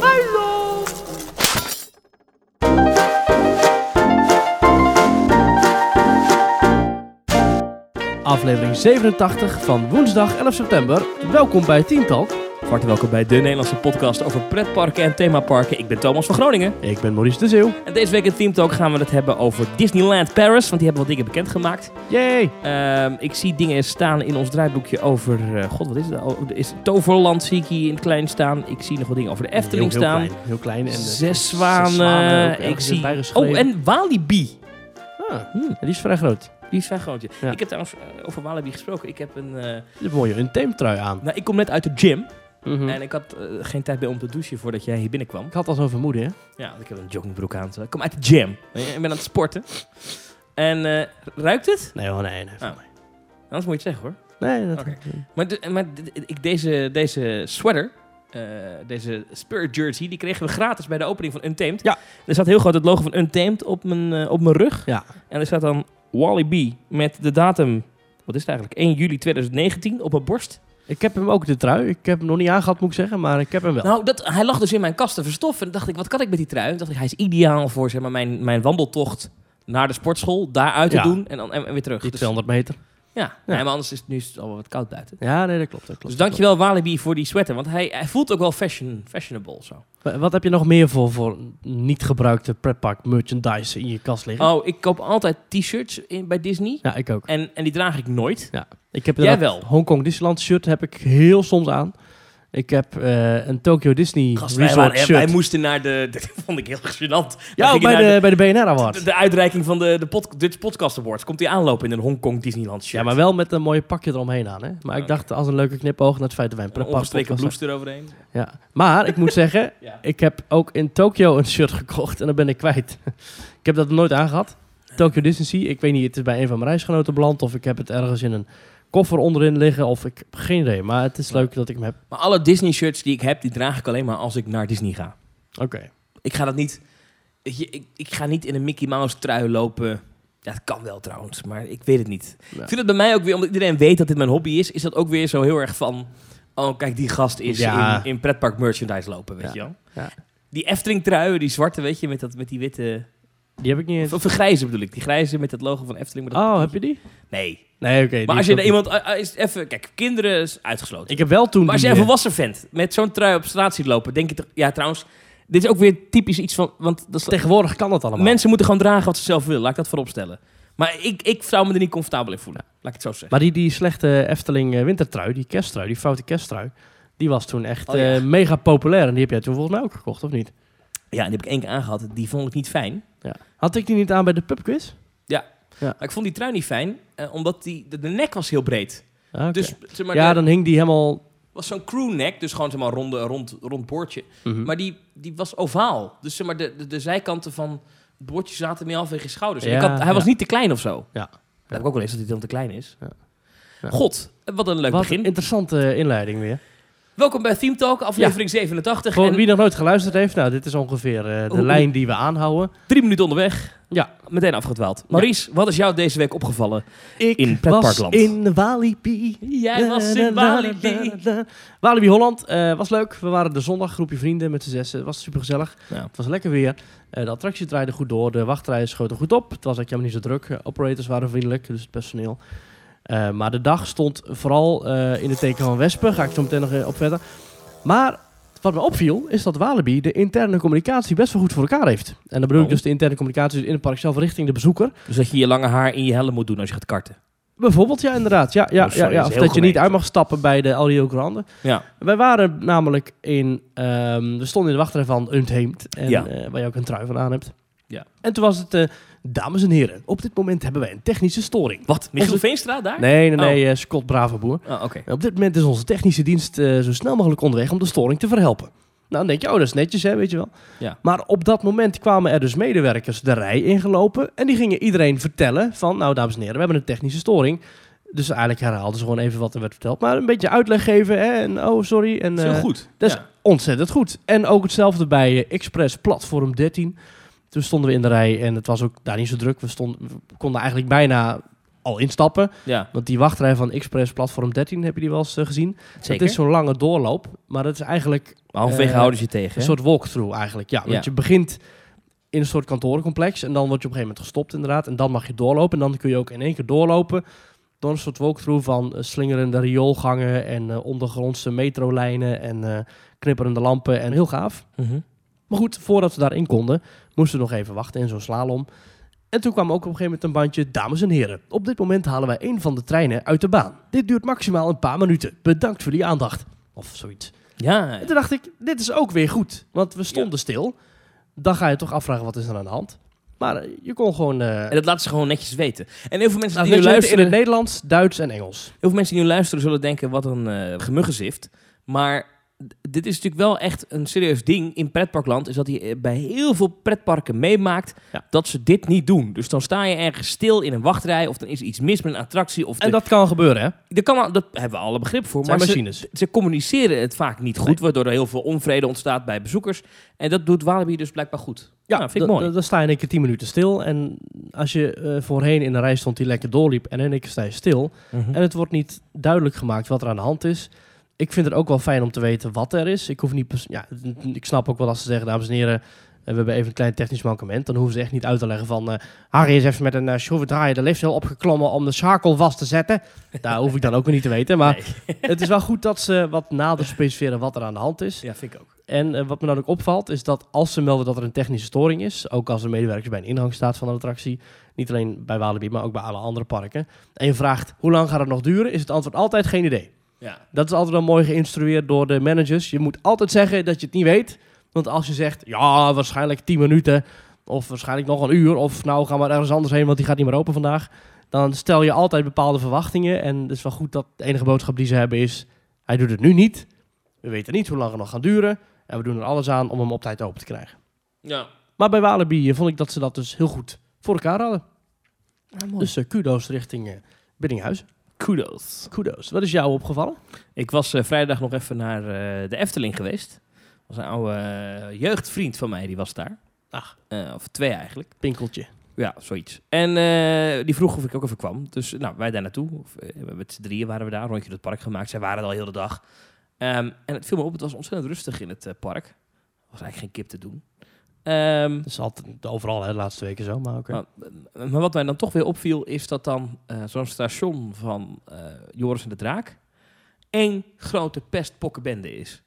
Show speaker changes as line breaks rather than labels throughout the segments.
Hallo!
Aflevering 87 van woensdag 11 september. Welkom bij Teamtalk.
Hartelijk welkom bij de Nederlandse podcast over pretparken en themaparken. Ik ben Thomas van Groningen.
Ik ben Maurice de Zeeuw.
En deze week in Team Talk gaan we het hebben over Disneyland Paris, want die hebben wat dingen bekendgemaakt.
Yay!
Ehm, ik zie dingen staan in ons draaiboekje over, eh, god wat is het? Oh, er is Toverland zie ik hier in het klein staan. Ik zie nog wat dingen over de Efteling
heel, heel
staan.
Klein, heel klein. En, eh,
Zes zwanen.
zwanen ook
ik
ergens
zie...
bij geschreven.
Oh, en Walibi.
Ah,
Hm,
die is vrij groot.
die is vrij groot. ja.
Ja.
Ik heb trouwens eh, over Walibi gesproken. Ik heb een... eh,
Je hebt mooi een theemtrui aan.
Nou, ik kom net uit de gym.
Mhm.
En ik had eh, geen tijd meer om te douchen voordat jij hier binnenkwam.
Ik had al zo'n vermoeden, hè?
Ja, want ik heb een joggingbroek aan. terwijl Ik kom uit de gym. Weet je, Ik ben aan het sporten. En eh, ruikt het?
Nee hoor, nee, nee.
Ah. Anders moet je het zeggen hoor.
Nee, dat...
Oké. Maar, de- maar de- ik, deze, deze sweater, eh, deze Spirit jersey, die kregen we gratis bij de opening van Untamed.
Ja.
Er staat heel groot het logo van Untamed op mijn, eh, op mijn rug.
Ja.
En er staat dan Wally B met de datum, wat is het eigenlijk? 1 juli 2019 op mijn borst.
Ik heb hem ook, de trui. Ik heb hem nog niet aangehad, moet ik zeggen, maar ik heb hem wel.
Nou, dat, hij lag dus in mijn kast te verstoffen. En dacht ik, wat kan ik met die trui? Toen dacht ik, hij is ideaal voor zeg maar, mijn, mijn wandeltocht naar de sportschool. Daaruit te
Ja.
doen en, dan, en, en weer terug.
Die
Dus-
200 meter.
ja, Nee, maar anders is het nu is het al wat koud buiten.
Ja, nee, dat klopt. Dat klopt
Dus dankjewel Walibi voor die sweater. Want hij, hij voelt ook wel fashion, fashionable zo.
Wa- Wat heb je nog meer voor, voor niet gebruikte pretpark merchandise in je kast liggen?
Oh, ik koop altijd t-shirts in- bij Disney.
Ja, ik ook.
En, en die draag ik nooit.
Ik heb
Jij
inderdaad
wel?
Hong Kong Disneyland shirt heb ik heel soms aan. Ik heb eh, een Tokyo Disney
Gast, wij,
Resort
waren-
shirt.
wij moesten naar de... Dit vond ik heel gênant. Wij
ja,
gingen
bij de,
naar
bij de BNR
de,
Award.
de uitreiking van de, de pod, Dutch Podcast Awards. Komt hij aanlopen in een Hongkong Disneyland shirt.
Ja, maar wel met een mooie pakje eromheen aan. Hè? Maar ik
Oké.
dacht, als een leuke knipoog naar het feit dat wij een
Een
pretpark
ongestreken
podcast
blouse eroverheen.
zijn. Ja. Maar ik moet zeggen,
Ja.
ik heb ook in Tokyo een shirt gekocht en dat ben ik kwijt. ik heb dat nooit aangehad. Tokyo Disney Sea, ik weet niet, het is bij een van mijn reisgenoten beland of ik heb het ergens in een koffer onderin liggen of ik heb geen idee. Maar het is leuk dat ik hem heb.
Maar alle Disney shirts die ik heb, die draag ik alleen maar als ik naar Disney ga.
Oké.
Ik ga dat niet. weet je, Ik, ik ga niet in een Mickey Mouse trui lopen. Ja, dat kan wel trouwens, maar ik weet het niet.
Ja.
Ik vind het bij mij ook weer, omdat iedereen weet dat dit mijn hobby is, is dat ook weer zo heel erg van. Oh, kijk, die gast is
Ja.
in, in pretpark merchandise lopen,
Ja.
weet je wel.
Ja.
Die Efteling truien, die zwarte, weet je, met, dat, met die witte...
Die heb ik niet
Of,
eens.
of de grijze bedoel ik, die grijze met het logo van Efteling. met dat
Oh, heb
pakketje.
je die?
Nee.
Nee, oké. die
Maar als
is ook
je er
niet.
iemand... ah, ah, is even, kijk, kinderen is uitgesloten.
Ik heb wel toen.
Maar als
die,
jij een
eh,
volwassen vent met zo'n trui op straat ziet lopen, denk je toch... Ja, trouwens, dit is ook weer typisch iets van... Want dat is-
Tegenwoordig kan dat allemaal.
mensen moeten gewoon dragen wat ze zelf willen. Laat ik dat voorop stellen. Maar ik, ik zou me er niet comfortabel in voelen. Laat ik het zo zeggen.
Maar die, die slechte Efteling eh, wintertrui, die kersttrui, die foute kersttrui, die was toen echt
Oh, ja.
eh, mega populair. En die heb jij toen volgens mij ook gekocht, of niet?
Ja, die heb ik één keer aangehad. Die vond ik niet fijn.
Had ik die niet aan bij de pubquiz?
Maar ik vond die trui niet fijn, eh, omdat die, de, de nek was heel breed.
Ah, oké.
Dus zeg maar,
ja,
de-
dan hing die helemaal...
was zo'n crew neck, dus gewoon zeg maar ronde, rond, rond boordje.
Mhm.
Maar die, die was ovaal. Dus zeg maar, de, de, de zijkanten van het boordje zaten meer halverwege je schouders. En
Ja,
ik had, hij
ja.
was niet te klein of zo.
Ja.
Dat heb ik ook wel eens, dat hij dan te klein is.
Ja. Ja.
God, wat een leuk
Wat
begin.
een interessante eh, inleiding weer.
Welkom bij Theme Talk, aflevering 87.
Voor
en Oh,
wie nog nooit geluisterd heeft, nou, dit is ongeveer eh, de
Hoe-
lijn die we aanhouden.
drie minuten onderweg.
Ja.
Meteen afgedwaald. Maurice, wat is jou deze week opgevallen?
Ik
In
was
pretparkland.
in Walibi.
Jij was in Walibi.
Walibi Holland eh, was leuk. We waren de zondag, groepje vrienden met z'n zessen. Het was supergezellig.
Ja.
Nou, Het was lekker weer. Eh, de attractie draaide goed door. De wachtrijen schoten goed op. Het was eigenlijk helemaal niet zo druk. Eh, operators waren vriendelijk, dus het personeel. Eh, maar de dag stond vooral eh, in het teken van wespen. Ga ik zo meteen nog eh, op verder. Maar wat me opviel, is dat Walibi de interne communicatie best wel goed voor elkaar heeft. En dan bedoel ik
Oh.
dus de interne communicatie in het park zelf richting de bezoeker.
Dus dat je je lange haar in je helm moet doen als je gaat karten.
Bijvoorbeeld, ja, inderdaad. Ja, ja,
Oh, sorry,
ja, ja.
dat
Of
is
dat
heel
je niet
gemeen.
uit mag stappen bij de Al Rio Grande.
Ja.
Wij waren namelijk in... ehm, we stonden in de wachtrij van Untheemd. En,
Ja.
eh, waar je ook een trui van aan hebt.
Ja.
En toen was het... eh, Dames en heren, op dit moment hebben wij een technische storing.
Wat? Michiel
Onze-
Veenstra daar?
Nee, nee,
Oh.
nee, eh, Scott Bravenboer.
Oh, oké.
En Op dit moment is onze technische dienst eh, zo snel mogelijk onderweg om de storing te verhelpen. Nou, dan denk je, oh, dat is netjes, hè, weet je wel.
Ja.
Maar op dat moment kwamen er dus medewerkers de rij ingelopen. En die gingen iedereen vertellen van, nou, dames en heren, we hebben een technische storing. Dus eigenlijk herhaalden ze gewoon even wat er werd verteld. Maar een beetje uitleg geven, hè, en oh, sorry. En,
Dat is
eh,
heel goed.
dat is
Ja.
ontzettend goed. En ook hetzelfde bij eh, Express Platform 13. Toen stonden we in de rij en het was ook daar niet zo druk. We, stonden, we konden eigenlijk bijna al instappen.
Ja,
Want die wachtrij van Express Platform 13 heb je die wel eens eh, gezien. Het
zeker.
is zo'n lange doorloop, maar dat is eigenlijk
Maar halverwege
eh,
houden ze je tegen.
een
hè?
soort walkthrough eigenlijk. Ja,
Ja.
want je begint in een soort kantorencomplex en dan word je op een gegeven moment gestopt inderdaad. En dan mag je doorlopen en dan kun je ook in één keer doorlopen door een soort walkthrough van eh, slingerende rioolgangen en eh, ondergrondse metrolijnen en eh, knipperende lampen en heel gaaf.
Mhm.
Maar goed, voordat we daarin konden, moesten we nog even wachten in zo'n slalom. En toen kwam ook op een gegeven moment een bandje, dames en heren, op dit moment halen wij een van de treinen uit de baan. Dit duurt maximaal een paar minuten. Bedankt voor die aandacht. Of zoiets.
Ja,
En toen dacht ik, dit is ook weer goed. Want we stonden stil. Dan ga je toch afvragen, wat is er aan de hand? Maar eh, je kon gewoon... eh,
en dat laten ze gewoon netjes weten. En heel veel mensen,
laten weten
die, nu
in het
luisteren, heel
Nederlands, Duits en Engels.
veel mensen die nu luisteren zullen denken, wat een eh gemuggenzift. Maar d- dit is natuurlijk wel echt een serieus ding in pretparkland. Is dat je eh, bij heel veel pretparken meemaakt
Ja.
dat ze dit niet doen. Dus dan sta je ergens stil in een wachtrij of dan is er iets mis met een attractie. Of
En
de-
dat kan gebeuren, hè?
er kan, al- dat hebben we alle begrip voor.
Het zijn
maar ze-
machines.
ze communiceren het vaak niet goed, waardoor er heel veel onvrede ontstaat bij bezoekers. En dat doet Walibi dus blijkbaar goed.
Ja,
Nou, vind ik mooi.
Dan sta je in één keer tien minuten stil. En als je eh, voorheen in een rij stond die lekker doorliep... en in één keer sta je stil...
Mhm.
en het wordt niet duidelijk gemaakt wat er aan de hand is... Ik vind het ook wel fijn om te weten wat er is. Ik hoef niet... pers- Ja, ik snap ook wel als ze zeggen, dames en heren... eh, We hebben even een klein technisch mankement. Dan hoeven ze echt niet uit te leggen van... eh, Harry is even met een eh, schroevendraaier de lift heel opgeklommen... om de schakel vast te zetten. Daar hoef ik dan ook weer niet te weten. Maar het is wel goed dat ze wat nader specificeren wat er aan de hand is.
Ja, vind ik ook.
En eh, wat me dan ook opvalt, is dat als ze melden dat er een technische storing is, ook als een medewerker bij een ingang staat van een attractie, niet alleen bij Walibi, maar ook bij alle andere parken, en je vraagt hoe lang gaat het nog duren, is het antwoord altijd geen idee.
Ja.
Dat is altijd wel mooi geïnstrueerd door de managers. Je moet altijd zeggen dat je het niet weet, want als je zegt, ja, waarschijnlijk 10 minuten, of waarschijnlijk nog een uur, of nou, ga maar ergens anders heen, want die gaat niet meer open vandaag, dan stel je altijd bepaalde verwachtingen. En het is wel goed dat de enige boodschap die ze hebben is, hij doet het nu niet, we weten niet hoe lang het nog gaat duren. En we doen er alles aan om hem op tijd open te krijgen.
ja.
Maar bij Walibi eh, vond ik dat ze dat dus heel goed voor elkaar hadden.
Dus
Dus eh, kudo's richting eh Biddinghuizen.
kudos.
Kudo's. Wat is jou opgevallen?
Ik was eh, vrijdag nog even naar eh, de Efteling geweest. Dat was een oude eh, jeugdvriend van mij, die was daar.
Ach.
Eh, of twee eigenlijk.
Pinkeltje.
Ja, zoiets. En eh, die vroeg of ik ook even kwam. Dus nou, wij daar naartoe. Of, eh, met z'n drieën waren we daar, rondje door het park gemaakt. Zij waren er al heel de dag. Ehm, en het viel me op, het was ontzettend rustig in het eh, park. Er was eigenlijk geen kip te doen. Ehm,
Dat is altijd overal hè, de laatste weken zo, maar oké.
Maar, maar wat mij dan toch weer opviel, is dat dan eh, zo'n station van eh, Joris en de Draak één grote pestpokkenbende is.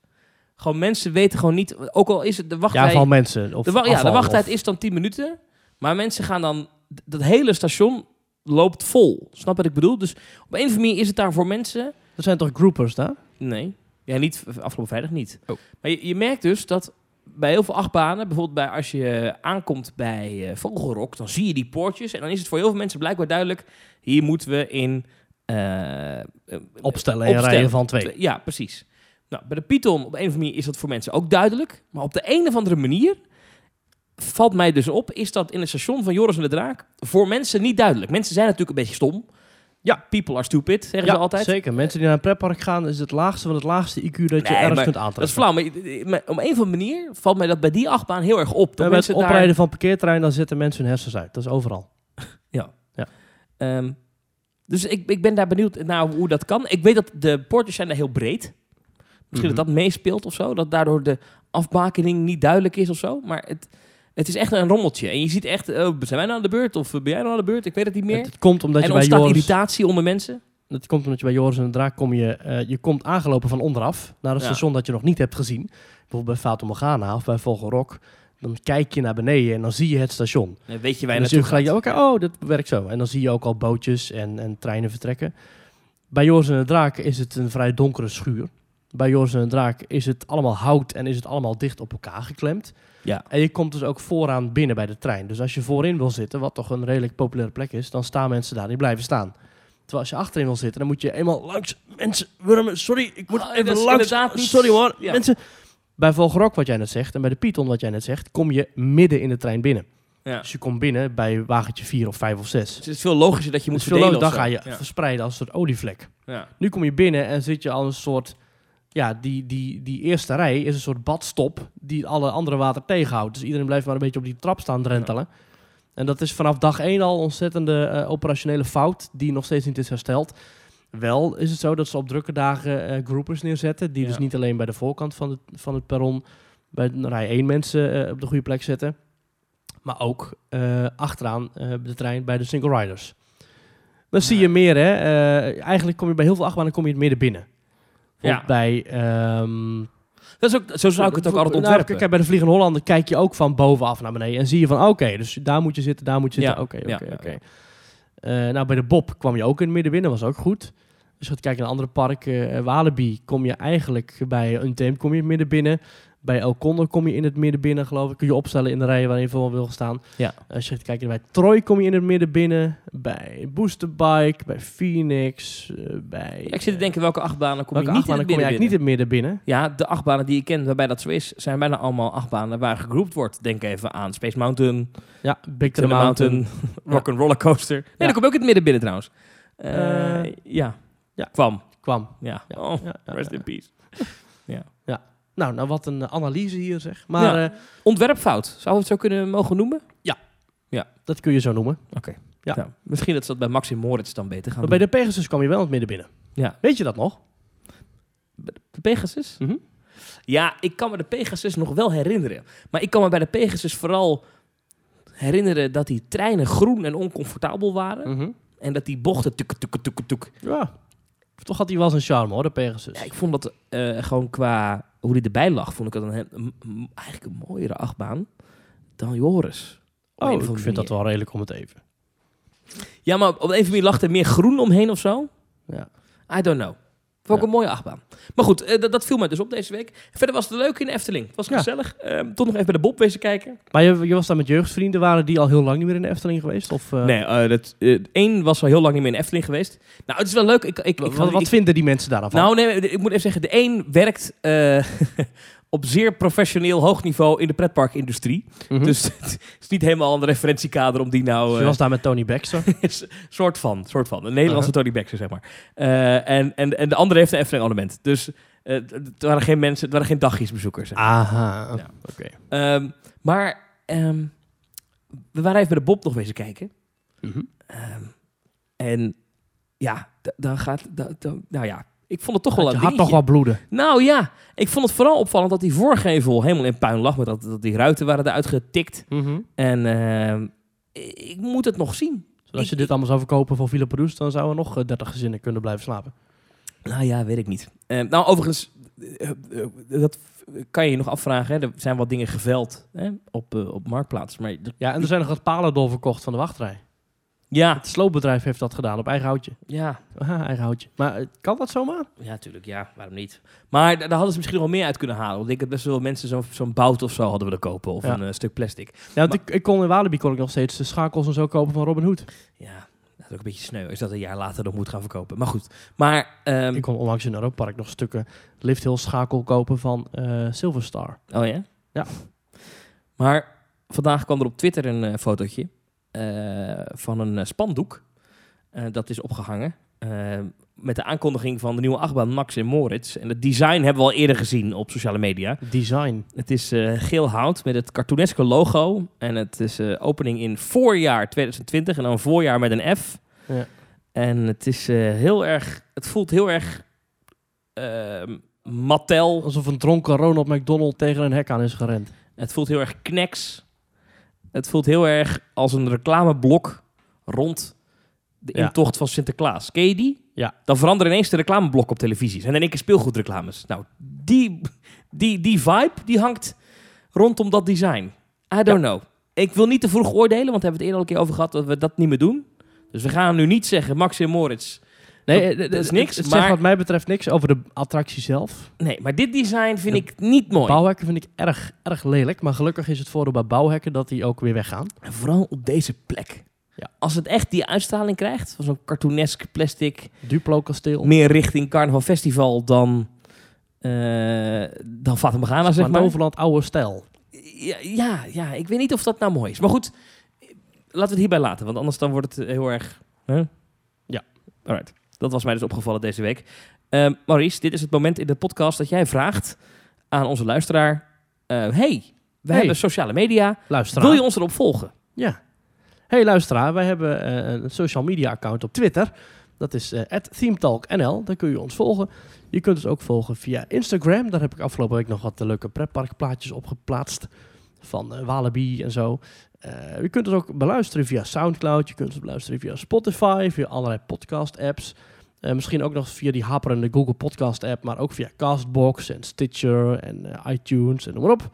Gewoon mensen weten gewoon niet, ook al is het de
Ja,
wachtrij...
van mensen. Of
de, wa- ja,
afval,
de wachttijd
of-
is dan 10 minuten, maar mensen gaan dan... d- Dat hele station loopt vol. Snap wat ik bedoel? Dus op een of andere manier is het daar voor mensen...
Er zijn toch groupers daar?
Nee. Ja, niet v- afgelopen vrijdag niet.
Oh.
Maar je, je merkt dus dat bij heel veel achtbanen, bijvoorbeeld bij, als je eh, aankomt bij eh Vogelrok, dan zie je die poortjes. En dan is het voor heel veel mensen blijkbaar duidelijk, hier moeten we in... eh, eh,
Opstellen en
Opstellen.
rijen van twee.
ja, precies. Nou, bij de Python op een of andere manier is dat voor mensen ook duidelijk. Maar op de een of andere manier valt mij dus op, is dat in het station van Joris en de Draak voor mensen niet duidelijk. Mensen zijn natuurlijk een beetje stom. Ja, people are stupid, zeggen
ja,
ze altijd.
zeker. Mensen die naar een pretpark gaan, is het laagste van het laagste IQ dat je
Nee,
ergens
maar
kunt
Dat is
aantreffen.
flauw, maar maar op een of andere manier valt mij dat bij die achtbaan heel erg op. Dat
En Bij het
mensen
oprijden
daar,
van parkeerterrein, dan zetten mensen hun hersens uit. Dat is overal.
Ehm, dus ik, ik ben daar benieuwd naar hoe dat kan. Ik weet dat de poortjes zijn daar heel breed. Misschien
Mhm.
dat dat meespeelt of zo. Dat daardoor de afbakening niet duidelijk is of zo. Maar het, het is echt een rommeltje. En je ziet echt, eh, zijn wij nou aan de beurt? Of eh, ben jij nou aan de beurt? Ik weet het niet meer.
Het, het komt omdat
en
je bij
ontstaat
Joris...
irritatie onder mensen.
Dat komt omdat je bij Joris en de Draak kom je, eh, je komt aangelopen van onderaf naar een
Ja.
station dat je nog niet hebt gezien. Bijvoorbeeld bij Fata Morgana of bij Vogelrok. Dan kijk je naar beneden en dan zie je het station.
Eh, weet je
En
wij
dan zie je
naartoe
gelijk,
gaat.
oké, oh, dat werkt zo. En dan zie je ook al bootjes en, en treinen vertrekken. Bij Joris en de Draak is het een vrij donkere schuur. Bij Joris en de Draak is het allemaal hout en is het allemaal dicht op elkaar geklemd.
Ja.
En je komt dus ook vooraan binnen bij de trein. Dus als je voorin wil zitten, wat toch een redelijk populaire plek is, dan staan mensen daar, die blijven staan. Terwijl als je achterin wil zitten, dan moet je eenmaal langs mensen, wurmen, sorry, ik moet
Ah, dat
even
is
langs,
inderdaad niet-
sorry hoor,
Ja.
mensen. Bij Vogelrok, wat jij net zegt, en bij de Python, wat jij net zegt, kom je midden in de trein binnen.
Ja.
Dus je komt binnen bij wagentje 4 of 5 of 6.
Dus het is veel logischer dat je moet
Dus veel
verdelen
dan
of
ga
zo.
je verspreiden als een soort olievlek.
Ja. Ja.
Nu kom je binnen en zit je al een soort... Ja, die, die, die eerste rij is een soort badstop die alle andere water tegenhoudt. Dus iedereen blijft maar een beetje op die trap staan drentelen. En dat is vanaf dag één al ontzettende eh, operationele fout die nog steeds niet is hersteld. Wel is het zo dat ze op drukke dagen eh groupers neerzetten, die
Ja.
dus niet alleen bij de voorkant van het, van het perron bij rij 1 mensen eh, op de goede plek zetten, maar ook eh, achteraan eh, op de trein bij de single riders. Dan zie
Ja.
je meer, hè. Eh, eigenlijk kom je bij heel veel achtbanen kom je het midden binnen.
Ja.
Ja. Bij, ehm,
Dat is ook, zo zou ik het ook altijd
nou,
ontwerpen.
kijk, bij de Vliegende Hollander kijk je ook van bovenaf naar beneden. En zie je van, oké, dus daar moet je zitten, daar moet je zitten.
Ja,
Oké,
ja,
oké,
ja, ja.
oké. Eh, Nou, bij de Bob kwam je ook in het midden binnen, was ook goed. Dus gaat kijken naar andere parken. eh, Walibi kom je eigenlijk bij Untamed kom je in het midden binnen. Bij El Condor kom je in het midden binnen, geloof ik. Kun je opstellen in de rijen waarin je voor wil staan.
Ja.
Als je gaat kijken bij Troy kom je in het midden binnen. Bij Booster Bike, bij Phoenix, eh, bij...
Ja, ik zit te denken welke achtbanen kom
welke
je niet in
achtbanen
het
kom je
midden
eigenlijk niet in
binnen?
het midden binnen?
Ja, de achtbanen die ik ken waarbij dat zo is, zijn bijna allemaal achtbanen waar gegroept wordt. Denk even aan Space Mountain,
Ja, Big
Thunder
Thunder
Mountain, Rock'n'Roller Coaster. Nee,
Ja.
dat komt ook in het midden binnen trouwens. Eh,
Eh,
ja.
ja.
kwam.
kwam.
Ja.
Ja.
Oh,
Ja, ja,
rest
ja.
in peace.
Nou, nou wat een eh, analyse hier zeg. Maar
Ja.
eh,
Ontwerpfout, zou we het zo kunnen mogen noemen?
dat kun je zo noemen. Ja.
Nou, misschien dat ze dat bij Maxim Moritz dan beter gaan
Maar bij
doen.
de Pegasus kwam je wel in het midden binnen.
Ja.
Weet je dat nog?
de Pegasus?
Mhm.
Ja, ik kan me de Pegasus nog wel herinneren. Maar ik kan me bij de Pegasus vooral herinneren dat die treinen groen en oncomfortabel waren. En dat die bochten tuk, tuk, tuk, tuk.
Ja. Toch had hij wel zijn charme hoor, de Pegasus.
Ja, ik vond dat eh, gewoon qua hoe die erbij lag, vond ik dat een, he- een- een- eigenlijk een mooiere achtbaan dan Joris. Op
oh,
een
ik
of andere
vind dat
manier.
wel redelijk om het even.
Ja, maar op een of andere manier lag er meer groen omheen of zo.
Ja.
I don't know. Vond ik
Ja.
een mooie achtbaan. Maar goed, eh, dat, dat viel mij dus op deze week. Verder was het leuk in de Efteling. Het was
Ja.
gezellig. Eh, toch nog even bij de Bob wezen kijken.
Maar je, je was daar met jeugdvrienden, waren die al heel lang niet meer in de Efteling geweest? Of, eh,
Nee, eh dat, eh, één was al heel lang niet meer in Efteling geweest. Nou, het is wel leuk. Ik, ik, ik,
wa- wa-
ga-
wat
ik-
vinden die mensen daarvan?
nou, nee, ik moet even zeggen. De één werkt eh, op zeer professioneel hoog niveau in de pretparkindustrie.
Mhm.
Dus het is niet helemaal een referentiekader om die nou...
Dus je
eh,
was daar met Tony Baxter.
is- soort van, soort van. Een Nederlandse
Uh-huh.
Tony Baxter, zeg maar. Eh, en, en, en de andere heeft een Efteling abonnement. Dus eh, het- het waren geen mensen, het waren geen dagjesbezoekers.
Ah.
zeg.
Aha.
Ja.
Oké.
Ehm, maar ehm, we waren even bij de Bob nog wezen kijken. Ehm, en ja, d- dan gaat... da- dan- nou ja, ik vond het toch wel
je
een
had toch
dingetje.
wel bloeden.
Nou ja, ik vond het vooral opvallend dat die voorgevel helemaal in puin lag. Met dat, dat die ruiten waren eruit getikt. En ehm, ik, ik moet het nog zien.
Dus als je
Ik-
dit allemaal zou verkopen voor Villa Perouse, dan zouden er nog eh, 30 gezinnen kunnen blijven slapen.
Nou ja, weet ik niet. Eh, nou, overigens, eh, eh, dat kan je je nog afvragen. Hè? Er zijn wat dingen geveld hè? Op, eh, op Marktplaats. Maar d-
Ja, en dus- er zijn nog wat palen doorverkocht van de wachtrij.
ja,
Het sloopbedrijf heeft dat gedaan op eigen houtje.
ja,
Haha, eigen houtje. Maar eh, kan dat zomaar?
ja, natuurlijk, ja, waarom niet? Maar da- daar hadden ze misschien nog wel meer uit kunnen halen. Want ik denk dat best wel mensen zo'n zo'n bout of zo hadden willen kopen. Of
Ja.
een eh, stuk plastic.
Ja, want
Maar-
ik, ik kon in Walibi kon ik nog steeds de schakels en zo kopen van Robin Hood.
Ja, dat is ook een beetje sneu. Is dat een jaar later nog moet gaan verkopen. Maar goed, maar... ehm,
Ik kon onlangs in Europa Park nog stukken Lift Hill schakel kopen van eh Silver Star.
Oh ja?
Ja.
Maar vandaag kwam er op Twitter een eh, fotootje eh, van een eh, spandoek. Eh, dat is opgehangen. eh, met de aankondiging van de nieuwe achtbaan Max en Moritz. En het design hebben we al eerder gezien op sociale media.
Design.
Het is eh, geel hout met het cartooneske logo. En het is eh, opening in voorjaar 2020. En dan voorjaar met een F.
Ja.
En het is eh, heel erg... Het voelt heel erg... ehm Mattel.
Alsof een dronken Ronald McDonald tegen een hek aan is gerend.
Het voelt heel erg kneks. Het voelt heel erg als een reclameblok rond de
Ja.
intocht van Sinterklaas. Ken je die?
Ja.
Dan veranderen ineens de reclameblokken op televisie. En in één keer speelgoedreclames. Nou, die, die, die vibe die hangt rondom dat design. I don't know. Ik wil niet te vroeg oordelen, want we hebben het eerder al een keer over gehad dat we dat niet meer doen. Dus we gaan nu niet zeggen, Max en Moritz.
Nee,
Dat-
eh,
dat
eh,
is
Het,
niks,
het zegt
maar-
wat mij betreft niks over de attractie zelf.
Nee, maar dit design vind
Ja.
ik niet mooi.
Bouwhekken vind ik erg, erg lelijk. Maar gelukkig is het voordeel bij bouwhekken dat die ook weer weggaan.
En vooral op deze plek.
Ja.
Als het echt die uitstraling krijgt, van zo'n cartoonesk plastic...
Duplo kasteel.
meer richting Carnaval Festival dan, eh dan Fatima Ghana, zeg maar.
Overland oude stijl.
Ja, ja, ja, ik weet niet of dat nou mooi is. Maar goed, eh, laten we het hierbij laten, want anders dan wordt het eh, heel erg... Hè?
Ja.
Alright. Dat was mij dus opgevallen deze week. Eh, Maurice, dit is het moment in de podcast dat jij vraagt aan onze luisteraar... eh, hey, we
Hey.
hebben sociale media.
Luisteraar.
Wil je ons erop volgen?
Ja. hey, luisteraar, wij hebben eh, een social media account op Twitter. Dat is eh, @themetalknl. Daar kun je ons volgen. Je kunt ons ook volgen via Instagram. Daar heb ik afgelopen week nog wat eh, leuke pretparkplaatjes op geplaatst. Van eh, Walibi en zo. Eh, je kunt ons ook beluisteren via Soundcloud. Je kunt ons beluisteren via Spotify, via allerlei podcast-apps. Eh, misschien ook nog via die haperende Google Podcast-app, maar ook via Castbox en Stitcher en eh, iTunes en noem maar op.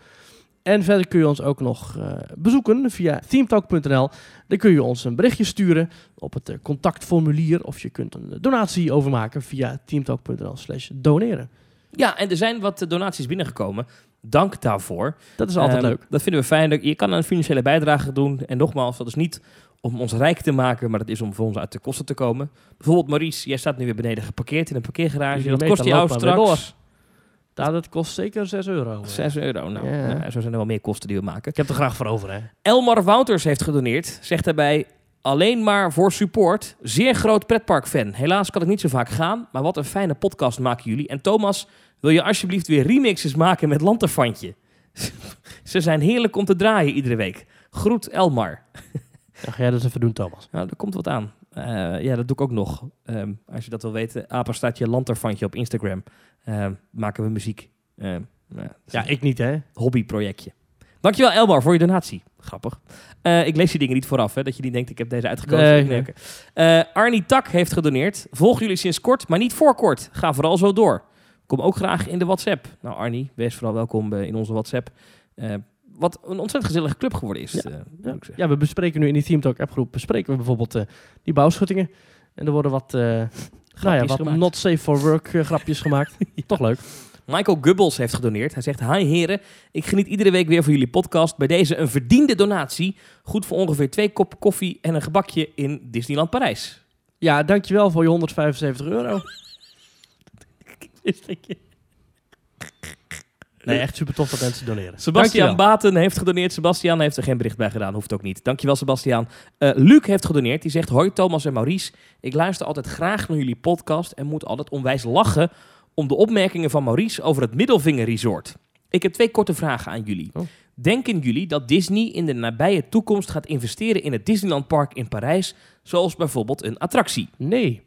En verder kun je ons ook nog eh, bezoeken via themetalk.nl. Daar kun je ons een berichtje sturen op het eh, contactformulier. Of je kunt een eh, donatie overmaken via themetalk.nl slash doneren.
Ja, en er zijn wat eh, donaties binnengekomen. Dank daarvoor.
Dat is altijd
Ehm,
leuk.
Dat vinden we fijn. Je kan een financiële bijdrage doen. En nogmaals, dat is niet om ons rijk te maken, maar dat is om voor ons uit de kosten te komen. Bijvoorbeeld Maurice, jij staat nu weer beneden geparkeerd in een parkeergarage.
Die
Dat
meter
kost jou
loopt maar weer
straks
Nou, dat kost zeker 6 euro.
6 euro. Nou,
Ja.
nou, zo zijn er wel meer kosten die we maken.
Ik heb er graag voor over, hè.
Elmar Wouters heeft gedoneerd. Zegt daarbij alleen maar voor support. Zeer groot pretparkfan. Helaas kan ik niet zo vaak gaan. Maar wat een fijne podcast maken jullie. En Thomas, wil je alsjeblieft weer remixes maken met Lanterfantje? Ze zijn heerlijk om te draaien iedere week. Groet Elmar.
Dan ga jij dat eens even doen, Thomas.
Nou, er komt wat aan. Eh, ja, dat doe ik ook nog. Ehm, als je dat wil weten, apenstaartje Lanterfantje op Instagram. Ehm, maken we muziek. Ehm, nou, dat is
Ja, ik niet, hè.
hobbyprojectje. Dankjewel Elmar voor je donatie. Grappig. Eh, ik lees die dingen niet vooraf, hè, dat je niet denkt ik heb deze uitgekozen.
Nee,
Nee, oké. Eh, Arnie Tak heeft gedoneerd. Volgen jullie sinds kort, maar niet voor kort. Ga vooral zo door. Kom ook graag in de WhatsApp. Nou Arnie, wees vooral welkom eh, in onze WhatsApp. Eh, wat een ontzettend gezellige club geworden is.
Ja,
eh, moet ik zeggen.
Ja, we bespreken nu in die Team Talk appgroep bespreken we bijvoorbeeld eh, die bouwschuttingen. En er worden wat, eh nou ja, wat
gemaakt.
not safe for work eh, grapjes gemaakt. Toch leuk.
Michael Gubbels heeft gedoneerd. Hij zegt: Hi heren, ik geniet iedere week weer van jullie podcast. Bij deze een verdiende donatie. Goed voor ongeveer twee kop koffie en een gebakje in Disneyland Parijs.
Ja, dankjewel voor je 175 euro. Nee, echt super tof dat mensen doneren.
Sebastian
Dankjewel.
Baten heeft gedoneerd. Sebastian heeft er geen bericht bij gedaan, hoeft ook niet. Dankjewel, Sebastian. Eh, Luc heeft gedoneerd. Die zegt: Hoi Thomas en Maurice. Ik luister altijd graag naar jullie podcast en moet altijd onwijs lachen om de opmerkingen van Maurice over het Middelvinger Resort. Ik heb twee korte vragen aan jullie.
Oh.
Denken jullie dat Disney in de nabije toekomst gaat investeren in het Disneyland Park in Parijs, zoals bijvoorbeeld een attractie?
Nee,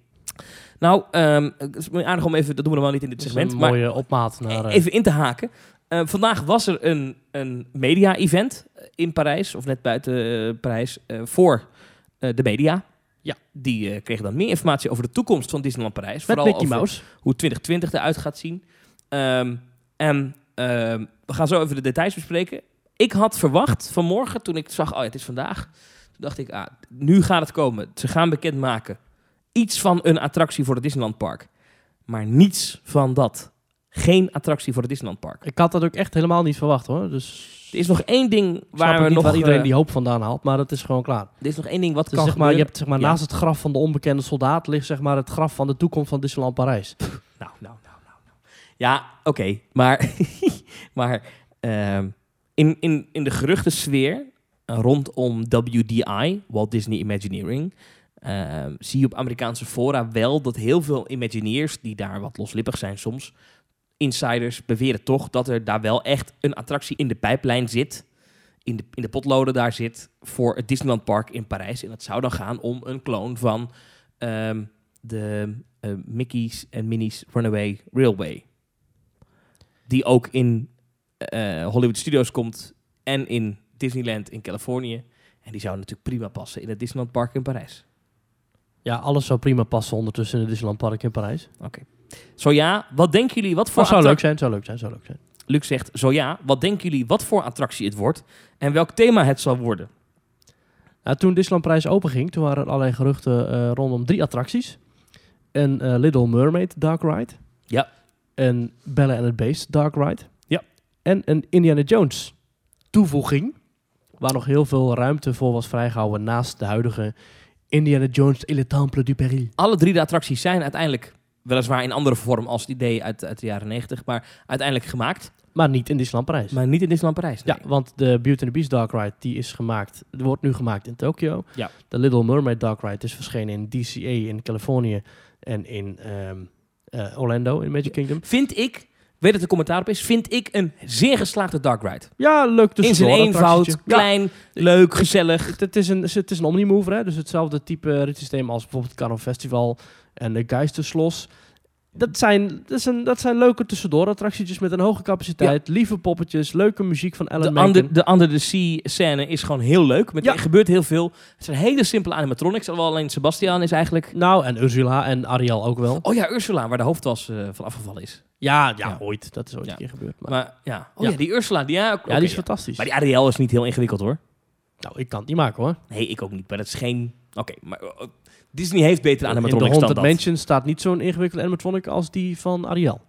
Nou, ehm, het is aardig om even, dat doen we normaal niet in dit
dat is
segment,
een
maar
mooie opmaat naar... eh,
Even in te haken. Eh, vandaag was er een, een media-event eh, in Parijs, of net buiten eh, Parijs, eh, voor eh, de media.
Ja.
Die eh, kregen dan meer informatie over de toekomst van Disneyland Parijs.
met
vooral
Mickey
over
Mouse.
hoe 2020 eruit gaat zien. Ehm, en ehm, we gaan zo even de details bespreken. Ik had verwacht vanmorgen, toen ik zag, oh ja, het is vandaag. Toen dacht ik, ah, nu gaat het komen. Ze gaan bekendmaken iets van een attractie voor het Disneyland Park. Maar niets van dat. Geen attractie voor het Disneyland Park.
Ik had dat ook echt helemaal niet verwacht hoor. Dus
Er is nog één ding
waar
waar we
niet
nog...
waar iedereen
eh,
die hoop vandaan haalt, maar dat is gewoon klaar.
er is nog één ding wat
Dus
kan
zeg maar, je
gebeuren.
hebt zeg maar,
Ja.
naast het graf van de onbekende soldaat ligt zeg maar, het graf van de toekomst van Disneyland Parijs.
Nou, nou, nou, nou. nou. Ja, oké. Maar, maar ehm, in, in, in de geruchtensfeer eh, rondom WDI, Walt Disney Imagineering, ehm, zie je op Amerikaanse fora wel dat heel veel Imagineers, die daar wat loslippig zijn soms, insiders beweren toch dat er daar wel echt een attractie in de pijplijn zit. In de, in de potloden daar zit voor het Disneyland Park in Parijs. En dat zou dan gaan om een kloon van ehm, de eh, Mickey's en Minnie's Runaway Railway. Die ook in eh, Hollywood Studios komt en in Disneyland in Californië. En die zou natuurlijk prima passen in het Disneyland Park in Parijs.
Ja, alles zou prima passen ondertussen in het Disneyland Park in Parijs.
Zo ja, wat denken jullie? Wat voor
Maar zou
attra-
leuk zijn, zou leuk zijn, zou leuk zijn.
Luc zegt, zo ja, wat denken jullie wat voor attractie het wordt en welk thema het zal worden?
Nou, toen Disneyland Parijs openging, toen waren er allerlei geruchten eh, rondom drie attracties. Een eh, Little Mermaid Dark Ride.
Ja.
Een Bella and the Beast Dark Ride.
Ja.
En een Indiana Jones toevoeging, waar nog heel veel ruimte voor was vrijgehouden naast de huidige Indiana Jones et le Temple du Péril.
Alle drie de attracties zijn uiteindelijk, weliswaar in andere vorm als het idee uit, uit de jaren 90, maar uiteindelijk gemaakt.
Maar niet in Disneyland Parijs.
Maar niet in Disneyland Parijs. nee.
Ja, want de Beauty and the Beast Dark Ride die is gemaakt, die wordt nu gemaakt in Tokio.
Ja.
De Little Mermaid Dark Ride is verschenen in DCA in Californië en in ehm, eh, Orlando in Magic Kingdom.
Vind ik Weet dat er commentaar op is. Vind ik een zeer geslaagde dark ride.
Ja, leuk
In
tussendoor.
zijn eenvoud,
attractietje. Ja,
klein, leuk, gezellig.
het, het is een, het is een omnimover, hè? dus hetzelfde type ritsysteem als bijvoorbeeld het Carnival Festival en de Geisterslos. Dat zijn, dat, zijn, dat zijn leuke tussendoor attractietjes met een hoge capaciteit, lieve poppetjes, leuke muziek van Alan
De
Menken.
under, de under the sea scène is gewoon heel leuk. Met,
Ja.
Er gebeurt heel veel. Het zijn hele simpele animatronics. Alhoewel alleen Sebastian is eigenlijk...
Nou, en Ursula en Ariel ook wel.
Oh ja, Ursula, waar de hoofdtas eh, van afgevallen is.
Ja, ja,
Ja.
ooit. Dat is ooit
Ja.
een keer gebeurd. Maar,
Maar ja, oh
Ja.
ja, die Ursula, die, ja,
ja, die is fantastisch.
Maar die Ariel is niet heel ingewikkeld hoor.
Nou, ik kan het niet maken hoor.
Nee, ik ook niet. Maar dat is geen... Oké, maar eh, Disney heeft betere
In de
animatronics dan
100
dat.
Mansion staat niet zo'n ingewikkelde animatronic als die van Ariel.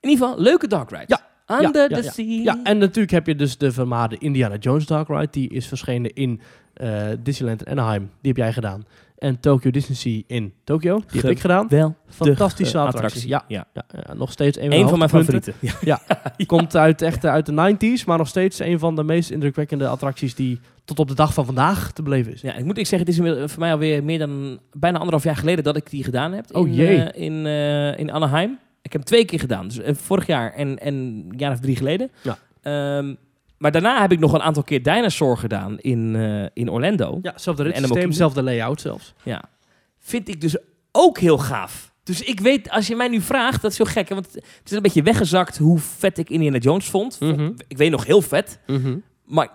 In ieder geval, leuke dark ride.
Ja. Ja,
Under
ja,
the sea.
Ja, en natuurlijk heb je dus de vermaarde Indiana Jones Dark Ride. Die is verschenen in eh, Disneyland Anaheim. Die heb jij gedaan. En Tokyo Disney Sea in Tokyo. Die
Ge-
heb ik gedaan.
Wel
Fantastische
eh,
attractie. Ja, ja, ja, nog steeds een,
Eén van mijn
hoogtepunten.
favorieten. Ja.
Komt uit, echt eh, uit de 90s, maar nog steeds een van de meest indrukwekkende attracties die tot op de dag van vandaag te beleven is.
Ja, ik moet ik zeggen, het is inmiddels voor mij alweer meer dan bijna anderhalf jaar geleden dat ik die gedaan heb.
Oh,
in,
jee.
eh, in, eh, in Anaheim. Ik heb hem twee keer gedaan. Dus eh, vorig jaar en, en een jaar of drie geleden.
Ja.
Ehm, maar daarna heb ik nog een aantal keer Dinosaur gedaan in, eh, in Orlando.
Ja, zelfde
Animal
ritssysteem,
Kingdom.
zelfde layout zelfs.
Ja. Vind ik dus ook heel gaaf. Dus ik weet, als je mij nu vraagt, dat is heel gek. hè, Want het is een beetje weggezakt hoe vet ik Indiana Jones vond.
Mhm.
Ik weet nog heel vet. Maar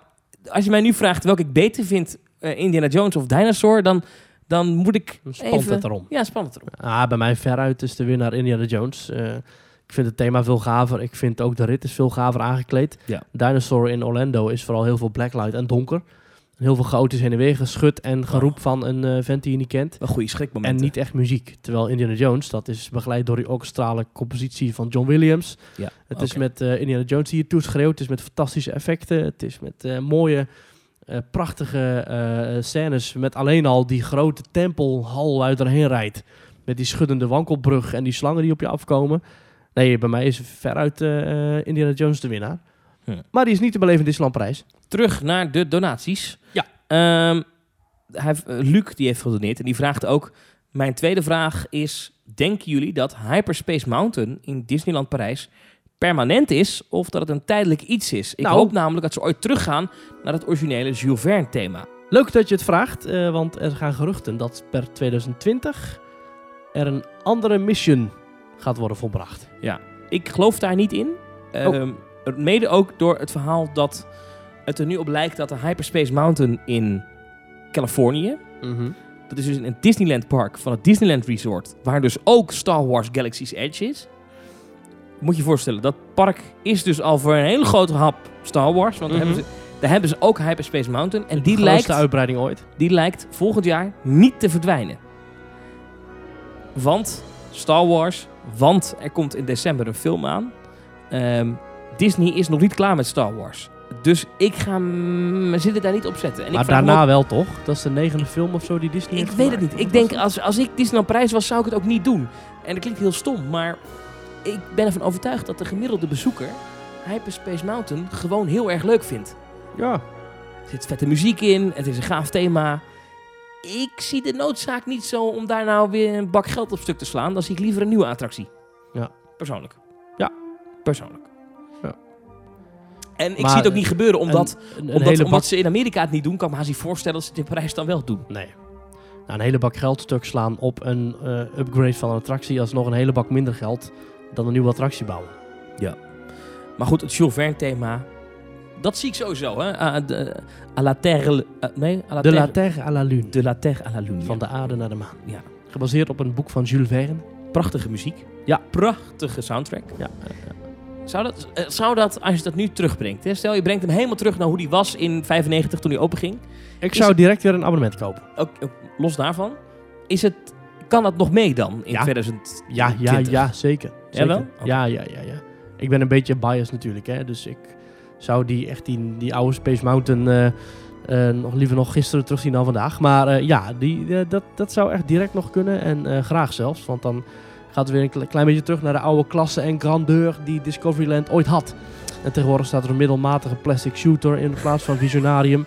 als je mij nu vraagt welke ik beter vind, eh, Indiana Jones of Dinosaur, dan, dan moet ik
Dan spant
even...
het erom.
Ja, spannend erop.
Ah, bij mij veruit is de winnaar Indiana Jones. Eh, ik vind het thema veel gaver. Ik vind ook de rit is veel gaver aangekleed.
Ja.
Dinosaur in Orlando is vooral heel veel blacklight en donker. Heel veel chaotisch heen en weer geschud en geroep van een eh, vent die je niet kent.
Een goede schrikmoment.
En niet echt muziek. Terwijl Indiana Jones, dat is begeleid door die orchestrale compositie van John Williams.
Ja,
het is
oké.
met eh, Indiana Jones die je toeschreeuwt. Het is met fantastische effecten. Het is met eh, mooie, eh, prachtige eh, scènes. Met alleen al die grote tempelhal waar je doorheen rijdt. Met die schuddende wankelbrug en die slangen die op je afkomen. Nee, bij mij is veruit eh, eh, Indiana Jones de winnaar.
Ja.
Maar die is niet te beleven in Disneyland Parijs.
Terug naar de donaties.
Ja.
Ehm, hij, heeft- eh, Luc die heeft gedoneerd en die vraagt ook... Mijn tweede vraag is, denken jullie dat Hyperspace Mountain in Disneyland Parijs permanent is of dat het een tijdelijk iets is? Ik
Nou.
hoop namelijk dat ze ooit teruggaan naar het originele Jules Verne thema.
Leuk dat je het vraagt, eh, want er gaan geruchten dat per 2020 er een andere mission gaat worden volbracht.
Ik geloof daar niet in. Ehm, Mede ook door het verhaal dat het er nu op lijkt dat de Hyperspace Mountain in Californië... Dat is dus in het Disneyland Park van het Disneyland Resort, waar dus ook Star Wars Galaxy's Edge is. Moet je je voorstellen, dat park is dus al voor een hele grote hap Star Wars. Want daar,
Mhm.
hebben ze, daar hebben ze ook Hyperspace Mountain. En die
De grootste
lijkt,
uitbreiding ooit.
die lijkt volgend jaar niet te verdwijnen. Want Star Wars, want er komt in december een film aan. Ehm, Disney is nog niet klaar met Star Wars. Dus ik ga me zitten daar niet op zetten. En
Maar
ik vraag me
daarna wel toch? Dat is de negende film of zo die Disney
ik
heeft
weet het
gemaakt.
niet. Ik
Wat was
denk, als, als ik Disneyland Parijs was, zou ik het ook niet doen. En dat klinkt heel stom, maar ik ben ervan overtuigd dat de gemiddelde bezoeker Hyperspace Mountain gewoon heel erg leuk vindt.
het? Ja.
Er zit vette muziek in, het is een gaaf thema. Ik zie de noodzaak niet zo om daar nou weer een bak geld op stuk te slaan. Dan zie ik liever een nieuwe attractie.
Ja.
Persoonlijk.
Ja.
Persoonlijk.
Ja.
En ik
Maar,
zie het ook
eh,
niet gebeuren, omdat,
Een- een,
omdat,
hele
omdat
bak...
ze in Amerika het niet doen. Kan ik me haast niet voorstellen dat ze het in Parijs dan wel doen.
Nee. Nou, een hele bak geld stuk slaan op een eh, upgrade van een attractie... als nog een hele bak minder geld dan een nieuwe attractie bouwen.
Maar goed, het Jules Verne thema. Dat zie ik sowieso, hè? Ah, de, à la terre... eh, nee, à
De
la terre...
La Terre à la Lune.
de la terre à la lune.
Van de aarde naar de maan.
Ja.
Gebaseerd op een boek van Jules Verne.
Prachtige muziek.
Ja.
Prachtige soundtrack.
Ja.
Zou dat, eh, zou dat, als je dat nu terugbrengt... Hè? Stel, je brengt hem helemaal terug naar hoe die was in 95 toen hij openging.
Ik
Is-
zou direct weer een abonnement kopen.
Ook, ook los daarvan. Is het, kan dat nog mee dan in
Ja.
2020?
Ja, ja, ja, zeker. zeker.
Jawel?
Ja, ja, ja, ja. Ik ben een beetje biased natuurlijk, hè. Dus ik zou die, echt die, die oude Space Mountain eh, eh, nog liever nog gisteren terugzien dan vandaag. Maar eh, ja, die, eh, dat, dat zou echt direct nog kunnen en eh, graag zelfs. Want dan gaat het weer een kle- klein beetje terug naar de oude klasse en grandeur die Discoveryland ooit had. En tegenwoordig staat er een middelmatige plastic shooter in plaats van Visionarium.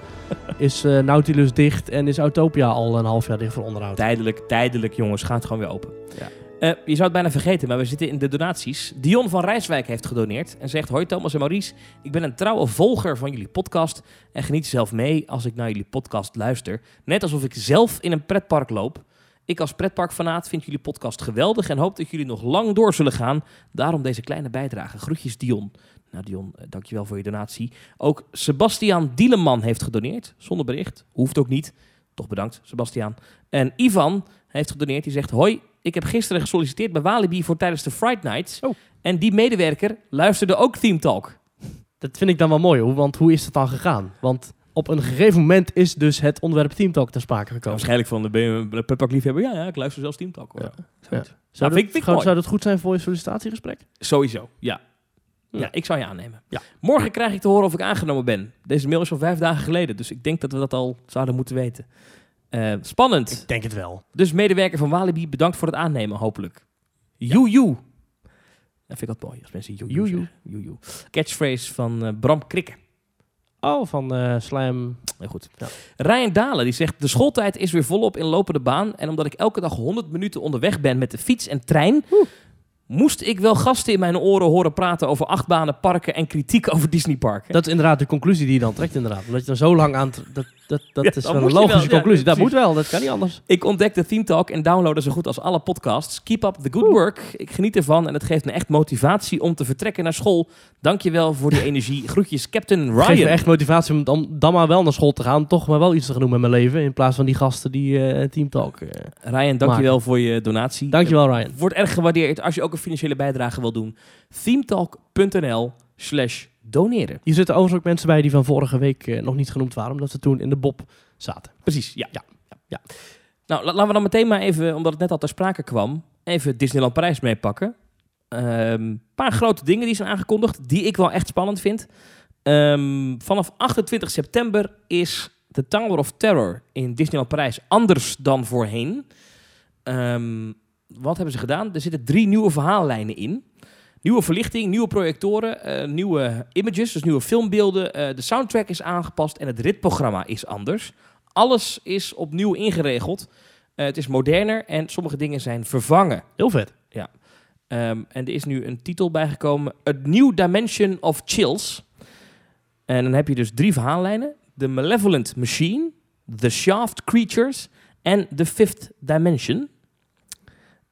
is eh, Nautilus dicht en is Autopia al een half jaar dicht voor onderhoud.
Tijdelijk, tijdelijk jongens. Gaat gewoon weer open.
Ja.
Eh, je zou het bijna vergeten, maar we zitten in de donaties. Dion van Rijswijk heeft gedoneerd en zegt... Hoi Thomas en Maurice, ik ben een trouwe volger van jullie podcast... en geniet zelf mee als ik naar jullie podcast luister. Net alsof ik zelf in een pretpark loop. Ik als pretparkfanaat vind jullie podcast geweldig... en hoop dat jullie nog lang door zullen gaan. Daarom deze kleine bijdrage. Groetjes Dion. Nou Dion, eh, dankjewel voor je donatie. Ook Sebastian Dieleman heeft gedoneerd. Zonder bericht, hoeft ook niet. Toch bedankt, Sebastian. En Ivan heeft gedoneerd. Die zegt: Hoi, ik heb gisteren gesolliciteerd bij Walibi voor tijdens de Fright Nights.
Oh.
En die medewerker luisterde ook Team Talk.
Dat vind ik dan wel mooi, hoe- want hoe is dat dan gegaan? Want op een gegeven moment is dus het onderwerp teamtalk ter sprake gekomen.
waarschijnlijk van de Peppak liefhebber. Ja, ja, ik luister zelfs Team Talk.
hoor. Ja.
Nou,
Zou,
vind ik-
dat,
vind ik
zou,
mooi.
zou dat goed zijn voor je sollicitatiegesprek?
Sowieso, ja.
Ja.
Ja, ik zou je aannemen.
Ja.
Morgen krijg ik te horen of ik aangenomen ben. Deze mail is al vijf dagen geleden, dus ik denk dat we dat al zouden moeten weten. Eh, spannend.
denk het wel.
Dus medewerker van Walibi, bedankt voor het aannemen, hopelijk. Joejoe. Dat vind ik altijd mooi, als mensen joejoe
Joejoe.
zeggen. Joejoe. Catchphrase van eh, Bram Krikke.
Oh, van eh Slam.
Heel goed.
Ja.
Ryan Dalen die zegt: De schooltijd is weer volop in lopende baan. En omdat ik elke dag 100 minuten onderweg ben met de fiets en trein.
Oeh.
Moest ik wel gasten in mijn oren horen praten over achtbanen, parken en kritiek over Disneyparken?
Dat is inderdaad de conclusie die je dan trekt, inderdaad. Omdat je dan zo lang aan... t- Dat, dat, dat
Ja,
is
dan
wel een
moet je
logische
wel, ja,
conclusie. dat
precies.
moet wel, dat kan niet anders.
Ik ontdekte Theme Talk en downloaden zo goed als alle podcasts. Keep up the good work. Ik geniet ervan en het geeft me echt motivatie om te vertrekken naar school. Dankjewel voor die energie. Groetjes, Captain
Geef me
Ryan.
echt motivatie om dan, dan maar wel naar school te gaan. Toch maar wel iets te gaan doen met mijn leven. In plaats van die gasten die eh teamtalk... eh.
Ryan, dankjewel voor je donatie.
Dankjewel, Ryan.
Wordt erg gewaardeerd als je ook een financiële bijdrage wil doen. themetalk.nl slash doneren.
Hier zitten overigens ook mensen bij die van vorige week eh, nog niet genoemd waren. Omdat ze toen in de Bob zaten.
Precies, ja.
Ja.
ja. Nou, la- laten we dan meteen maar even, omdat het net al ter sprake kwam, even Disneyland Parijs meepakken. Ehm, Een paar grote dingen die zijn aangekondigd, die ik wel echt spannend vind. Ehm, vanaf 28 september is de Tower of Terror in Disneyland Parijs anders dan voorheen. Ehm, wat hebben ze gedaan? Er zitten drie nieuwe verhaallijnen in. Nieuwe verlichting, nieuwe projectoren, eh, nieuwe images, dus nieuwe filmbeelden. Eh, de soundtrack is aangepast en het ritprogramma is anders. Alles is opnieuw ingeregeld. Eh, het is moderner en sommige dingen zijn vervangen.
Heel vet.
Ehm, en er is nu een titel bijgekomen: A New Dimension of Chills. En dan heb je dus drie verhaallijnen: The Malevolent Machine, The Shaft Creatures en The Fifth Dimension.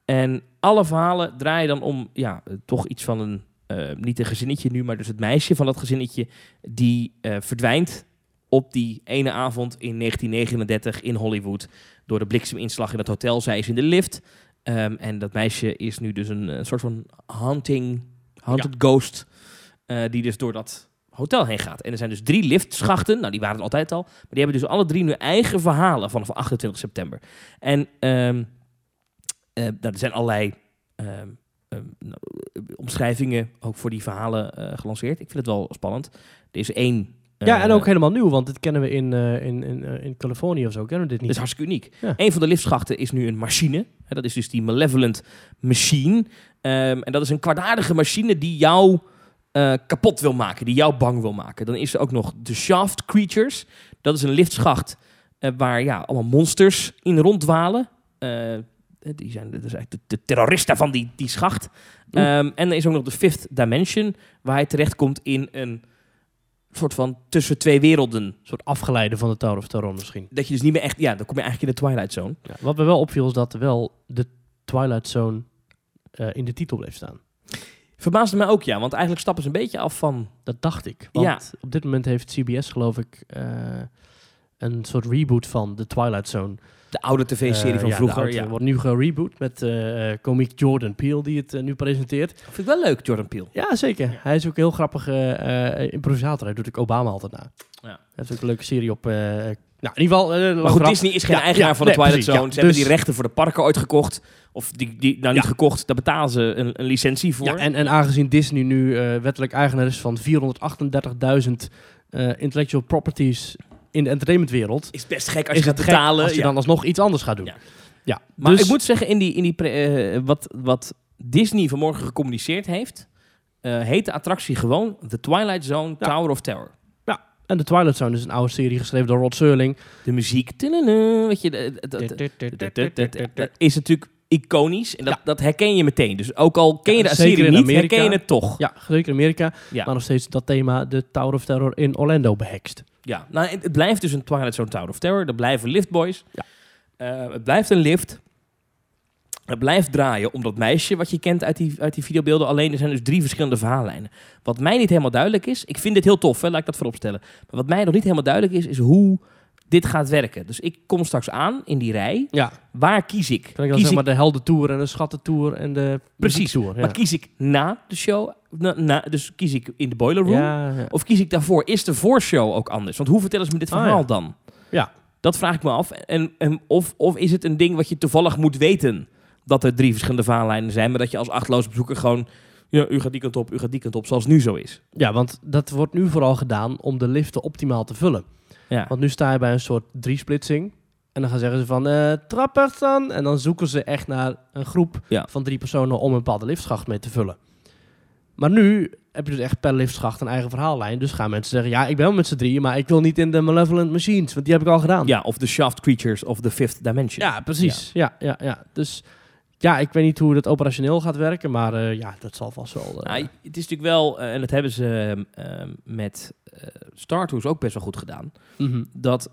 En alle verhalen draaien dan om, ja, eh, toch iets van een, eh, niet een gezinnetje nu, maar dus het meisje van dat gezinnetje die eh, verdwijnt op die ene avond in 1939 in Hollywood door de blikseminslag in het hotel. Zij is in de lift. Ehm, en dat meisje is nu dus een, eh, soort van hunting, haunted ghost, eh, die dus door dat hotel heen gaat. En er zijn dus drie liftschachten, nou die waren er altijd al, maar die hebben dus alle drie hun eigen verhalen vanaf 28 september. En ehm, eh, nou, er zijn allerlei ehm, ehm, nou, eh, omschrijvingen ook voor die verhalen eh, gelanceerd. Ik vind het wel spannend. Er is één...
Ja,
eh,
en ook helemaal nieuw, want dit kennen we in, eh, in, in, eh, in Californië of zo. Kennen we dit
Dat
niet?
is hartstikke uniek.
Ja.
Een van de liftschachten is nu een machine. Hè, Dat is dus die Malevolent Machine. Ehm, en dat is een kwaadaardige machine die jou eh, kapot wil maken, die jou bang wil maken. Dan is er ook nog de Shaft Creatures. Dat is een liftschacht eh, waar ja, allemaal monsters in ronddwalen. Eh, die zijn dat is eigenlijk de, de terroristen van die, die schacht.
Oeh.
Ehm, en er is ook nog de Fifth Dimension, waar hij terechtkomt in een soort van tussen twee werelden.
Een soort afgeleide van de Tower of Terror misschien.
Dat je dus niet meer echt, ja, dan kom je eigenlijk in de Twilight Zone.
Ja, Wat me wel opviel is dat er wel de Twilight Zone eh, in de titel bleef staan.
Verbaasde mij ook, ja. Want eigenlijk stappen ze een beetje af van...
Dat dacht ik. Want
Ja.
op dit moment heeft CBS geloof ik eh, een soort reboot van de Twilight Zone.
de oude tv-serie
Eh,
van
ja, de
vroeger.
oude
Ja.
Wordt nu gereboot met eh eh, komiek Jordan Peele die het eh, nu presenteert.
Vind ik wel leuk, Jordan Peele.
Ja, zeker. Hij is ook een heel grappig eh, eh, improvisator. Hij doet ook Obama altijd na.
Ja.
Hij heeft ook een leuke serie op... eh, nou, in ieder geval... eh, lang
Maar goed,
verhaal.
Disney is geen
Ja,
eigenaar
ja,
van de
nee,
Twilight
precies,
Zone.
ja.
Ze hebben
Dus-
die rechten voor de parken ooit gekocht. Of die, die nou niet
Ja.
gekocht, daar betalen ze een, een licentie voor.
Ja, en, en aangezien Disney nu eh, wettelijk eigenaar is van 438.000 eh, intellectual properties in de entertainmentwereld,
is best gek als
is
je gaat
het gek
betalen.
als je
ja.
dan alsnog iets anders gaat doen.
Ja.
Ja.
Maar
dus
ik moet zeggen, in die, in die pre- eh, wat, wat Disney vanmorgen gecommuniceerd heeft... eh, heet de attractie gewoon The Twilight Zone
Ja.
Tower of Terror.
En The Twilight Zone is een oude serie geschreven door Rod Serling.
De muziek... tudunu, Weet je, de- de- de- de- is natuurlijk iconisch. En dat, dat herken je meteen. Dus ook al ken je
Ja,
de
zeker
serie
in
niet,
Amerika.
herken je het toch.
Ja, zeker in Amerika.
Ja.
Maar nog steeds dat thema de Tower of Terror in Orlando behekst.
Ja, nou, het, het blijft dus een Twilight Zone Tower of Terror. Dat blijven liftboys.
Ja.
Eh, het blijft een lift. Het blijft draaien om dat meisje wat je kent uit die, uit die videobeelden. Alleen er zijn dus drie verschillende verhaallijnen. Wat mij niet helemaal duidelijk is... Ik vind dit heel tof, hè, laat ik dat vooropstellen. Maar wat mij nog niet helemaal duidelijk is, is hoe dit gaat werken. Dus ik kom straks aan in die rij.
Ja,
Waar kies ik?
kan ik dan
kies
zeg maar de heldentour en de schattentour en de
Precies,
tour. Ja.
Maar kies ik na de show? Na, na- dus kies ik in de boiler room?
Ja, ja.
Of kies ik daarvoor? Is de voorshow ook anders? Want hoe vertellen ze me dit
Ah,
verhaal
ja.
dan?
Ja.
Dat vraag ik me af. En, en of, of is het een ding wat je toevallig moet weten? Dat er drie verschillende verhaallijnen zijn, maar dat je als achtloos bezoeker gewoon... Ja, u gaat die kant op, u gaat die kant op, zoals nu zo is.
Ja, want dat wordt nu vooral gedaan om de liften optimaal te vullen.
Ja.
Want nu sta je bij een soort driesplitsing. En dan gaan zeggen ze van eh trappers dan. En dan zoeken ze echt naar een groep
Ja.
van drie personen om een bepaalde liftschacht mee te vullen. Maar nu heb je dus echt per liftschacht een eigen verhaallijn. Dus gaan mensen zeggen, ja, ik ben wel met z'n drieën, maar ik wil niet in de Malevolent Machines, want die heb ik al gedaan.
ja, of de Shaft Creatures of the Fifth Dimension.
Ja, precies. Ja. Ja, ja, Dus ja, ik weet niet hoe dat operationeel gaat werken, maar eh, ja, dat zal vast wel... eh,
Nou, het is natuurlijk wel, eh, en dat hebben ze eh, met eh, Star Tours ook best wel goed gedaan.
mhm.
dat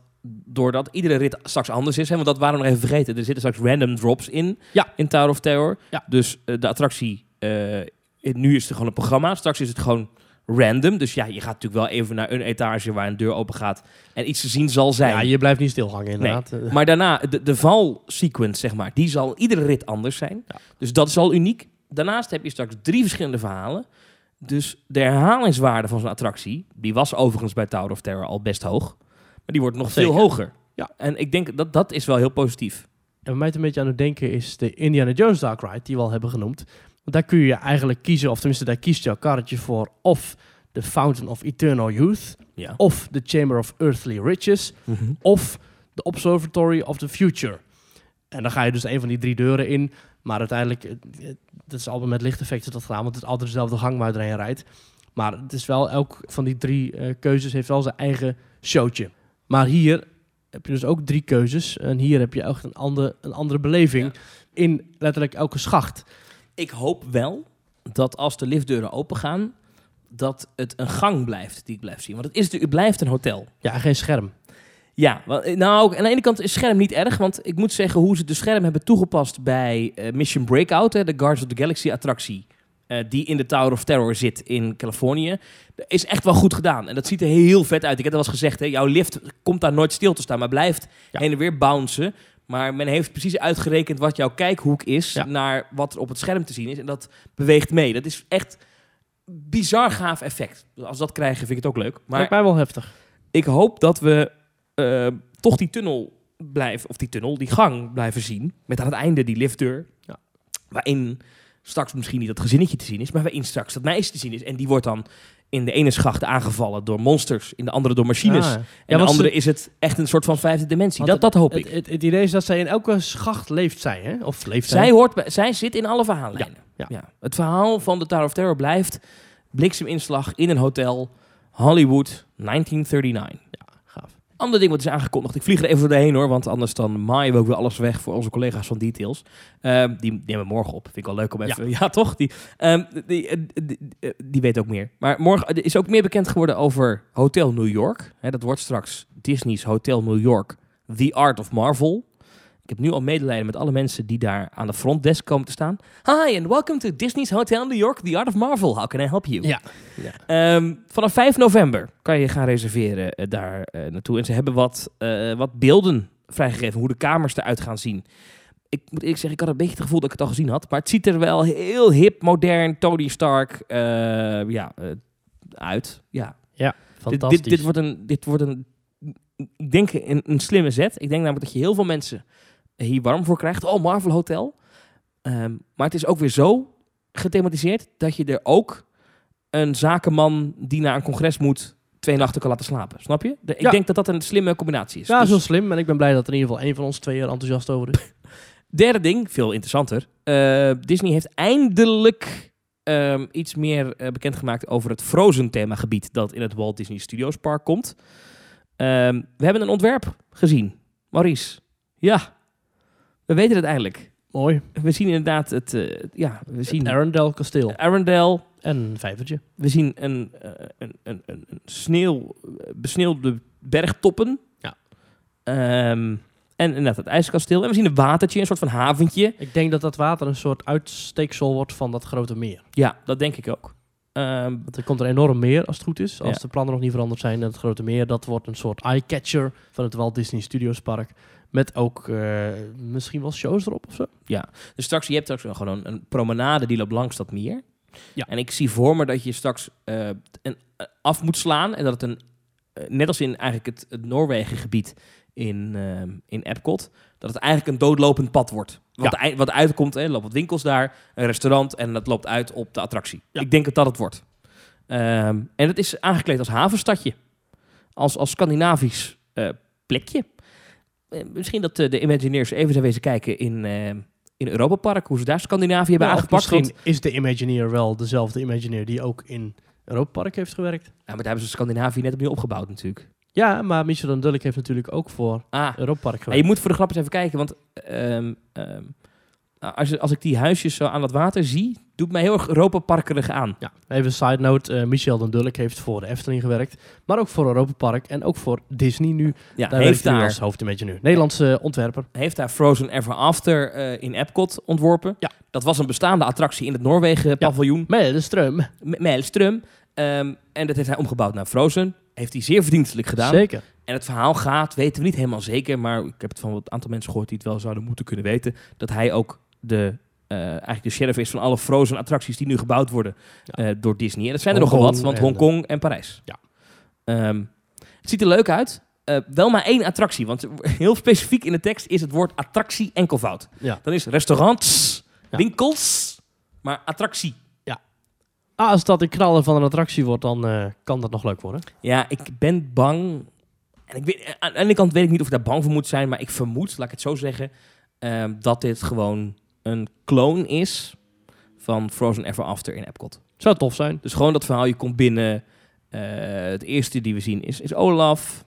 doordat iedere rit straks anders is, hè, want dat waren we nog even vergeten. Er zitten straks random drops in,
Ja.
in Tower of Terror.
Ja.
Dus eh, de attractie, eh, in- nu is het gewoon een programma, straks is het gewoon random. Dus ja, je gaat natuurlijk wel even naar een etage waar een deur open gaat en iets te zien zal zijn.
Ja, je blijft niet stilhangen
Nee.
inderdaad. Eh,
Maar daarna, de, de valsequence, zeg maar, die zal iedere rit anders zijn.
Ja.
Dus dat is al uniek. Daarnaast heb je straks drie verschillende verhalen. Dus de herhalingswaarde van zo'n attractie, die was overigens bij Tower of Terror al best hoog. Maar die wordt nog
Zeker.
veel hoger.
Ja.
En ik denk dat dat is wel heel positief.
En wat mij het een beetje aan het denken is de Indiana Jones Dark Ride, die we al hebben genoemd. Want daar kun je eigenlijk kiezen, of tenminste daar kiest jouw karretje voor, of de Fountain of Eternal Youth,
Ja.
of de Chamber of Earthly Riches, of de Observatory of the Future. En dan ga je dus een van die drie deuren in, maar uiteindelijk, eh, eh, dat is allemaal met lichteffecten tot gedaan, want het is altijd dezelfde gang waar je doorheen rijdt. Maar het is wel, elk van die drie eh, keuzes heeft wel zijn eigen showtje. Maar hier heb je dus ook drie keuzes. En hier heb je echt een, ander, een andere beleving in letterlijk elke schacht.
Ik hoop wel dat als de liftdeuren opengaan, dat het een gang blijft die ik blijf zien. Want het, is, natuurlijk- het blijft een hotel.
Ja, geen scherm.
Ja, wel, eh, nou, aan de ene kant is scherm niet erg, want ik moet zeggen hoe ze de scherm hebben toegepast bij eh, Mission Breakout, hè, de Guards of the Galaxy attractie, eh, die in de Tower of Terror zit in Californië, Dat is echt wel goed gedaan. En dat ziet er heel vet uit. Ik heb dat al eens gezegd, hè, jouw lift komt daar nooit stil te staan, maar blijft
Ja.
heen en weer bouncen. Maar men heeft precies uitgerekend wat jouw kijkhoek is
Ja.
naar wat er op het scherm te zien is. En dat beweegt mee. Dat is echt bizar gaaf effect. Als we dat krijgen, vind ik het ook leuk. Maar
Lijkt mij wel heftig.
ik hoop dat we eh, toch die tunnel blijven, of die tunnel, die gang blijven zien. Met aan het einde die liftdeur.
Ja.
Waarin straks misschien niet dat gezinnetje te zien is, maar waarin straks dat meisje te zien is. En die wordt dan in de ene schacht aangevallen door monsters, in de andere door machines.
Ah,
en
ja,
in de
want
andere
ze-
is het echt een soort van vijfde dimensie.
Want
Dat, dat hoop ik.
het, het, het idee is dat zij in elke schacht leeft zij, hè? Of leeft zij?
Zij, hoort bij, zij zit in alle verhaallijnen.
Ja,
Het verhaal van de Tower of Terror blijft blikseminslag in een hotel, Hollywood, 1939.
Gaaf.
Ander ding wat is aangekondigd. Ik vlieg er even doorheen hoor, want anders dan maaien we ook weer alles weg voor onze collega's van Details. Ehm, die nemen we morgen op. Vind ik wel leuk om even... Ja, toch? Die, ehm, die, eh, die, eh, die weet ook meer. Maar morgen er is ook meer bekend geworden over Hotel New York. Hè, dat wordt straks Disney's Hotel New York, The Art of Marvel. Ik heb nu al medelijden met alle mensen die daar aan de frontdesk komen te staan. Hi and welcome to Disney's Hotel New York, The Art of Marvel. How can I help you?
Ja.
Ehm, vanaf 5 november kan je gaan reserveren eh, daar eh, naartoe. En ze hebben wat, eh, wat beelden vrijgegeven, hoe de kamers eruit gaan zien. Ik moet eerlijk zeggen, ik had een beetje het gevoel dat ik het al gezien had. Maar het ziet er wel heel hip, modern, Tony Stark eh, ja, eh, uit. Ja. Dit,
Fantastisch.
dit, dit wordt een, dit wordt een, ik denk een, een slimme zet. Ik denk namelijk dat je heel veel mensen hier warm voor krijgt. Oh, Marvel Hotel. Ehm, maar het is ook weer zo gethematiseerd dat je er ook een zakenman die naar een congres moet twee nachten kan laten slapen. Snap je? De- ik
Ja.
denk dat dat een slimme combinatie is.
ja,
Dus-
zo slim. En ik ben blij dat er in ieder geval één van ons twee er enthousiast over is.
Derde ding, veel interessanter. Eh, Disney heeft eindelijk ehm, iets meer eh, bekendgemaakt over het Frozen themagebied dat in het Walt Disney Studios Park komt. Ehm, we hebben een ontwerp gezien. Maurice, ja, we weten het eindelijk.
Mooi.
We zien inderdaad het, eh, ja, we zien
Arendelle kasteel.
Arendelle.
En een vijvertje.
We zien een, eh, een, een, een, een sneeuw, eh, besneeuwde bergtoppen.
Ja.
Ehm, en inderdaad het ijskasteel. En we zien een watertje, een soort van haventje.
Ik denk dat dat water een soort uitsteeksel wordt van dat grote meer.
Ja, dat denk ik ook. Ehm,
Want er komt een enorm meer als het goed is. Als
Ja.
de plannen nog niet veranderd zijn. En het grote meer, dat wordt een soort eyecatcher van het Walt Disney Studios Park. Met ook eh, misschien wel shows erop of zo.
dus straks, je hebt straks wel gewoon een promenade die loopt langs dat meer.
Ja.
En ik zie voor me dat je straks eh, een, af moet slaan. En dat het een, eh, net als in eigenlijk het, het Noorwegen gebied in, ehm, in Epcot, dat het eigenlijk een doodlopend pad wordt. Wat, ei- wat uitkomt, hè, er lopen wat winkels daar, een restaurant en dat loopt uit op de attractie.
Ja.
Ik denk dat dat het wordt. Ehm, en het is aangekleed als havenstadje. Als, als Scandinavisch eh, plekje. Eh, misschien dat eh, de Imagineers even zijn wezen kijken in, eh, in Europa Park, hoe ze daar Scandinavië hebben
Nou, of
aangepakt. want-
Misschien is de Imagineer wel dezelfde Imagineer die ook in Europa Park heeft gewerkt.
Ja, Nou, maar daar hebben ze Scandinavië net opnieuw opgebouwd natuurlijk.
Ja, maar Michel en Dulk heeft natuurlijk ook voor
Ah,
Europa Park
Ja, je
gewerkt.
moet voor de grap eens even kijken, want ehm, ehm, als, als ik die huisjes zo aan dat water zie, doet mij heel erg Europa parkerig aan.
Ja, even een side note. eh, Michel den Dulk heeft voor de Efteling gewerkt. Maar ook voor Europa Park en ook voor Disney nu.
Ja,
Daar
heeft,
werkt hij nu als
daar,
hoofdimagineer. Nederlandse eh, ontwerper.
heeft daar Frozen Ever After eh, in Epcot ontworpen.
Ja.
Dat was een bestaande attractie in het Noorwegen paviljoen,
Met de stroom.
M- Maelstrom. Ehm, en dat heeft hij omgebouwd naar Frozen. Heeft hij zeer verdienstelijk gedaan.
Zeker.
En het verhaal gaat, weten we niet helemaal zeker, maar ik heb het van een aantal mensen gehoord die het wel zouden moeten kunnen weten, dat hij ook de, eh, eigenlijk de sheriff is van alle Frozen attracties die nu gebouwd worden
Ja.
eh, door Disney. En dat zijn er
Hongkong
nogal wat, want
en,
Hongkong en Parijs.
Ja.
Ehm, het ziet er leuk uit. Eh, wel maar één attractie, want heel specifiek in de tekst is het woord attractie enkelvoud.
Ja.
Dan is restaurants,
Ja.
winkels, maar attractie.
Ah, als dat een knaller van een attractie wordt, dan eh, kan dat nog leuk worden.
Ja, ik ben bang. En ik weet, aan de ene kant weet ik niet of ik daar bang voor moet zijn, maar ik vermoed, laat ik het zo zeggen, ehm, dat dit gewoon een kloon is van Frozen Ever After in Epcot.
Zou tof zijn.
Dus gewoon dat verhaal, je komt binnen. eh, het eerste die we zien is, is Olaf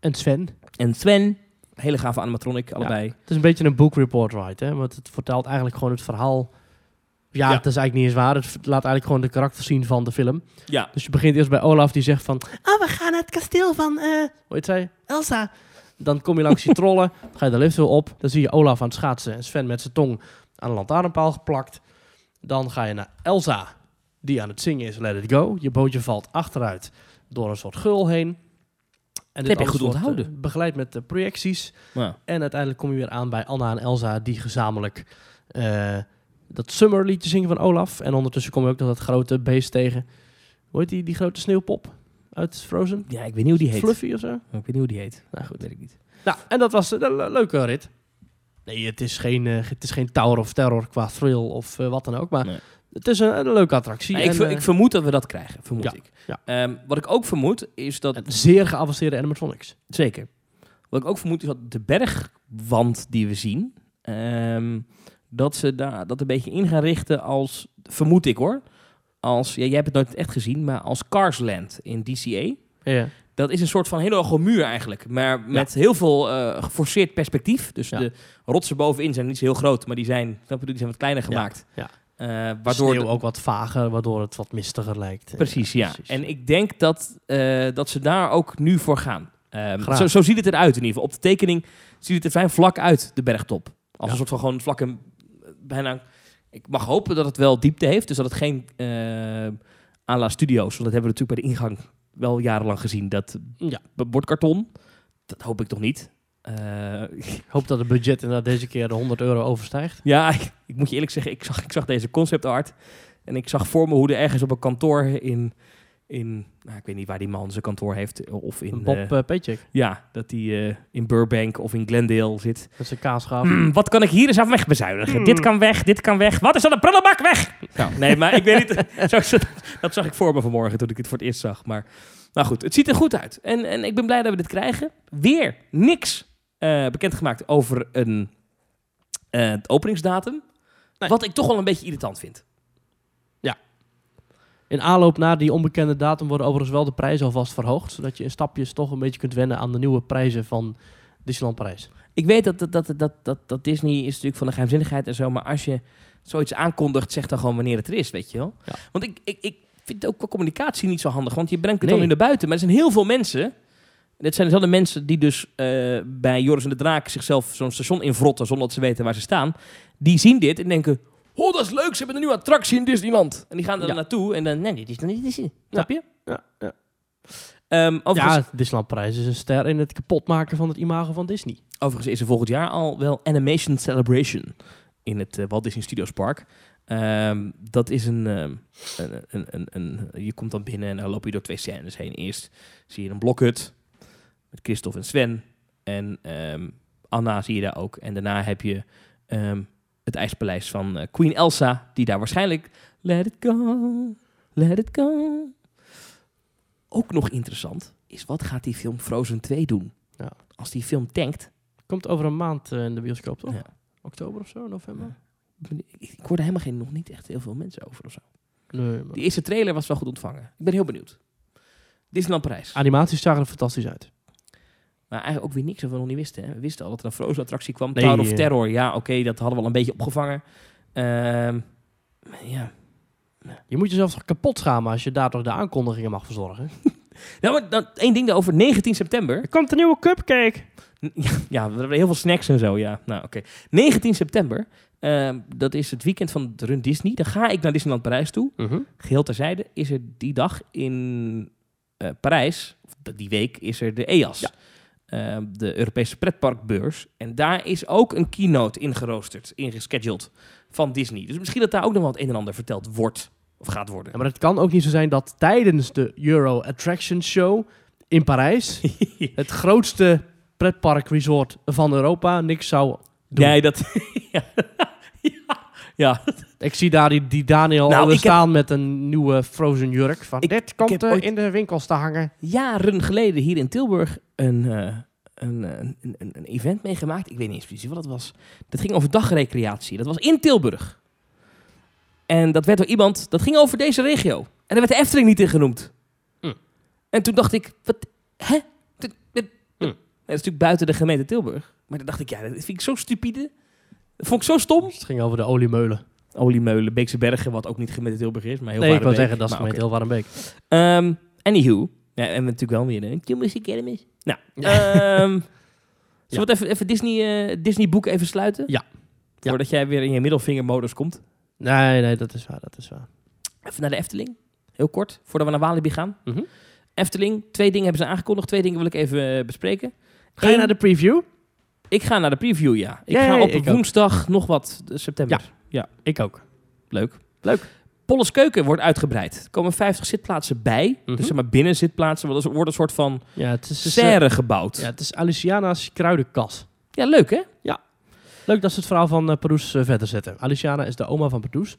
En Sven.
en Sven. Hele gave animatronic, allebei.
Het is een beetje een book report ride, hè? Want het vertelt eigenlijk gewoon het verhaal. Ja,
Ja.
het is eigenlijk niet eens waar. Het laat eigenlijk gewoon de karakter zien van de film.
Ja.
Dus je begint eerst bij Olaf, die zegt van... Ah, we gaan naar het kasteel van... eh hoe heet zij? Elsa. Dan kom je langs die trollen. Dan ga je de lift weer op. Dan zie je Olaf aan het schaatsen en Sven met zijn tong aan een lantaarnpaal geplakt. Dan ga je naar Elsa, die aan het zingen is Let It Go. Je bootje valt achteruit door een soort geul heen. En
heb je
alles
goed
wordt, eh,
onthouden.
begeleid met eh, projecties.
Nou,
En uiteindelijk kom je weer aan bij Anna en Elsa, die gezamenlijk eh, dat summer liedje zingen van Olaf. En ondertussen kom je ook nog dat grote beest tegen. Hoe heet die, die grote sneeuwpop uit Frozen?
ja, ik weet niet hoe die heet.
Fluffy of zo?
Ik weet niet hoe die heet.
Nou
Dat
goed.
weet ik niet.
Nou, en dat was een le- leuke rit. Nee, het is, geen, eh, het is geen Tower of Terror qua thrill of eh, wat dan ook. Maar
Nee.
het is een, een leuke attractie.
Maar ik,
en,
ver-
eh,
ik vermoed dat we dat krijgen, vermoed
Ja,
ik.
ja.
Ehm, wat ik ook vermoed is dat...
een zeer geavanceerde animatronics.
Zeker. Wat ik ook vermoed is dat de bergwand die we zien, ehm, dat ze daar dat een beetje in gaan richten als, vermoed ik hoor, als, ja, jij hebt het nooit echt gezien, maar als Carsland in DCA.
Ja.
Dat is een soort van hele hoge muur eigenlijk, maar met heel veel eh, geforceerd perspectief. Dus
Ja.
de rotsen bovenin zijn niet zo heel groot, maar die zijn, snap je, die zijn wat kleiner
Ja,
gemaakt.
ja.
Eh,
Waardoor
waardoor
Sneeuw
de-
ook wat vager, waardoor het wat mistiger lijkt.
Precies, ja.
eh, precies.
En ik denk dat, eh, dat ze daar ook nu voor gaan. Ehm,
Graag.
zo, zo ziet het eruit in ieder geval. Op de tekening ziet het er vrij vlak uit, de bergtop. Als
Ja.
een soort van gewoon vlakke... eh, Bijna, ik mag hopen dat het wel diepte heeft. Dus dat het geen eh à la studio's... Want dat hebben we natuurlijk bij de ingang wel jarenlang gezien. Dat
Ja.
b- bordkarton, dat hoop ik toch niet. Eh,
Ik hoop dat het budget inderdaad deze keer de 100 euro overstijgt.
ja, ik, ik moet je eerlijk zeggen, ik zag, ik zag deze concept art. En ik zag voor me hoe er ergens op een kantoor in. in nou, ik weet niet waar die man zijn kantoor heeft. Of in.
Bob
eh,
eh Paycheck,
ja, dat die eh, in Burbank of in Glendale zit.
dat is een kaasgaaf.
Hmm, wat kan ik hier eens aan wegbezuinigen? Dit kan weg, dit kan weg. Wat is dat, een prullenbak weg? Nou, Hmm. nee, maar ik weet niet. zo- zo- dat zag ik voor me vanmorgen toen ik het voor het eerst zag. Maar nou goed, het ziet er goed uit. En, en ik ben blij dat we dit krijgen. Weer niks eh, bekendgemaakt over een eh, openingsdatum.
Nee.
Wat ik toch wel een beetje irritant vind.
In aanloop naar die onbekende datum worden overigens wel de prijzen alvast verhoogd. Zodat je in stapjes toch een beetje kunt wennen aan de nieuwe prijzen van Disneyland Parijs.
Ik weet dat, dat, dat, dat, dat, dat Disney is natuurlijk van de geheimzinnigheid en zo. Maar als je zoiets aankondigt, zeg dan gewoon wanneer het er is, weet je wel.
Ja.
Want ik, ik, ik vind het ook qua communicatie niet zo handig. Want je brengt het
Nee.
dan nu naar buiten. Maar er zijn heel veel mensen. Dit zijn dezelfde mensen die dus eh, bij Joris en de Draak zichzelf zo'n station invrotten zonder dat ze weten waar ze staan. Die zien dit en denken, oh dat is leuk, ze hebben een nieuwe attractie in Disneyland. En die gaan er
Ja.
naartoe en dan, nee, dit is dan niet Disney. Snap je?
Ja, ja.
Ehm, overigens,
Ja, Disneyland Parijs is een ster in het kapotmaken van het imago van Disney.
Overigens is er volgend jaar al wel Animation Celebration in het eh, Walt Disney Studios Park. Ehm, dat is een, ehm, een, een, een, een- Je komt dan binnen en dan loop je door twee scènes heen. Eerst zie je een blokhut met Christophe en Sven. En ehm, Anna zie je daar ook. En daarna heb je ehm, het ijspaleis van eh, Queen Elsa, die daar waarschijnlijk... Let it go, let it go. Ook nog interessant is, wat gaat die film Frozen 2 doen?
Ja.
Als die film tankt,
Komt over een maand eh, in de bioscoop, toch?
Ja.
Oktober of zo, november?
Ik, ik hoorde helemaal geen, nog niet echt heel veel mensen over of zo.
Nee, maar-
Die eerste trailer was wel goed ontvangen. Ik ben heel benieuwd. Disneyland Parijs.
Animaties zagen er fantastisch uit.
Ah. Maar eigenlijk ook weer niks wat we nog niet wisten. Hè? We wisten al dat er een Frozen attractie kwam.
Nee,
Tower of
eh.
Terror. Ja, oké, dat hadden we al een beetje opgevangen. Ehm, maar ja.
Je moet jezelf toch kapot schamen als je daar toch de aankondigingen mag verzorgen.
Nou, maar dan, één ding daarover. 19 september.
Er komt een nieuwe cupcake.
Ja, we hebben heel veel snacks en zo. Ja, nou oké. 19 september. ehm, dat is het weekend van het Run Disney. Dan ga ik naar Disneyland Parijs toe. geheel terzijde, is er die dag in eh, Parijs, of d- die week, is er de EAS.
Ja.
eh, de Europese pretparkbeurs. En daar is ook een keynote ingeroosterd, ingescheduled van Disney. Dus misschien dat daar ook nog wel het een en ander verteld wordt. Of gaat worden.
Ja, maar het kan ook niet zo zijn dat tijdens de Euro Attraction Show in Parijs, het grootste pretparkresort van Europa, niks zou doen.
Nee, dat... ja. ja. ja.
Ik zie daar die, die Daniel
Nou,
alweer
ik heb-
staan met een nieuwe Frozen jurk. Van,
Ik-
dit
heb
komt eh,
ooit-
in de winkels te hangen.
Jaren geleden hier in Tilburg een, eh, een, eh, een, een, een event meegemaakt. Ik weet niet eens precies wat dat was. Dat ging over dagrecreatie. Dat was in Tilburg. En dat werd door iemand, dat ging over deze regio. En daar werd de Efteling niet in genoemd.
Hm.
En toen dacht ik, wat, hè? Dit- dit-
Hm.
Dat is natuurlijk buiten de gemeente Tilburg. Maar dan dacht ik, ja, dat vind ik zo stupide. Dat vond ik zo stom.
Het ging over de oliemeulen.
Oliemeulen, Beekse Bergen, wat ook niet gemeente Tilburg is. Maar heel
nee, ik wil zeggen,
Waardenbeek.
dat is
Maar
gemeente
oké.
heel Warmbeek.
Ehm anywho. Ja, en we natuurlijk wel weer een Q Music Academy. Nou, ehm zullen we het even, even Disney, eh, Disney boek even sluiten?
Ja. Ja.
Voordat jij weer in je middelvingermodus komt.
Nee, nee, dat is waar, dat is waar.
Even naar de Efteling. Heel kort, voordat we naar Walibi gaan.
Mhm.
Efteling, twee dingen hebben ze aangekondigd. Twee dingen wil ik even eh, bespreken.
Ga je
Eén,
naar de preview?
Ik ga naar de preview, ja. Ik
Ja,
ga
ja,
op
ik ook.
woensdag nog wat eh, september.
Ik ook.
Leuk.
Leuk.
Polles Keuken wordt uitgebreid. Er komen 50 zitplaatsen bij.
Mhm.
Dus zeg maar binnen zitplaatsen. Want er wordt een soort van
Ja, het is, dus, eh,
serre gebouwd.
ja, het is Aliciana's kruidenkas.
ja, leuk hè?
Leuk dat ze het verhaal van eh Paroes eh, verder zetten. Aliciana is de oma van Paroes.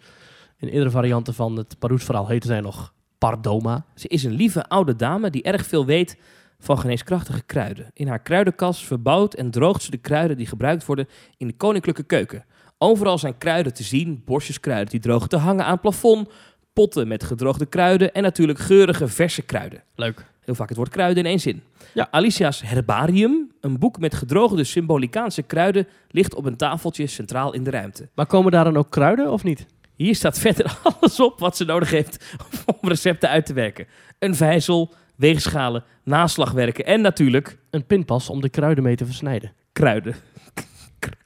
In eerdere varianten van het Paroes-verhaal heette zij nog Pardoma.
Ze is een lieve oude dame die erg veel weet van geneeskrachtige kruiden. In haar kruidenkas verbouwt en droogt ze de kruiden die gebruikt worden in de koninklijke keuken. Overal zijn kruiden te zien, borstjeskruiden die droog te hangen aan het plafond, potten met gedroogde kruiden en natuurlijk geurige verse kruiden.
Leuk.
Heel vaak het woord kruiden in één zin.
Ja.
Alicia's Herbarium, een boek met gedroogde symbolicaanse kruiden, ligt op een tafeltje centraal in de ruimte.
Maar komen daar dan ook kruiden of niet?
Hier staat verder alles op wat ze nodig heeft om recepten uit te werken. Een vijzel, weegschalen, naslagwerken en natuurlijk
Een pinpas om de kruiden mee te versnijden.
kruiden.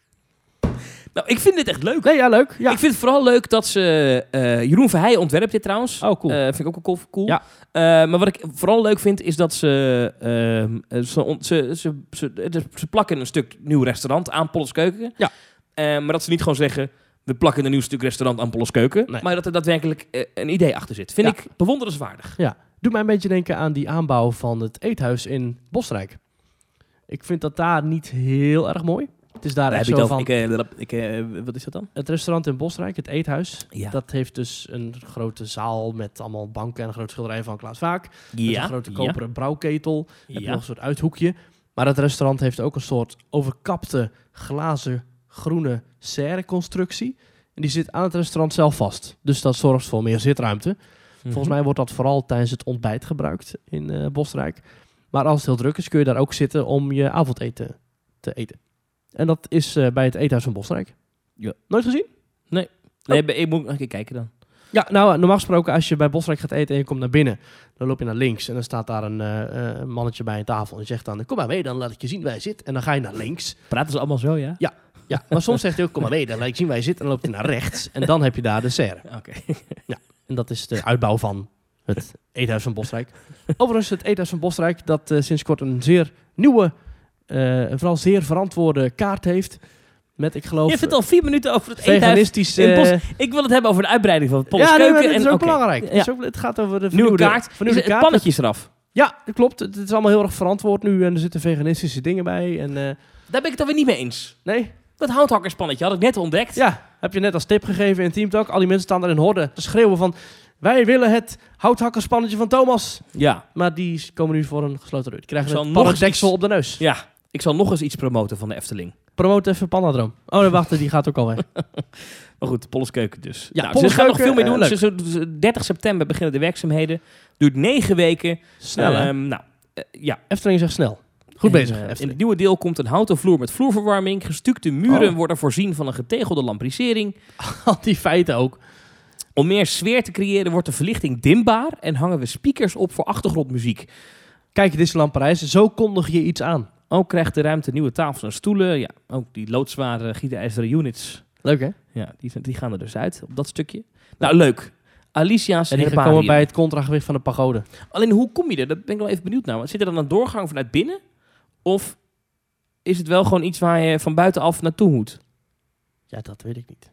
nou, ik vind dit echt leuk.
Nee, ja, leuk. Ja.
Ik vind het vooral leuk dat ze... eh Jeroen Verheij ontwerpt dit trouwens.
Oh, cool.
Eh, vind ik ook wel cool. cool.
Ja.
Eh, maar wat ik vooral leuk vind is dat ze... ehm, eh, ze, on- ze, ze, ze, ze- ze plakken een stuk nieuw restaurant aan Polles Keuken.
Ja.
Eh, maar dat ze niet gewoon zeggen... We plakken een nieuw stuk restaurant aan Polles Keuken.
Nee.
Maar dat er daadwerkelijk eh, een idee achter zit. Vind
Ja. Ah,
ik bewonderenswaardig.
Doet mij een beetje denken aan die aanbouw van het eethuis in Bosrijk. Ik vind dat daar niet heel erg mooi. Het is daar
Daar
echt
heb ik
zo
het
van...
over. Ik, eh, dat- ik, eh, wat is dat dan?
Het restaurant in Bosrijk, het eethuis,
Ja.
dat heeft dus een grote zaal met allemaal banken en een groot schilderij van Klaas Vaak. Met
ja.
een grote
ja.
koperen brouwketel. Heb je
Ja.
nog een soort uithoekje. Maar dat restaurant heeft ook een soort overkapte glazen groene serre constructie. En die zit aan het restaurant zelf vast. Dus dat zorgt voor meer zitruimte.
Mhm.
Volgens mij wordt dat vooral tijdens het ontbijt gebruikt in eh Bosrijk. Maar als het heel druk is, kun je daar ook zitten om je avondeten te eten. En dat is eh, bij het Eethuis van Bosrijk.
Ja.
Nooit gezien?
Nee, ik moet nog een keer kijken dan.
Ja, nou, normaal gesproken als je bij Bosrijk gaat eten en je komt naar binnen, dan loop je naar links en dan staat daar een eh, eh, mannetje bij een tafel en zegt dan, kom maar mee, dan laat ik je zien waar je zit. En dan ga je naar links.
Praten ze allemaal zo, ja?
Ja, maar soms zegt hij ook, kom maar mee, dan laat ik zien waar je zit en dan loop je naar rechts. En dan heb je daar de serre.
Oké.
En dat is de uitbouw van het Eethuis van Bosrijk. Overigens, het Eethuis van Bosrijk dat eh, sinds kort een zeer nieuwe, eh, en vooral zeer verantwoorde kaart heeft. Met, ik geloof,
Je vindt al vier minuten over het eethuis.
veganistische... eh,
in Bos. Ik wil het hebben over de uitbreiding van het Polles
ja, nee, maar
keuken.
dat is
en,
ook
oké.
belangrijk.
Ja.
Het is ook- het gaat over de
Nieuwe
vernieuwde-
kaart. Is
vernieuwde
het
kaart.
pannetje is eraf.
Ja, dat klopt. Het is allemaal heel erg verantwoord nu en er zitten veganistische dingen bij. En, eh,
Daar ben ik het dan weer niet mee eens.
nee,
Dat houthakkerspannetje had ik net ontdekt.
ja, heb je net als tip gegeven in Team Talk. Al die mensen staan daar in horden te schreeuwen van... Wij willen het houthakkerspannetje van Thomas.
ja.
Maar die komen nu voor een gesloten deur. Die krijgen
Ik zal
een
nog eens
pannendeksel
iets-
op de neus.
Ja. Ik zal nog eens iets promoten van de Efteling.
Promoot even Pandadroom. Oh, nee, wacht, die gaat ook al weg.
Maar goed, Polles Keuken dus.
Ja,
nou, ze
Polles
gaan nog veel
Keuken,
meer doen.
eh,
Ze- ze- ze- 30 september beginnen de werkzaamheden. Duurt negen weken.
Snel, hè?
Ehm, nou, eh, ja.
Efteling zegt snel. Goed
En,
bezig,
eh, in
Efteling.
het nieuwe deel komt een houten vloer met vloerverwarming. Gestukte muren
Oh.
worden voorzien van een getegelde lamprisering.
Al die feiten ook.
Om meer sfeer te creëren wordt de verlichting dimbaar en hangen we speakers op voor achtergrondmuziek.
Kijk, Disneyland Parijs, zo kondig je iets aan.
Ook krijgt de ruimte nieuwe tafels en stoelen. Ja, ook die loodzware gietijzeren units,
Leuk, hè?
ja, die, die gaan er dus uit op dat stukje. Nou, leuk. Alicia's
En die
herbarium.
komen bij het contragewicht van de pagode.
Alleen, hoe kom je er? Dat ben ik wel even benieuwd naar. Want Zit er dan een doorgang vanuit binnen? Of is het wel gewoon iets waar je van buitenaf naartoe moet?
Ja, dat weet ik niet.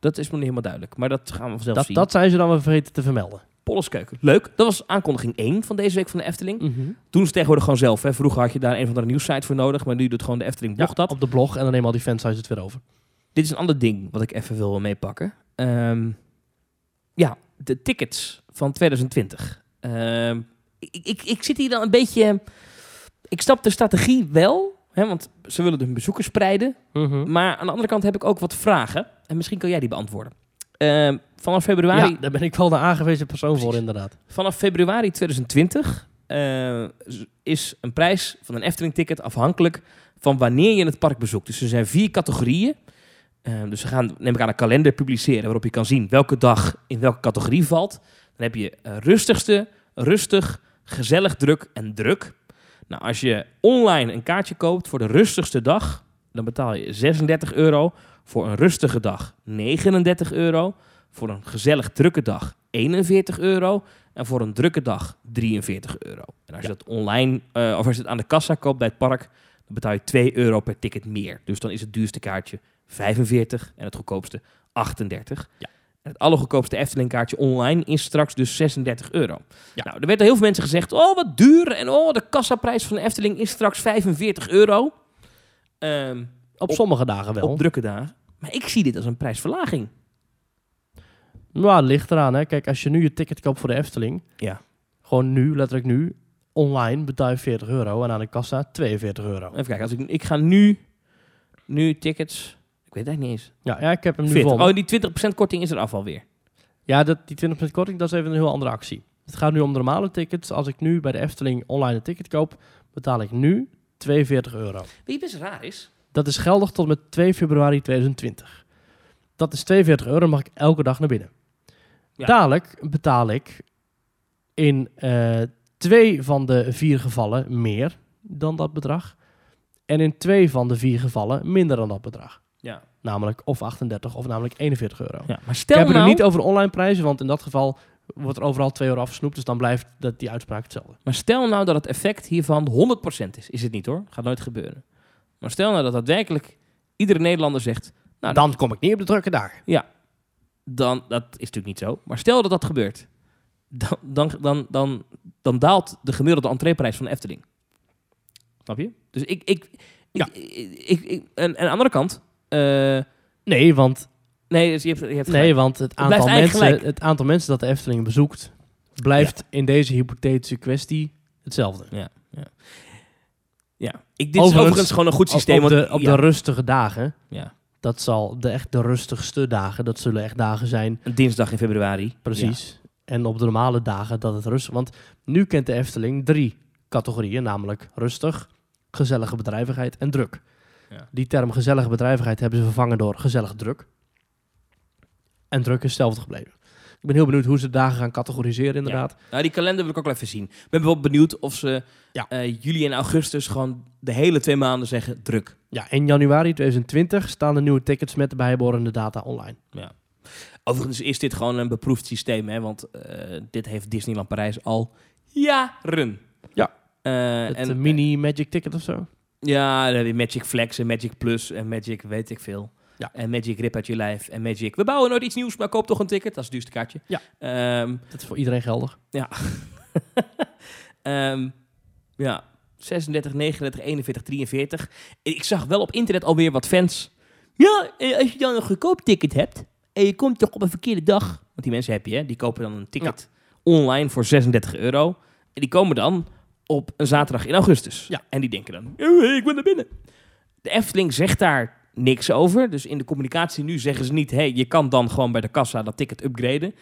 Dat is me niet helemaal duidelijk. Maar dat gaan we vanzelf
Dat,
zien.
dat zijn ze dan weer vergeten te vermelden.
Polleskeuken. Leuk. Dat was aankondiging 1 van deze week van de Efteling.
Mhm.
Doen ze tegenwoordig gewoon zelf. Hè. Vroeger had je daar een of andere nieuwssite voor nodig. Maar nu doet gewoon de Efteling blog dat.
Op de blog en dan nemen al die fansite het weer over.
Dit is een ander ding wat ik even wil meepakken. Ehm, ja, de tickets van 2020. Ehm, ik, ik, ik zit hier dan een beetje... Ik snap de strategie wel. Hè, want ze willen hun bezoekers spreiden.
Mhm.
Maar aan de andere kant heb ik ook wat vragen. En misschien kan jij die beantwoorden. Ehm, vanaf februari
Ja, daar ben ik wel de aangewezen persoon voor, inderdaad.
Vanaf februari 2020 eh, z- is een prijs van een Efteling-ticket afhankelijk van wanneer je het park bezoekt. Dus er zijn vier categorieën. Eh, dus ze gaan, neem ik aan, een kalender publiceren waarop je kan zien welke dag in welke categorie valt. Dan heb je eh, rustigste, rustig, gezellig, druk en druk. Nou, als je online een kaartje koopt voor de rustigste dag, dan betaal je 36 euro. Voor een rustige dag 39 euro. Voor een gezellig drukke dag 41 euro. En voor een drukke dag 43 euro. En als je dat online, eh, of als je het aan de kassa koopt bij het park, dan betaal je 2 euro per ticket meer. Dus dan is het duurste kaartje 45 en het goedkoopste 38.
Ja.
En het allergoedkoopste Efteling kaartje online is straks dus 36 euro.
Ja.
Nou, er werd door heel veel mensen gezegd, oh wat duur en oh de kassaprijs van de Efteling is straks 45 euro. Ehm,
Op,
Op-
sommige dagen wel.
op drukke dagen. Maar ik zie dit als een prijsverlaging.
Nou, het ligt eraan. Hè. Kijk, als je nu je ticket koopt voor de Efteling.
Ja.
Gewoon nu, letterlijk nu. Online betaal je 40 euro en aan de kassa 42 euro.
Even kijken, als ik, ik ga nu, nu tickets, ik weet het eigenlijk niet eens.
Ja, ja ik heb hem nu
40.
vol.
Oh, die 20% korting is er af alweer.
Ja, dat, die 20% korting, dat is even een heel andere actie. Het gaat nu om de normale tickets. Als ik nu bij de Efteling online een ticket koop, betaal ik nu 42 euro.
Wie best raar is.
Dat is geldig tot en met 2 februari 2020. Dat is 42 euro, mag ik elke dag naar binnen.
Ja.
Dadelijk betaal ik in eh, twee van de vier gevallen meer dan dat bedrag. En in twee van de vier gevallen minder dan dat bedrag.
Ja.
Namelijk of 38 of namelijk 41 euro.
ja maar
Ik
stel
heb het
nou,
er niet over online prijzen, want in dat geval wordt er overal 2 euro afgesnoept. Dus dan blijft dat die uitspraak hetzelfde.
maar stel nou dat het effect hiervan 100% is. Is het niet hoor, gaat nooit gebeuren. Maar stel nou dat daadwerkelijk iedere Nederlander zegt, Nou,
dan kom ik niet op de drukke dag.
dan, dat is natuurlijk niet zo, maar stel dat dat gebeurt. Dan, dan, dan, dan, dan daalt de gemiddelde entreeprijs van de Efteling. Snap je? Dus ik, ik, ik,
Ja.
ik, ik- ik- en, en aan de andere kant, eh,
Nee, want
nee, dus je hebt, je hebt gelijk.
Nee, want het
blijft
aantal,
eigenlijk
mensen,
gelijk.
het aantal mensen dat de Efteling bezoekt, blijft in deze hypothetische kwestie hetzelfde.
Ja. Ik, dit is
Overigens-
overigens gewoon een goed systeem.
op op de,
want-
op
ja,
de rustige dagen,
ja.
dat zal de echt de rustigste dagen, dat zullen echt dagen zijn,
Een dinsdag in februari.
precies. En op de normale dagen dat het rustig... Want nu kent de Efteling drie categorieën, namelijk rustig, gezellige bedrijvigheid en druk.
Ja.
Die term gezellige bedrijvigheid hebben ze vervangen door gezellig druk. En druk is hetzelfde gebleven. Ik ben heel benieuwd hoe ze dagen gaan categoriseren inderdaad.
Nou, die kalender wil ik ook wel even zien. Ik ben wel benieuwd of ze
Ja.
eh, juli en augustus gewoon de hele twee maanden zeggen druk.
Ja, in januari 2020 staan de nieuwe tickets met de bijbehorende data online.
Overigens is dit gewoon een beproefd systeem, hè? want eh, dit heeft Disneyland Parijs al jaren.
Ja.
Eh,
Het
en eh,
eh, mini Magic Ticket of zo.
Ja, dan heb je Magic Flex en Magic Plus en Magic weet ik veel.
Ja.
En Magic Rip uit je lijf en Magic... We bouwen nooit iets nieuws, maar koop toch een ticket. Dat is het duurste kaartje.
Ja.
Ehm,
Dat is voor iedereen geldig.
ehm, ja. 36, 39, 41, 43. Ik zag wel op internet alweer wat fans. Ja, eh, als je dan een goedkoop ticket hebt... en je komt toch op een verkeerde dag... want die mensen heb je, hè, die kopen dan een ticket online voor 36 euro... en die komen dan op een zaterdag in augustus.
Ja.
En die denken dan, "Eh, ik ben naar binnen. De Efteling zegt daar niks over. Dus in de communicatie nu zeggen ze niet... hey, je kan dan gewoon bij de kassa dat ticket upgraden...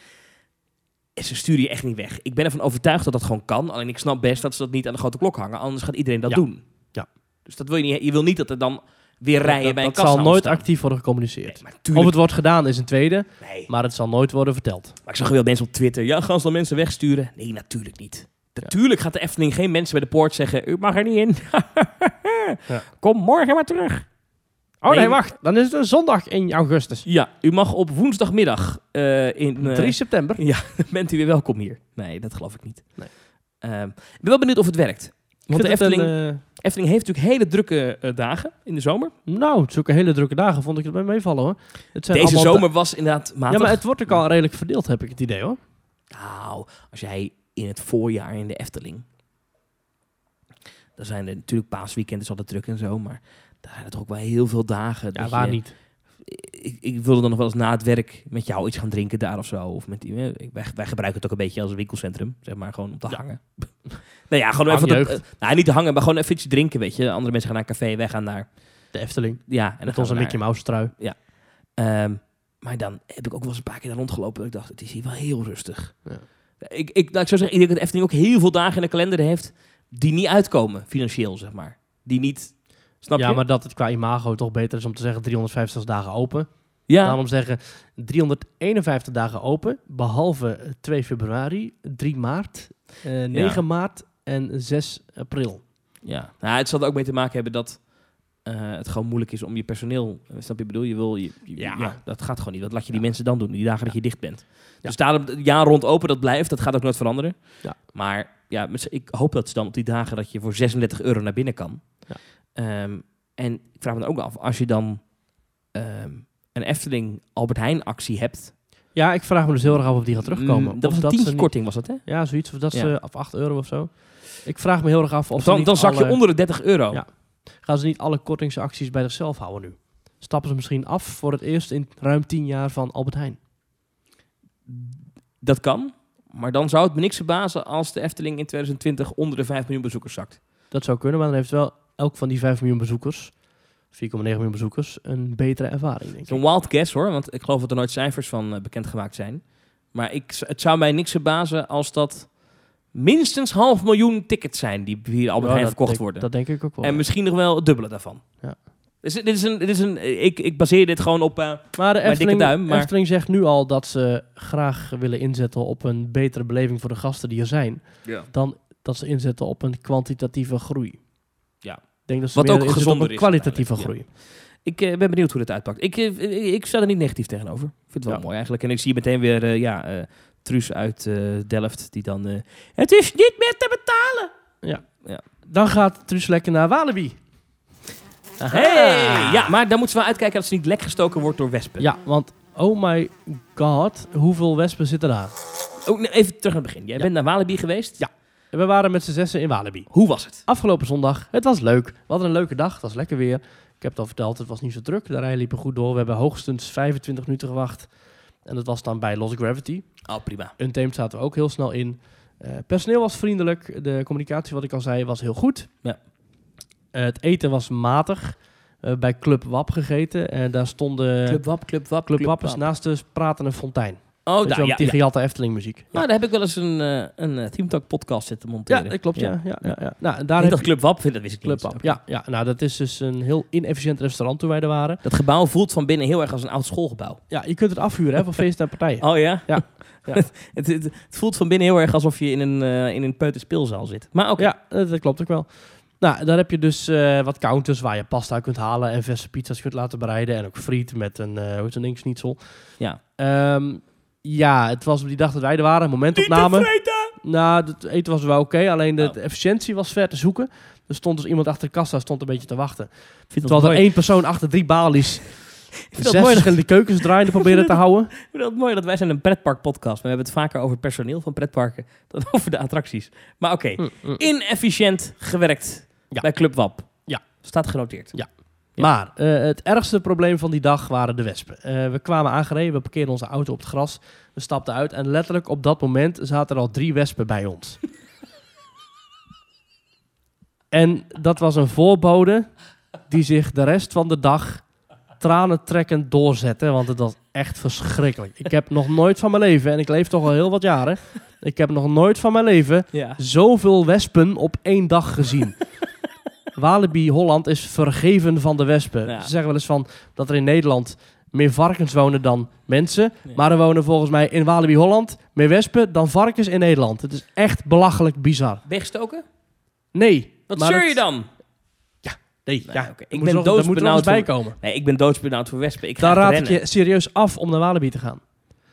En ze sturen je echt niet weg. Ik ben ervan overtuigd dat dat gewoon kan. Alleen ik snap best dat ze dat niet aan de grote klok hangen. Anders gaat iedereen dat
Ja.
doen.
Ja.
Dus dat wil je niet. Je wil niet dat er dan weer
Dat-
rijen
dat,
bij een
dat
kassa
zal nooit
ontstaan.
actief worden gecommuniceerd.
Nee, maar
of
tuurlijk,
het wordt gedaan is een tweede,
nee.
maar het zal nooit worden verteld.
Maar ik zag wel mensen op Twitter. Ja, gaan ze dan mensen wegsturen? Nee, natuurlijk niet. Natuurlijk gaat de Efteling geen mensen bij de poort zeggen... U mag er niet in.
Ja.
Kom morgen maar terug.
Oh nee,
Nee.
wacht. Dan is het een zondag in augustus.
Ja, u mag op woensdagmiddag eh, in... eh,
3 september.
bent u weer welkom hier. Nee, dat geloof ik niet.
Nee.
Ehm, ik ben wel benieuwd of het werkt. Want de Efteling...
eh,
Efteling heeft natuurlijk hele drukke eh, dagen in de zomer.
nou, zulke hele drukke dagen vond ik het bij meevallen hoor. Het zijn
Deze
allemaal da-
zomer was inderdaad matig.
Ja, maar het wordt ook al redelijk verdeeld, heb ik het idee hoor.
Nou, als jij in het voorjaar in de Efteling... Dan zijn er natuurlijk paasweekend is altijd druk en zo, maar daar zijn er toch ook wel heel veel dagen.
Ja,
dat
waar
je-
niet.
Ik, ik wilde dan nog wel eens na het werk met jou iets gaan drinken daar of zo. Of met die, eh, ik- wij, wij gebruiken het ook een beetje als winkelcentrum, zeg maar, gewoon om te
Ja.
hangen. nou ja, gewoon even...
Hangjeugd.
eh, nou, niet te hangen, maar gewoon even ietsje drinken, weet je. Andere mensen gaan naar een café, wij gaan naar...
De Efteling.
Ja, en dan
Met
gaan
onze
we naar-
Mickey Mouse trui.
Ehm, maar dan heb ik ook wel eens een paar keer daar rondgelopen. Dat ik dacht, het is hier wel heel rustig.
Ja.
Ik, ik, nou, ik zou zeggen, ik denk dat de Efteling ook heel veel dagen in de kalender heeft... die niet uitkomen, financieel, zeg maar. Die niet... Snap
ja,
je?
maar dat het qua imago toch beter is om te zeggen 350 dagen open.
ja,
Daarom zeggen 351 dagen open, behalve 2 februari, 3 maart, eh, 9 maart en 6 april.
ja. Nou, het zal er ook mee te maken hebben dat... eh, het gewoon moeilijk is om je personeel... eh, Snap je, ik bedoel, je wil... Je, je-
Ja.
ja. dat gaat gewoon niet. Dat laat je die mensen dan doen, die dagen dat je dicht bent.
Ja.
Dus daarom, het jaar rond open, dat blijft. Dat gaat ook nooit veranderen.
Ja.
Maar ja, mis- ik hoop dat ze dan op die dagen... dat je voor 36 euro naar binnen kan.
Ja.
Ehm, en ik vraag me dan ook af, als je dan ehm, een Efteling Albert Heijn actie hebt...
Ja, ik vraag me dus heel erg af of die gaat terugkomen.
mm,
Of
Dat was een
ze
tientje
niet-
korting, was dat hè?
Ja, zoiets. Of dat
Ja.
ze op 8 euro of zo. Ik vraag me heel erg af of ze
Dan,
niet
dan zak je
alle-
onder de 30 euro.
Ja. gaan ze niet alle kortingsacties bij zichzelf houden nu. Stappen ze misschien af voor het eerst in ruim 10 jaar van Albert Heijn.
Dat kan. Maar dan zou het me niks verbazen als de Efteling in 2020 onder de 5 miljoen bezoekers zakt.
Dat zou kunnen, maar dan heeft wel elk van die 5 miljoen bezoekers, 4,9 miljoen bezoekers, een betere ervaring, denk
Het
ik.
is een wild guess hoor, want ik geloof dat er nooit cijfers van eh, bekendgemaakt zijn. Maar ik, z- het zou mij niks verbazen als dat minstens half miljoen tickets zijn die hier
Ja,
Albert Heijn
dat
verkocht
denk-
worden.
Dat denk ik ook wel.
en misschien nog wel het dubbele daarvan.
Ja.
Dus dit is een, dit is een, ik, ik baseer dit gewoon op... eh,
Maar de
dikke
Efteling,
duim, maar-
Efteling zegt nu al dat ze graag willen inzetten op een betere beleving voor de gasten die er zijn, dan dat ze inzetten op een kwantitatieve groei.
Ja.
Ik denk dat ze
Wat
meer
ook
inzetten op
gezonder
een
is
kwalitatieve groei.
uiteindelijk, Ik eh, ben benieuwd hoe dit uitpakt. Ik, eh, ik, ik sta er niet negatief tegenover. Ik vind het wel
Ja.
mooi eigenlijk. En ik zie meteen weer eh, ja, eh, Truus uit eh, Delft die dan... eh, het is niet meer te betalen!
Dan gaat Truus lekker naar Walibi.
Hey! Ja, maar dan moeten ze wel uitkijken dat ze niet lek gestoken wordt door wespen.
Ja, want oh my god, hoeveel wespen zitten daar?
Oh, nee, even terug naar het begin. Jij
Ja.
bent naar Walibi geweest.
Ja. En we waren met z'n zessen in Walibi.
Hoe was het?
Afgelopen zondag, het was leuk. We hadden een leuke dag, het was lekker weer. Ik heb het al verteld, het was niet zo druk. De rij liep er goed door. We hebben hoogstens 25 minuten gewacht. En dat was dan bij Lost Gravity.
Oh, prima.
Untamed zaten we ook heel snel in. Eh, personeel was vriendelijk. De communicatie, wat ik al zei, was heel goed.
Ja.
Eh, het eten was matig. Eh, bij Club Wap gegeten. En daar stonden
Club Wap, Club Wap,
nou- Club Wappers naast de pratende fontein.
Oh,
Weet je
daar,
wel,
ja,
met die
ja.
gejatte Efteling muziek.
Nou, daar heb ik wel eens een, eh een eh, Team Talk podcast zitten
Ja,
monteren.
dat klopt. Ja, ja, ja, ja, Nou,
Daar
daar
Heet
heb
dat
je
Club Wap? Dat wist ik
Club
dus niet.
Up. Ja, ja, nou dat is dus een heel inefficiënt restaurant toen wij er waren.
Dat gebouw voelt van binnen heel erg als een oud schoolgebouw.
Ja, je kunt het afhuren hè, van feesten en partijen.
Oh ja?
Ja. Ja.
het, het, het voelt van binnen heel erg alsof je in een, eh in een peuterspeelzaal zit. Maar oké.
Ja, dat, dat klopt ook wel. Nou, daar heb je dus eh, wat counters waar je pasta kunt halen en verse pizza's kunt laten bereiden. En ook friet met een, eh hoe is een schnitzel.
Ja.
Ehm, ja, het was op die dag dat wij er waren, momentopname. Nou, het eten was wel oké, alleen de,
Oh.
de efficiëntie was ver te zoeken. Er stond dus iemand achter de kassa, stond een beetje te wachten.
Ik vind dat
Terwijl er
mooi.
één persoon achter drie balies
vind
zes
dat mooi.
verschillende keukens draaiende proberen te houden.
Ik vind dat mooi dat wij zijn een pretparkpodcast. Maar we hebben het vaker over het personeel van pretparken dan over de attracties. Maar oké. Inefficiënt gewerkt
Hm. Ja.
bij Club Wap.
Ja.
Staat genoteerd.
Ja.
Ja.
Maar eh, het ergste probleem van die dag waren de wespen. Eh, we kwamen aangereden, we parkeerden onze auto op het gras. We stapten uit en letterlijk op dat moment zaten er al drie wespen bij ons. en dat was een voorbode die zich de rest van de dag tranentrekkend doorzette. Want het was echt verschrikkelijk. Ik heb nog nooit van mijn leven, en ik leef toch al heel wat jaren... Ik heb nog nooit van mijn leven
Ja.
zoveel wespen op één dag gezien. Walibi Holland is vergeven van de wespen.
Ja.
Ze zeggen wel eens van dat er in Nederland meer varkens wonen dan mensen.
Ja.
Maar er wonen volgens mij in Walibi Holland meer wespen dan varkens in Nederland. Het is echt belachelijk bizar.
Ben je gestoken?
Nee.
Wat
maar
zeur je
dat-
dan?
Nee,
Nee,
ja. dat
oké. Ik
moet
ben
er nog- dat moet er nog eens
doodsbenauwd
bij
voor-
komen.
Nee, ik ben doodsbenauwd voor wespen. Ik ga
Dan
echt
raad ik
rennen.
je serieus af om naar Walibi te gaan.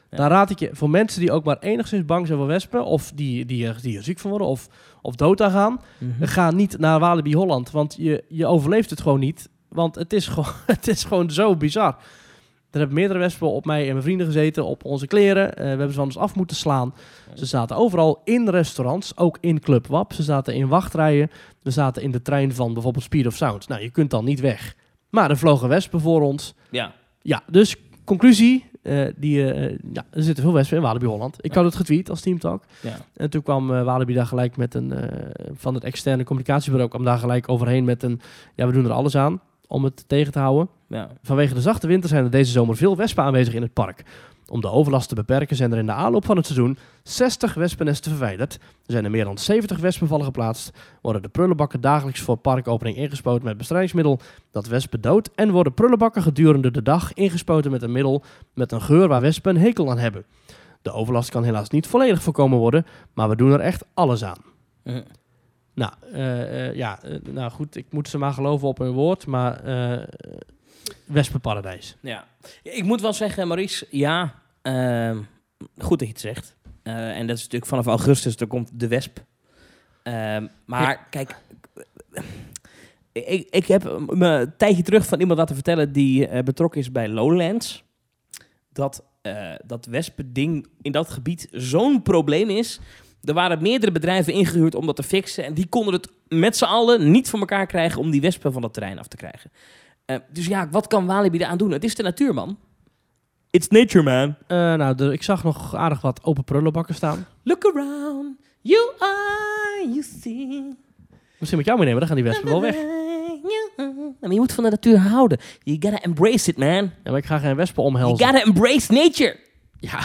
Ja.
Dan raad ik je voor mensen die ook maar enigszins bang zijn voor wespen... of die, die, er- die er ziek van worden of, of dood aan gaan...
Mhm.
Ga niet naar Walibi Holland, want je, je overleeft het gewoon niet. Want het is gewoon, het is gewoon zo bizar. Er hebben meerdere wespen op mij en mijn vrienden gezeten, op onze kleren. Eh, we hebben ze van ons af moeten slaan. Ze zaten overal in restaurants, ook in Club WAP. Ze zaten in wachtrijen. We zaten in de trein van bijvoorbeeld Speed of Sound. Nou, je kunt dan niet weg. Maar er vlogen wespen voor ons.
Ja.
Ja, dus conclusie. eh, die, eh, ja, er zitten veel wespen in Walibi Holland. Ik had het getweet als Team Talk.
ja.
En toen kwam eh, Walibi daar gelijk met een... eh, van het externe communicatiebureau kwam daar gelijk overheen met een... Ja, we doen er alles aan om het tegen te houden.
Ja.
Vanwege de zachte winter zijn er deze zomer veel wespen aanwezig in het park. Om de overlast te beperken zijn er in de aanloop van het seizoen 60 wespennesten verwijderd. Er zijn er meer dan 70 wespenvallen geplaatst. Worden de prullenbakken dagelijks voor parkopening ingespoten met bestrijdingsmiddel dat wespen doodt. En worden prullenbakken gedurende de dag ingespoten met een middel met een geur waar wespen een hekel aan hebben. De overlast kan helaas niet volledig voorkomen worden, maar we doen er echt alles aan.
Mhm.
Nou, eh, eh, ja, eh, nou goed, ik moet ze maar geloven op hun woord, maar eh, wespenparadijs.
Ja. Ik moet wel zeggen, Maurice, ja, ehm, goed dat je het zegt. Eh, en dat is natuurlijk vanaf augustus, dan komt de wesp. Ehm, maar kijk, ik, ik heb me een tijdje terug van iemand laten vertellen die eh, betrokken is bij Lowlands. Dat eh dat wespending in dat gebied zo'n probleem is. Er waren meerdere bedrijven ingehuurd om dat te fixen. En die konden het met z'n allen niet voor elkaar krijgen om die wespen van dat terrein af te krijgen. Eh, dus ja, wat kan Walibi eraan doen? Het is de natuur, man. It's nature, man.
Eh, nou, de- ik zag nog aardig wat open prullenbakken staan.
Look around. You are, you see.
Misschien moet ik jou meenemen, dan gaan die wespen wel weg.
Maar je moet van de natuur houden. You gotta embrace it, man.
Ja, maar ik ga geen wespen
You
omhelzen.
gotta embrace nature.
Ja,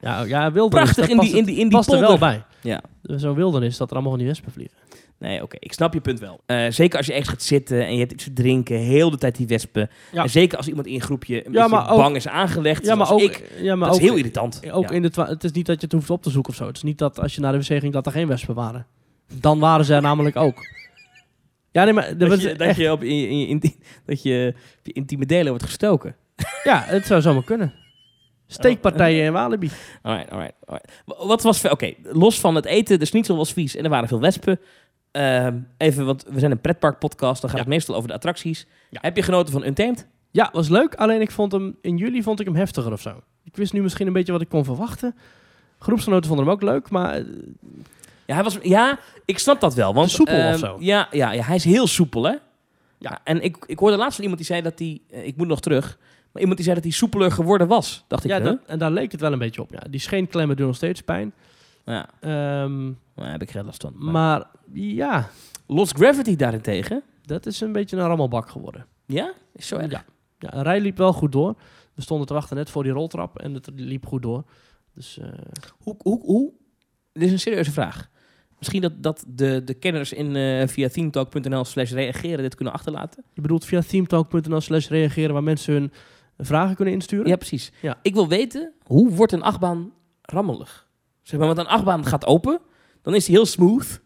ja, ja wildernis,
Prachtig
dat
in
past
die- in die- in die
past er wel
polder.
bij. Dus
Ja.
Zo'n wildernis, dat er allemaal van die wespen vliegen.
Nee, oké. Ik snap je punt wel. Eh, zeker als je ergens gaat zitten en je hebt iets te drinken. Heel de tijd die wespen.
Ja.
En zeker als iemand in een groepje een
Ja,
beetje
maar ook-
bang is aangelegd.
Ja, maar ook...
zoals ik.
ja, maar
Dat is
ook-
heel irritant.
Ook
Ja.
in de twa- het is niet dat je het hoeft op te zoeken of zo. Het is niet dat als je naar de wc ging dat er geen wespen waren. Dan waren ze er namelijk ook. Ja, nee, maar...
Dat,
was
je, dat,
echt-
je op, in, in, in- dat je op je intieme delen wordt gestoken.
Ja, het zou zomaar kunnen. Steekpartijen in Walibi.
Alright, alright, alright. Wa- Wat was... ver- Oké, los van het eten, de schnitzel was vies en er waren veel wespen. Ehm, even, want we zijn een pretparkpodcast, dan gaat
Ja.
het meestal over de attracties.
Ja.
Heb je genoten van Untamed?
Ja, was leuk. Alleen ik vond hem in juli vond ik hem heftiger of zo. Ik wist nu misschien een beetje wat ik kon verwachten. Groepsgenoten vonden hem ook leuk, maar eh,
Ja, hij was, ja ik snap dat wel. Want,
Soepel of
ehm,
zo.
Ja, ja, ja, hij is heel soepel, hè? Ja, en ik, ik hoorde laatst van iemand die zei dat hij... eh, ik moet nog terug. Maar iemand die zei dat hij soepeler geworden was, dacht ik.
ja,
hè?
dat- en daar leek het wel een beetje op. Ja, die scheenklemmen doen nog steeds pijn.
ja
Ehm,
Nou, daar heb ik geen last van. Maar.
maar ja,
Lost Gravity daarentegen?
dat is een beetje een rammelbak geworden.
Ja? Is zo erg?
Ja. ja, Rij liep wel goed door. We stonden te wachten net voor die roltrap en het liep goed door. Dus eh,
Hoe, hoe, hoe? Dit is een serieuze vraag. Misschien dat, dat de, de kenners in, eh, via themetalk.nl slash reageren dit kunnen achterlaten.
je bedoelt via themetalk.nl slash reageren waar mensen hun vragen kunnen insturen?
Ja, precies.
Ja.
Ik wil weten, hoe wordt een achtbaan rammelig? Zeg maar, want een achtbaan gaat open, dan is hij heel smooth.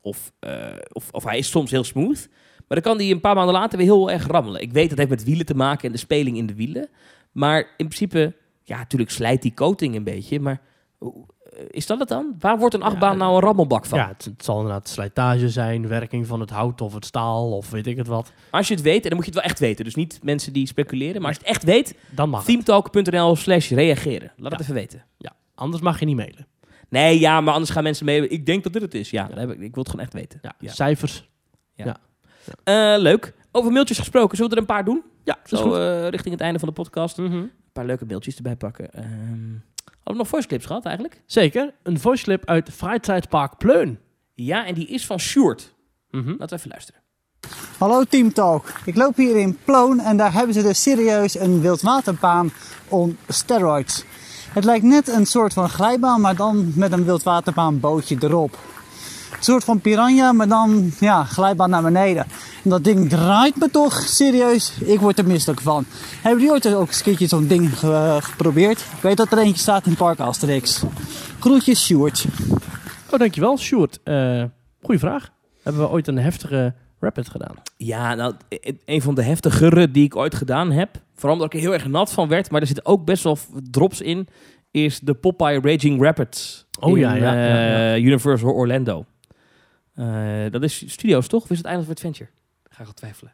Of, eh, of, of hij is soms heel smooth. Maar dan kan hij een paar maanden later weer heel erg rammelen. Ik weet, dat heeft met wielen te maken en de speling in de wielen. Maar in principe, ja, natuurlijk slijt die coating een beetje. Maar hoe- eh, is dat het dan? Waar wordt een achtbaan
eh,
nou een rammelbak van?
Ja, het, het zal inderdaad slijtage zijn, werking van het hout of het staal of weet ik het wat.
Als je het weet, en dan moet je het wel echt weten. Dus niet mensen die speculeren. Maar als je het echt weet,
Dan mag het.
themetalk.nl slash reageren. Laat het
Ja.
even weten.
Anders mag je niet mailen.
Nee, ja, maar anders gaan mensen mee. Ik denk dat dit het is. Ja, daar heb ik, ik wil het gewoon echt weten.
Ja,
Ja.
Dus Cijfers.
Eh, leuk. Over mailtjes gesproken. Zullen we er een paar doen?
Ja, eh, mhm.
Zo eh, richting het einde van de podcast. Een paar leuke mailtjes erbij pakken. Ehm, hadden we nog voice clips gehad eigenlijk?
Zeker. Een voice clip uit Freizeitpark Pleun.
Ja, en die is van Sjoerd.
Mhm.
Laten we even luisteren.
Hallo Team Talk. Ik loop hier in Ploon en daar hebben ze dus serieus een wildwaterbaan on steroids. Het lijkt net een soort van glijbaan, maar dan met een wildwaterbaanbootje erop. Een soort van piranha, maar dan ja, glijbaan naar beneden. En dat ding draait me toch serieus. Ik word er misselijk van. Hebben jullie ooit ook eens een keertje zo'n ding eh, geprobeerd? Ik weet dat er eentje staat in Park Asterix. Groetjes, Sjoerd.
Oh, dankjewel, Sjoerd. Eh goeie vraag. Hebben we ooit een heftige rapid gedaan?
Ja, nou, e- e- een van de heftigere die ik ooit gedaan heb. Vooral omdat ik er heel erg nat van werd. Maar er zitten ook best wel f- drops in. Is de Popeye Raging Rapids.
Oh
in,
ja, ja, ja, ja.
eh, Universal Orlando. Eh, dat is studio's toch? Of is het Island of Adventure? Ga ik al twijfelen.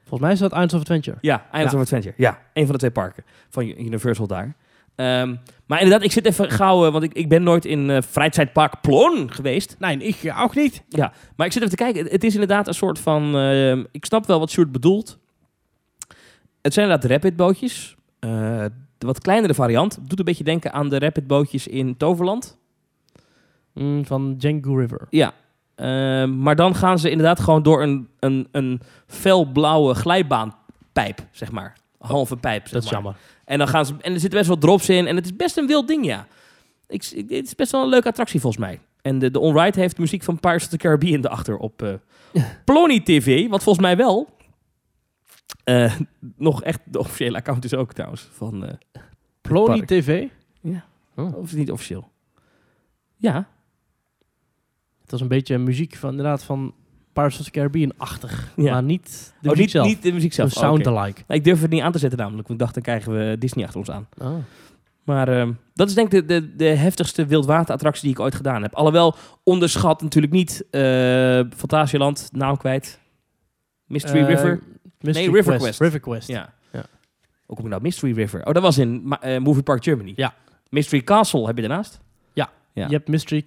Volgens mij is dat Islands of Adventure.
Ja, Island
Ja.
of Adventure. Ja, een van de twee parken van U- Universal daar. Ehm, maar inderdaad, ik zit even gauw, eh, want ik, ik ben nooit in eh Freizeitpark Plon geweest.
Nee, ik eh, ook niet.
Maar ik zit even te kijken. Het, het is inderdaad een soort van. ehm, ik snap wel wat Sjoerd bedoelt. Het zijn inderdaad rapidbootjes. Eh, de wat kleinere variant. Doet een beetje denken aan de rapidbootjes in Toverland.
Mm, van Django River.
Ja. Ehm, maar dan gaan ze inderdaad gewoon door een, een, een felblauwe glijbaanpijp, zeg maar. Halve pijp. Zeg
Dat is
maar.
jammer.
En, dan gaan ze, en er zitten best wel drops in. En het is best een wild ding, ja. Ik, ik- het is best wel een leuke attractie, volgens mij. En de, de On-Ride heeft muziek van Pirates of the Caribbean erachter op eh Plony TV. Wat volgens mij wel... eh, nog echt de officiële account is ook trouwens. Van, eh,
Plony
Park.
TV. Oh.
of is het niet officieel? Ja.
Het was een beetje muziek van inderdaad van Pirates of the Caribbean-achtig.
ja.
Maar niet de
oh,
muziek
niet,
zelf.
niet de muziek zelf.
Een
Oh,
sound
oké.
alike.
Nou, ik durf het niet aan te zetten namelijk. Want ik dacht, dan krijgen we Disney achter ons aan.
Oh.
Maar ehm, dat is denk ik de, de, de heftigste wildwaterattractie die ik ooit gedaan heb. Alhoewel, onderschat natuurlijk niet eh Fantasieland, naam kwijt. Mystery
Eh,
River.
Mystery
Nee, River
Quest.
Quest.
River Quest.
Ja.
ja.
Hoe kom ik nou? Mystery River. Oh, dat was in Ma- eh, Movie Park Germany.
Ja.
Mystery Castle heb je daarnaast. Ja.
Je hebt Mystery,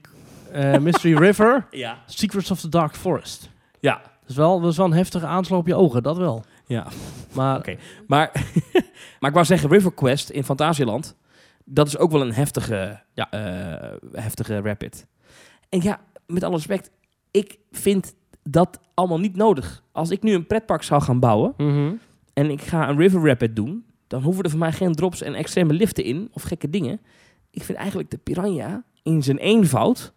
eh, Mystery River,
Ja.
Secrets of the Dark Forest.
Ja.
Dat is wel, dat is wel een heftige aanslag op je ogen, dat wel.
Ja.
Maar
Oké. Maar, maar ik wou zeggen, River Quest in Fantasieland, dat is ook wel een heftige,
Ja.
eh, heftige rapid. En ja, met alle respect, ik vind dat allemaal niet nodig. Als ik nu een pretpark zou gaan bouwen,
Mhm.
en ik ga een river rapid doen, dan hoeven er voor mij geen drops en extreme liften in of gekke dingen. Ik vind eigenlijk de Piranha in zijn eenvoud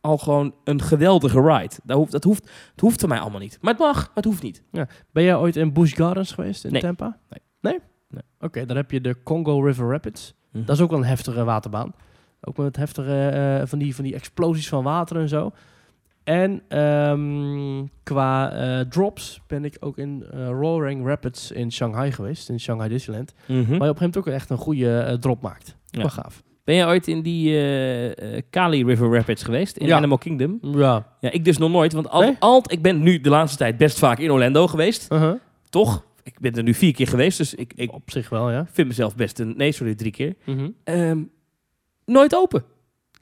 al gewoon een geweldige ride. Dat hoeft, dat hoeft, het hoeft voor mij allemaal niet. Maar het mag, maar het hoeft niet.
ben jij ooit in Busch Gardens geweest in
Nee.
Tampa?
Nee.
Nee?
Nee.
Oké, dan heb je de Congo River Rapids.
Mhm.
Dat is ook wel een heftige waterbaan. Ook met heftige eh, van, die, van die explosies van water en zo. En ehm, qua eh, drops ben ik ook in eh, Roaring Rapids in Shanghai geweest, in Shanghai Disneyland. Waar je op een gegeven moment ook echt een goede eh, drop maakt.
Hm? Ja.
Wel gaaf.
Ben jij ooit in die eh, eh, Kali River Rapids geweest in
Ja.
Animal Kingdom?
Ja.
Ja, ik dus nog nooit, want al,
Nee?
al- ik ben nu de laatste tijd best vaak in Orlando geweest. Toch? Ik ben er nu vier keer geweest, dus ik, ik
Op zich wel, ja.
vind mezelf best een... Nee, sorry, drie keer. Ehm, nooit open.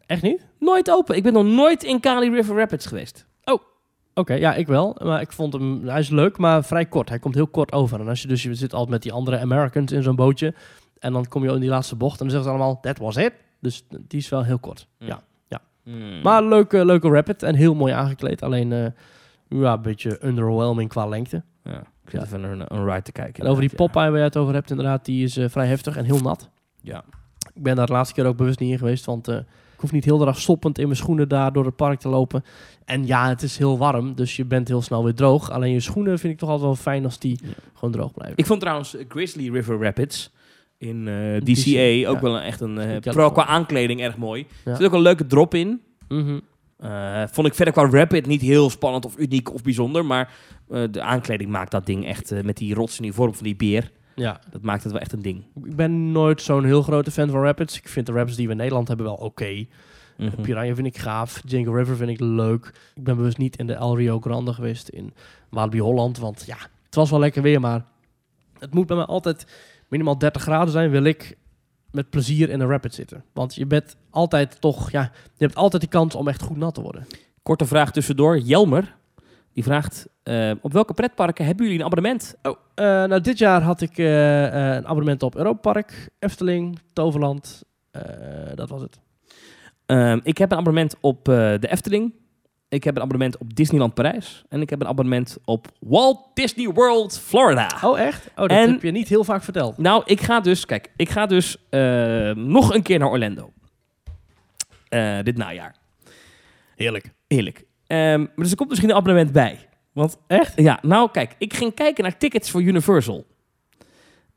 Echt niet?
Nooit open. Ik ben nog nooit in Kali River Rapids geweest.
Oké, ja, ik wel. Maar ik vond hem, hij is leuk, maar vrij kort. Hij komt heel kort over. En als je dus, je zit altijd met die andere Americans in zo'n bootje. En dan kom je in die laatste bocht en dan zeggen ze allemaal, that was it. Dus die is wel heel kort. Ja.
Hmm.
Maar leuke, leuke rapid en heel mooi aangekleed. Alleen, eh, ja, een beetje underwhelming qua lengte.
Ja, ik zit
Ja.
even een, een ride te kijken.
En over die
inderdaad,
Popeye waar je het over hebt, inderdaad, die is eh, vrij heftig en heel nat.
Ja.
Ik ben daar de laatste keer ook bewust niet in geweest, want eh, ik hoef niet heel erg stoppend in mijn schoenen daar door het park te lopen. En ja, het is heel warm, dus je bent heel snel weer droog. Alleen je schoenen vind ik toch altijd wel fijn als die
Ja.
gewoon droog blijven.
Ik vond trouwens eh, Grizzly River Rapids in eh,
DC,
DCA ook
ja.
wel een, echt een... eh,
In
vooral
Californië.
qua aankleding erg mooi.
Ja.
Er zit ook een leuke drop in.
Mhm.
Eh, vond ik verder qua rapid niet heel spannend of uniek of bijzonder. Maar eh, de aankleding maakt dat ding echt eh, met die rots in die vorm van die beer.
Ja,
Dat maakt het wel echt een ding.
ik ben nooit zo'n heel grote fan van rapids. Ik vind de rapids die we in Nederland hebben wel oké.
Mhm. Hm.
Piranha vind ik gaaf. Django River vind ik leuk. Ik ben bewust niet in de El Rio Grande geweest in Walibi Holland. Want ja, het was wel lekker weer, maar het moet bij mij altijd minimaal 30 graden zijn. Wil ik met plezier in een rapid zitten. Want je bent altijd toch, ja, je hebt altijd de kans om echt goed nat te worden.
Korte vraag tussendoor. Jelmer, die vraagt... eh, op welke pretparken hebben jullie een abonnement?
Oh, eh, nou dit jaar had ik eh, eh, een abonnement op Europark, Efteling, Toverland. Eh, dat was het.
Ehm, ik heb een abonnement op eh, de Efteling. Ik heb een abonnement op Disneyland Parijs. En ik heb een abonnement op Walt Disney World Florida.
Oh echt? Oh, dat
Ah. En-
heb je niet heel vaak verteld.
Nou, ik ga dus, kijk, ik ga dus eh, nog een keer naar Orlando. Eh, dit najaar.
Heerlijk.
Heerlijk. Ehm, maar dus er komt misschien een abonnement bij. Want echt? Ja, nou kijk, ik ging kijken naar tickets voor Universal.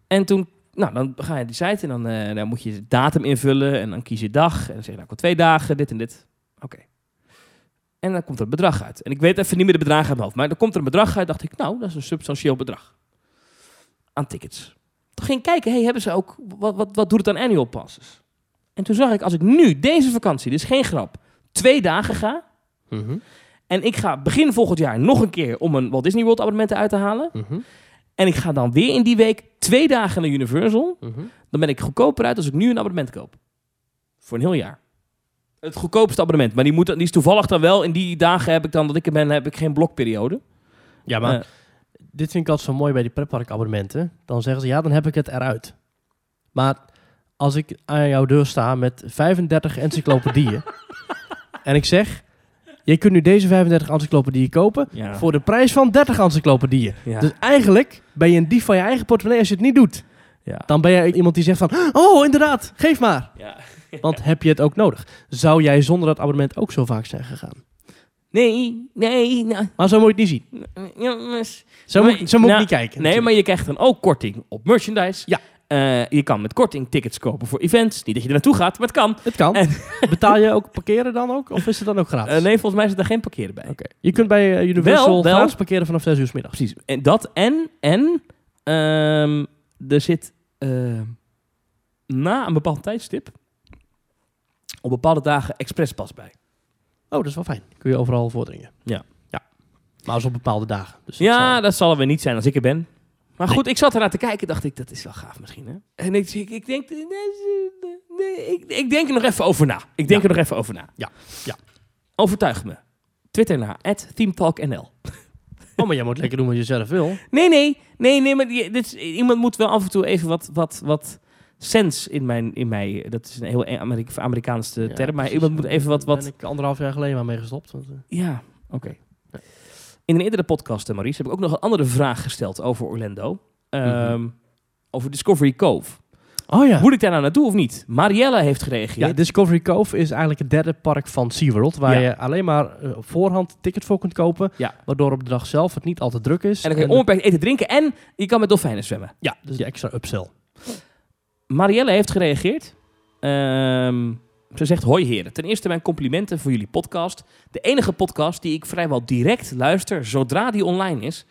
En toen, nou dan ga je die site en dan, eh, dan moet je de datum invullen en dan kies je dag. En dan zeg je, nou ik wil twee dagen, dit en dit. Oké. En dan komt er een bedrag uit. En ik weet even niet meer de bedragen uit mijn hoofd. Maar dan komt er een bedrag uit, dacht ik, nou dat is een substantieel bedrag. Aan tickets. Toen ging ik kijken, hey, hebben ze ook, wat, wat, wat doet het aan annual passes? En toen zag ik, als ik nu deze vakantie, dit is geen grap, twee dagen ga... Mhm, En ik ga begin volgend jaar nog een keer om een Walt Disney World abonnement uit te halen. En ik ga dan weer in die week twee dagen naar Universal. Dan ben ik goedkoper uit als ik nu een abonnement koop. Voor een heel jaar. Het goedkoopste abonnement. Maar die, moet, die is toevallig dan wel. In die dagen heb ik dan, dat ik er ben, heb ik geen blokperiode.
Ja, maar
Eh,
dit vind ik altijd zo mooi bij die pretparkabonnementen. Dan zeggen ze, ja, dan heb ik het eruit. Maar als ik aan jouw deur sta met 35 encyclopedieën... en ik zeg, je kunt nu deze 35 encyclopedieën kopen...
ja.
voor de prijs van 30 encyclopedieën.
ja.
Dus eigenlijk ben je een dief van je eigen portemonnee als je het niet doet.
ja.
Dan ben jij iemand die zegt van, oh, inderdaad, geef maar.
Ja.
Want heb je het ook nodig? Zou jij zonder dat abonnement ook zo vaak zijn gegaan?
Nee, nee, nou,
Maar zo moet je het niet zien.
jongens.
Zo
Maar-
moet, zo moet je
nou,
niet kijken.
Nee, maar je krijgt dan ook korting op merchandise.
Ja.
Eh, je kan met korting tickets kopen voor events. Niet dat je er naartoe gaat, maar het kan.
Het kan.
En-
Betaal je ook parkeren dan ook? Of is het dan ook gratis?
Eh, nee, volgens mij zit er geen parkeren bij.
Oké. Je kunt bij eh, Universal
Wel, wel.
gratis parkeren vanaf 6 uur 's middags.
Precies. En dat en, en ehm, er zit ehm, na een bepaald tijdstip op bepaalde dagen expresspas bij.
Oh, dat is wel fijn. Kun je overal voordringen.
Ja.
ja. Maar als op bepaalde dagen. Dus dat
Ja,
zal-
dat zal er weer niet zijn als ik er ben. Maar
Nee.
goed, ik zat ernaar te kijken, dacht ik, dat is wel gaaf misschien. Hè? En ik, ik, ik denk, nee, nee, ik, ik denk er nog even over na. Ik denk
Ja.
er nog even over na.
Ja. Ja.
Overtuig me. Twitter naar @themetalknl.
Oh, maar jij moet lekker doen wat je zelf wil.
Nee, nee, nee, nee, maar die- dit is, iemand moet wel af en toe even wat, wat, wat sens in, mijn, in mij. Dat is een heel e- Amerika, Amerikaanse
Ja,
term, maar
precies.
iemand moet even wat.
Daar
wat
ben ik anderhalf jaar geleden maar mee gestopt. Want, eh,
Ja, oké.
Ja.
In een eerdere podcast, eh, Maurice, heb ik ook nog een andere vraag gesteld over Orlando. Ehm, Over Discovery Cove.
Oh ja.
Moet ik daar nou naartoe of niet? Marielle heeft
Ja,
gereageerd.
Discovery Cove is eigenlijk het derde park van SeaWorld. Waar
Ja.
je alleen maar eh, op voorhand ticket voor kunt kopen.
Ja.
Waardoor op de dag zelf het niet altijd druk is.
en dan kan je onbeperkt eten, drinken en je kan met dolfijnen zwemmen.
Ja, dus die extra upsell.
Marielle heeft gereageerd. Ehm, ze zegt: Hoi heren, ten eerste mijn complimenten voor jullie podcast. De enige podcast die ik vrijwel direct luister zodra die online is.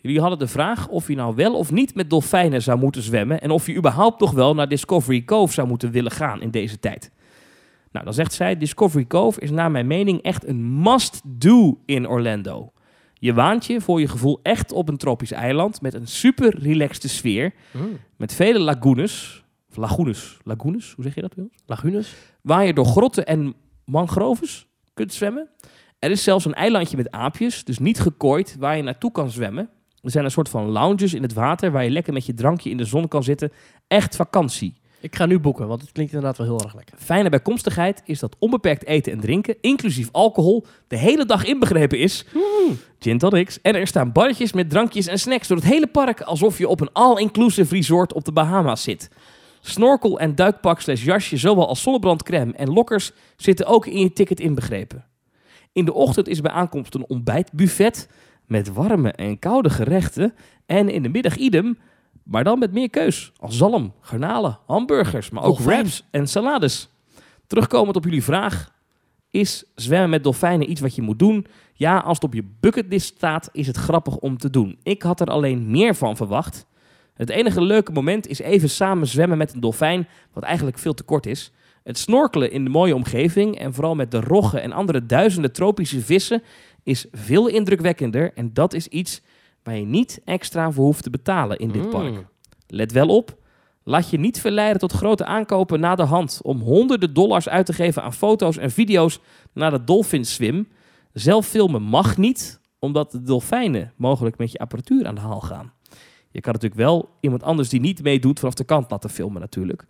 Jullie hadden de vraag of je nou wel of niet met dolfijnen zou moeten zwemmen. En of je überhaupt nog wel naar Discovery Cove zou moeten willen gaan in deze tijd. Nou, dan zegt zij: Discovery Cove is naar mijn mening echt een must-do in Orlando. Je waant je voor je gevoel echt op een tropisch eiland met een super relaxte sfeer.
Hmm.
Met vele lagunes. Of lagunes. Lagunes, hoe zeg je dat Wil?
Lagunes.
Waar je door grotten en mangroves kunt zwemmen. Er is zelfs een eilandje met aapjes, dus niet gekooid, waar je naartoe kan zwemmen. Er zijn een soort van lounges in het water waar je lekker met je drankje in de zon kan zitten. Echt vakantie.
Ik ga nu boeken, want het klinkt inderdaad wel heel erg lekker.
Fijne bijkomstigheid is dat onbeperkt eten en drinken, inclusief alcohol, de hele dag inbegrepen is. Gin tonics. En er staan barretjes met drankjes en snacks door het hele park, alsof je op een all-inclusive resort op de Bahama's zit. Snorkel en duikpak slash jasje, zowel als zonnebrandcrème en lokkers, zitten ook in je ticket inbegrepen. In de ochtend is bij aankomst een ontbijtbuffet met warme en koude gerechten. En in de middag idem, maar dan met meer keus. Als zalm, garnalen, hamburgers, maar ook
Dolfijn.
wraps en salades. Terugkomend op jullie vraag, is zwemmen met dolfijnen iets wat je moet doen? Ja, als het op je bucketlist staat, is het grappig om te doen. Ik had er alleen meer van verwacht. Het enige leuke moment is even samen zwemmen met een dolfijn, wat eigenlijk veel te kort is. Het snorkelen in de mooie omgeving en vooral met de roggen en andere duizenden tropische vissen is veel indrukwekkender. En dat is iets waar je niet extra voor hoeft te betalen in dit park.
Mm.
Let wel op. Laat je niet verleiden tot grote aankopen na de hand. Om honderden dollars uit te geven aan foto's en video's na de dolphin swim. Zelf filmen mag niet, omdat de dolfijnen mogelijk met je apparatuur aan de haal gaan. Je kan natuurlijk wel iemand anders die niet meedoet vanaf de kant laten filmen natuurlijk.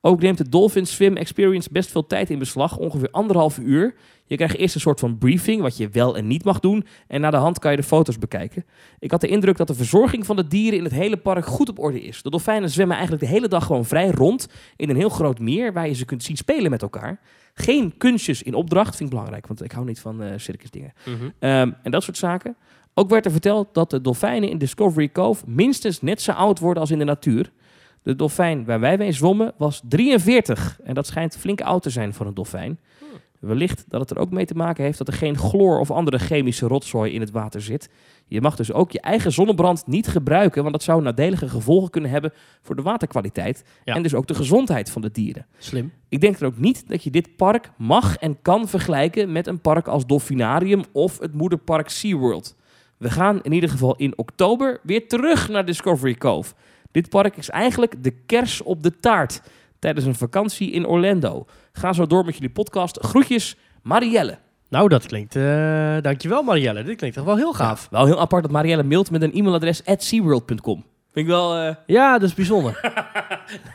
Ook neemt de Dolphin Swim Experience best veel tijd in beslag, ongeveer anderhalf uur. Je krijgt eerst een soort van briefing, wat je wel en niet mag doen. En na de hand kan je de foto's bekijken. Ik had de indruk dat de verzorging van de dieren in het hele park goed op orde is. De dolfijnen zwemmen eigenlijk de hele dag gewoon vrij rond in een heel groot meer waar je ze kunt zien spelen met elkaar. Geen kunstjes in opdracht, vind ik belangrijk, want ik hou niet van eh circusdingen. Ehm, en dat soort zaken. Ook werd er verteld dat de dolfijnen in Discovery Cove minstens net zo oud worden als in de natuur. De dolfijn waar wij mee zwommen was 43. En dat schijnt flink oud te zijn voor een dolfijn. Wellicht dat het er ook mee te maken heeft dat er geen chloor of andere chemische rotzooi in het water zit. Je mag dus ook je eigen zonnebrand niet gebruiken, want dat zou nadelige gevolgen kunnen hebben voor de waterkwaliteit.
Ja.
En dus ook de gezondheid van de dieren.
Slim.
Ik denk er ook niet dat je dit park mag en kan vergelijken met een park als Dolfinarium of het moederpark SeaWorld. We gaan in ieder geval in oktober weer terug naar Discovery Cove. Dit park is eigenlijk de kers op de taart tijdens een vakantie in Orlando. Ga zo door met jullie podcast. Groetjes, Marielle.
Nou, dat klinkt... eh, dankjewel, Marielle. Dit klinkt echt wel heel gaaf.
Wel heel apart dat Marielle mailt met een e-mailadres at SeaWorld.com. Vind ik wel... eh,
Ja, dat is bijzonder.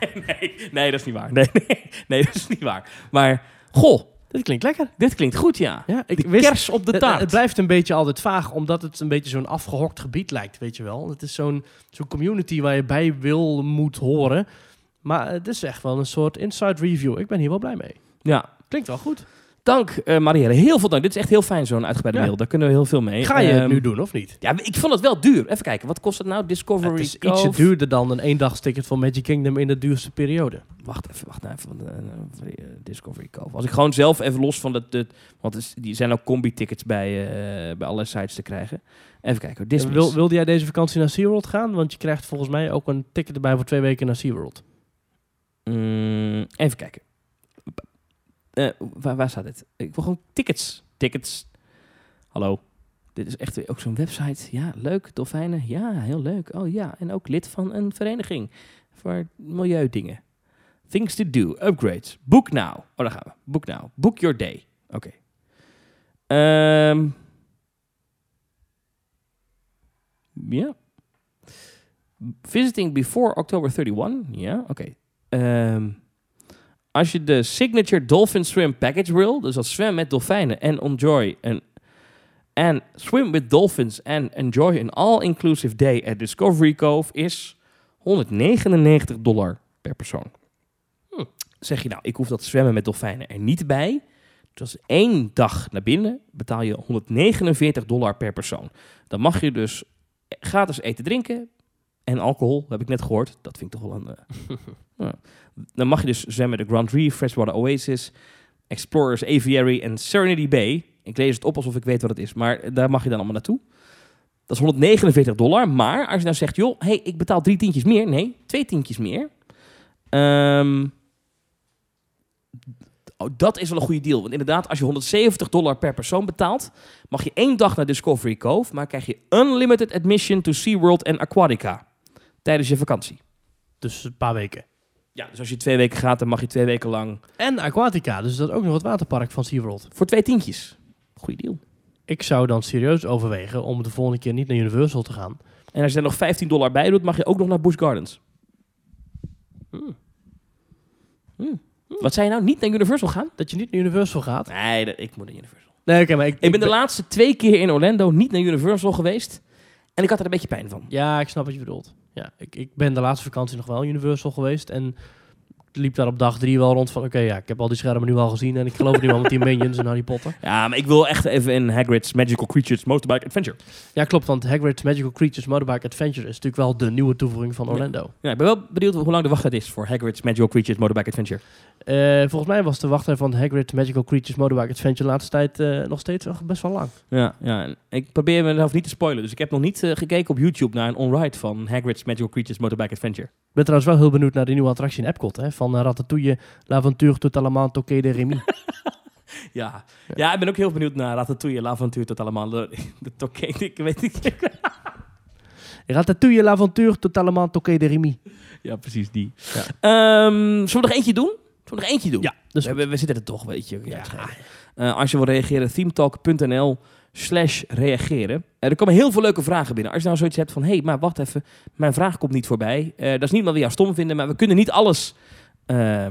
nee, nee, dat is niet waar. Nee, nee, nee, dat is niet waar. Maar, goh,
dit klinkt lekker.
dit klinkt goed, ja.
Ja, ik
De
wist-
kers op
Het,
de
het
taart.
het blijft een beetje altijd vaag, omdat het een beetje zo'n afgehokt gebied lijkt, weet je wel. Het is zo'n zo'n community waar je bij wil, moet horen. Maar het is echt wel een soort inside review. Ik ben hier wel blij mee.
Ja,
Klinkt wel goed.
Dank, eh Marielle. Heel veel dank. Dit is echt heel fijn, zo'n uitgebreide
Ja.
mail. Daar kunnen we heel veel mee.
Ga je het
Ehm,
nu doen, of niet?
Ja, ik vond het wel duur. Even kijken, wat kost het nou? Discovery
Het is
Cove?
ietsje duurder dan een eendagsticket van Magic Kingdom in de duurste periode.
Wacht even, wacht nou even. want, eh, van die, eh, Discovery Cove. Als ik gewoon zelf even los van dat... dat- want het is- die zijn ook combi-tickets bij, eh, bij allerlei sites te krijgen. Even kijken, hoor. Disney.
Wil, wilde jij deze vakantie naar SeaWorld gaan? Want je krijgt volgens mij ook een ticket erbij voor twee weken naar SeaWorld.
Mm, even kijken. Eh, waar, waar staat dit? Ik wil gewoon tickets. Tickets. Hallo. Dit is echt weer ook zo'n website. Ja, leuk. Dolfijnen. Ja, heel leuk. Oh ja, en ook lid van een vereniging. Voor milieudingen. Things to do. Upgrades. Book now. Oh, daar gaan we. Book now. Book your day. Oké. Ehm. ja. Visiting before October 31. Ja, oké. Ehm, als je de Signature Dolphin Swim Package wil, dus als zwem met dolfijnen en enjoy een en swim with dolphins and enjoy an all-inclusive day at Discovery Cove is 199 dollar per persoon.
Hm.
Zeg je nou, ik hoef dat zwemmen met dolfijnen er niet bij. Dus als één dag naar binnen betaal je 149 dollar per persoon. Dan mag je dus gratis eten drinken en alcohol, heb ik net gehoord. Dat vind ik toch wel een... eh, dan mag je dus zwemmen de Grand Reef, Freshwater Oasis, Explorers Aviary en Serenity Bay. Ik lees het op alsof ik weet wat het is, maar daar mag je dan allemaal naartoe. Dat is 149 dollar, maar als je nou zegt, joh, hey, ik betaal drie tientjes meer. Nee, twee tientjes meer. Ehm, oh, dat is wel een goede deal. Want inderdaad, als je 170 dollar per persoon betaalt, mag je één dag naar Discovery Cove, maar krijg je unlimited admission to SeaWorld en Aquatica tijdens je vakantie.
Dus een paar weken.
Ja, dus als je twee weken gaat, dan mag je twee weken lang
En Aquatica, dus dat is ook nog het waterpark van SeaWorld.
Voor twee tientjes. Goeie deal.
Ik zou dan serieus overwegen om de volgende keer niet naar Universal te gaan.
Hmm. En als je er nog 15 dollar bij doet, mag je ook nog naar Busch Gardens. Wat zei je nou? Niet naar Universal gaan?
Dat je niet naar Universal gaat.
Nee, dat- ik moet naar Universal.
Nee, oké, maar ik,
Ik ben de laatste twee keer in Orlando niet naar Universal geweest. En ik had er een beetje pijn van.
Ja, ik snap wat je bedoelt. Ja, ik, ik ben de laatste vakantie nog wel Universal geweest. En liep daar op dag drie wel rond van... Oké, ja, ik heb al die schermen nu al gezien. En ik geloof nu al met die Minions en Harry Potter.
Ja, maar ik wil echt even in Hagrid's Magical Creatures Motorbike Adventure.
Ja, klopt. Want Hagrid's Magical Creatures Motorbike Adventure... is natuurlijk wel de nieuwe toevoeging van
Ja.
Orlando.
Ja, ik ben wel benieuwd hoe lang de wachttijd is voor Hagrid's Magical Creatures Motorbike Adventure.
Eh, volgens mij was de wachtrij van Hagrid Magical Creatures Motorbike Adventure... de laatste tijd eh, nog steeds wel best wel lang.
Ja, ja. en ik probeer mezelf niet te spoilen. Dus ik heb nog niet eh, gekeken op YouTube naar een on-ride van Hagrid's Magical Creatures Motorbike Adventure.
Ik ben trouwens wel heel benieuwd naar die nieuwe attractie in Epcot. Hè? Van eh, Ratatouille, L'Aventure, Tout Allemand, Toqué de Eh, Remy.
Ja. ja, ik ben ook heel benieuwd naar Ratatouille, L'Aventure, tot allemaal. De, de toque, ik weet niet.
Ratatouille, L'Aventure, Tout Allemand, Toqué de Remy.
Ja, precies die.
Ja.
Ehm, zullen we nog eentje doen? Zullen we nog eentje doen?
Ja, dus
we, hebben- we zitten er toch, weet je. Ja. Eh, als je wil reageren, themetalk.nl slash reageren. Eh, er komen heel veel leuke vragen binnen. Als je nou zoiets hebt van, hé, hey, maar wacht even, mijn vraag komt niet voorbij. Eh, dat is niet wat we jou stom vinden, maar we kunnen niet alles, eh,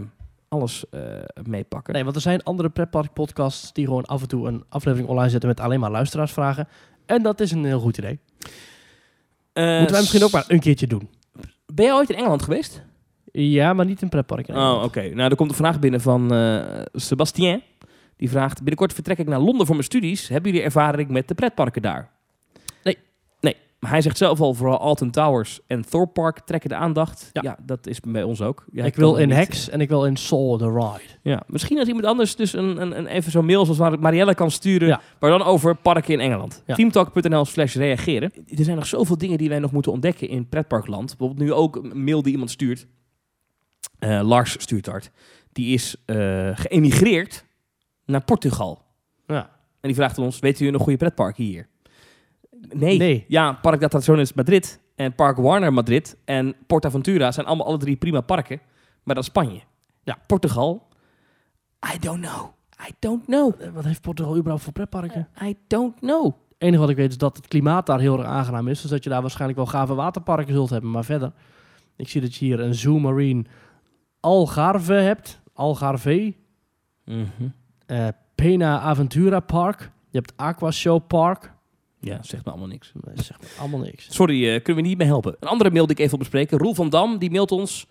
alles eh, meepakken.
Nee, want er zijn andere pretpark podcasts die gewoon af en toe een aflevering online zetten met alleen maar luisteraarsvragen. En dat is een heel goed idee.
Eh,
Moeten wij misschien ook maar
s-
een keertje doen.
Ben jij ooit in Engeland geweest?
Ja, maar niet in pretpark. in
Oh,
Nederland.
oké. Nou, er komt een vraag binnen van eh, Sebastien. Die vraagt, binnenkort vertrek ik naar Londen voor mijn studies. Hebben jullie ervaring met de pretparken daar?
Nee.
Nee. Maar hij zegt zelf al, vooral Alton Towers en Thorpe Park trekken de aandacht. Ja,
Ja.
dat is bij ons ook. Ja,
ik
kan
wil in
niet- eh.
Hex en ik wil in Soul the Ride.
Ja. Misschien als iemand anders dus een, een, een even zo'n mail zoals waar Marielle kan sturen.
Ja.
Maar dan over parken in Engeland.
Ja.
Teamtalk.nl slash reageren. Er zijn nog zoveel dingen die wij nog moeten ontdekken in pretparkland. Bijvoorbeeld nu ook een mail die iemand stuurt. Eh, Lars stuurt dat. Die is eh, geëmigreerd naar Portugal.
Ja.
En die vraagt aan ons, weet u een goede pretpark hier? Nee.
Nee.
Ja, Park dat Atraciones Madrid en Park Warner Madrid en Portaventura zijn allemaal alle drie prima parken. Maar dan Spanje.
Ja.
Portugal. I don't know. I don't know.
Eh, Wat heeft Portugal überhaupt voor pretparken?
I don't know.
Het enige wat ik weet is dat het klimaat daar heel erg aangenaam is. Dus dat je daar waarschijnlijk wel gave waterparken zult hebben. Maar verder, ik zie dat je hier een Zoo Marine Algarve hebt. Algarve.
Mhm.
Eh, Pena Aventura Park. Je hebt Aqua Show Park.
Ja, zegt me allemaal niks.
Nee, zeg maar allemaal niks.
Sorry, eh, kunnen we niet mee helpen. Een andere mail die ik even wil bespreken. Roel van Dam, die mailt ons.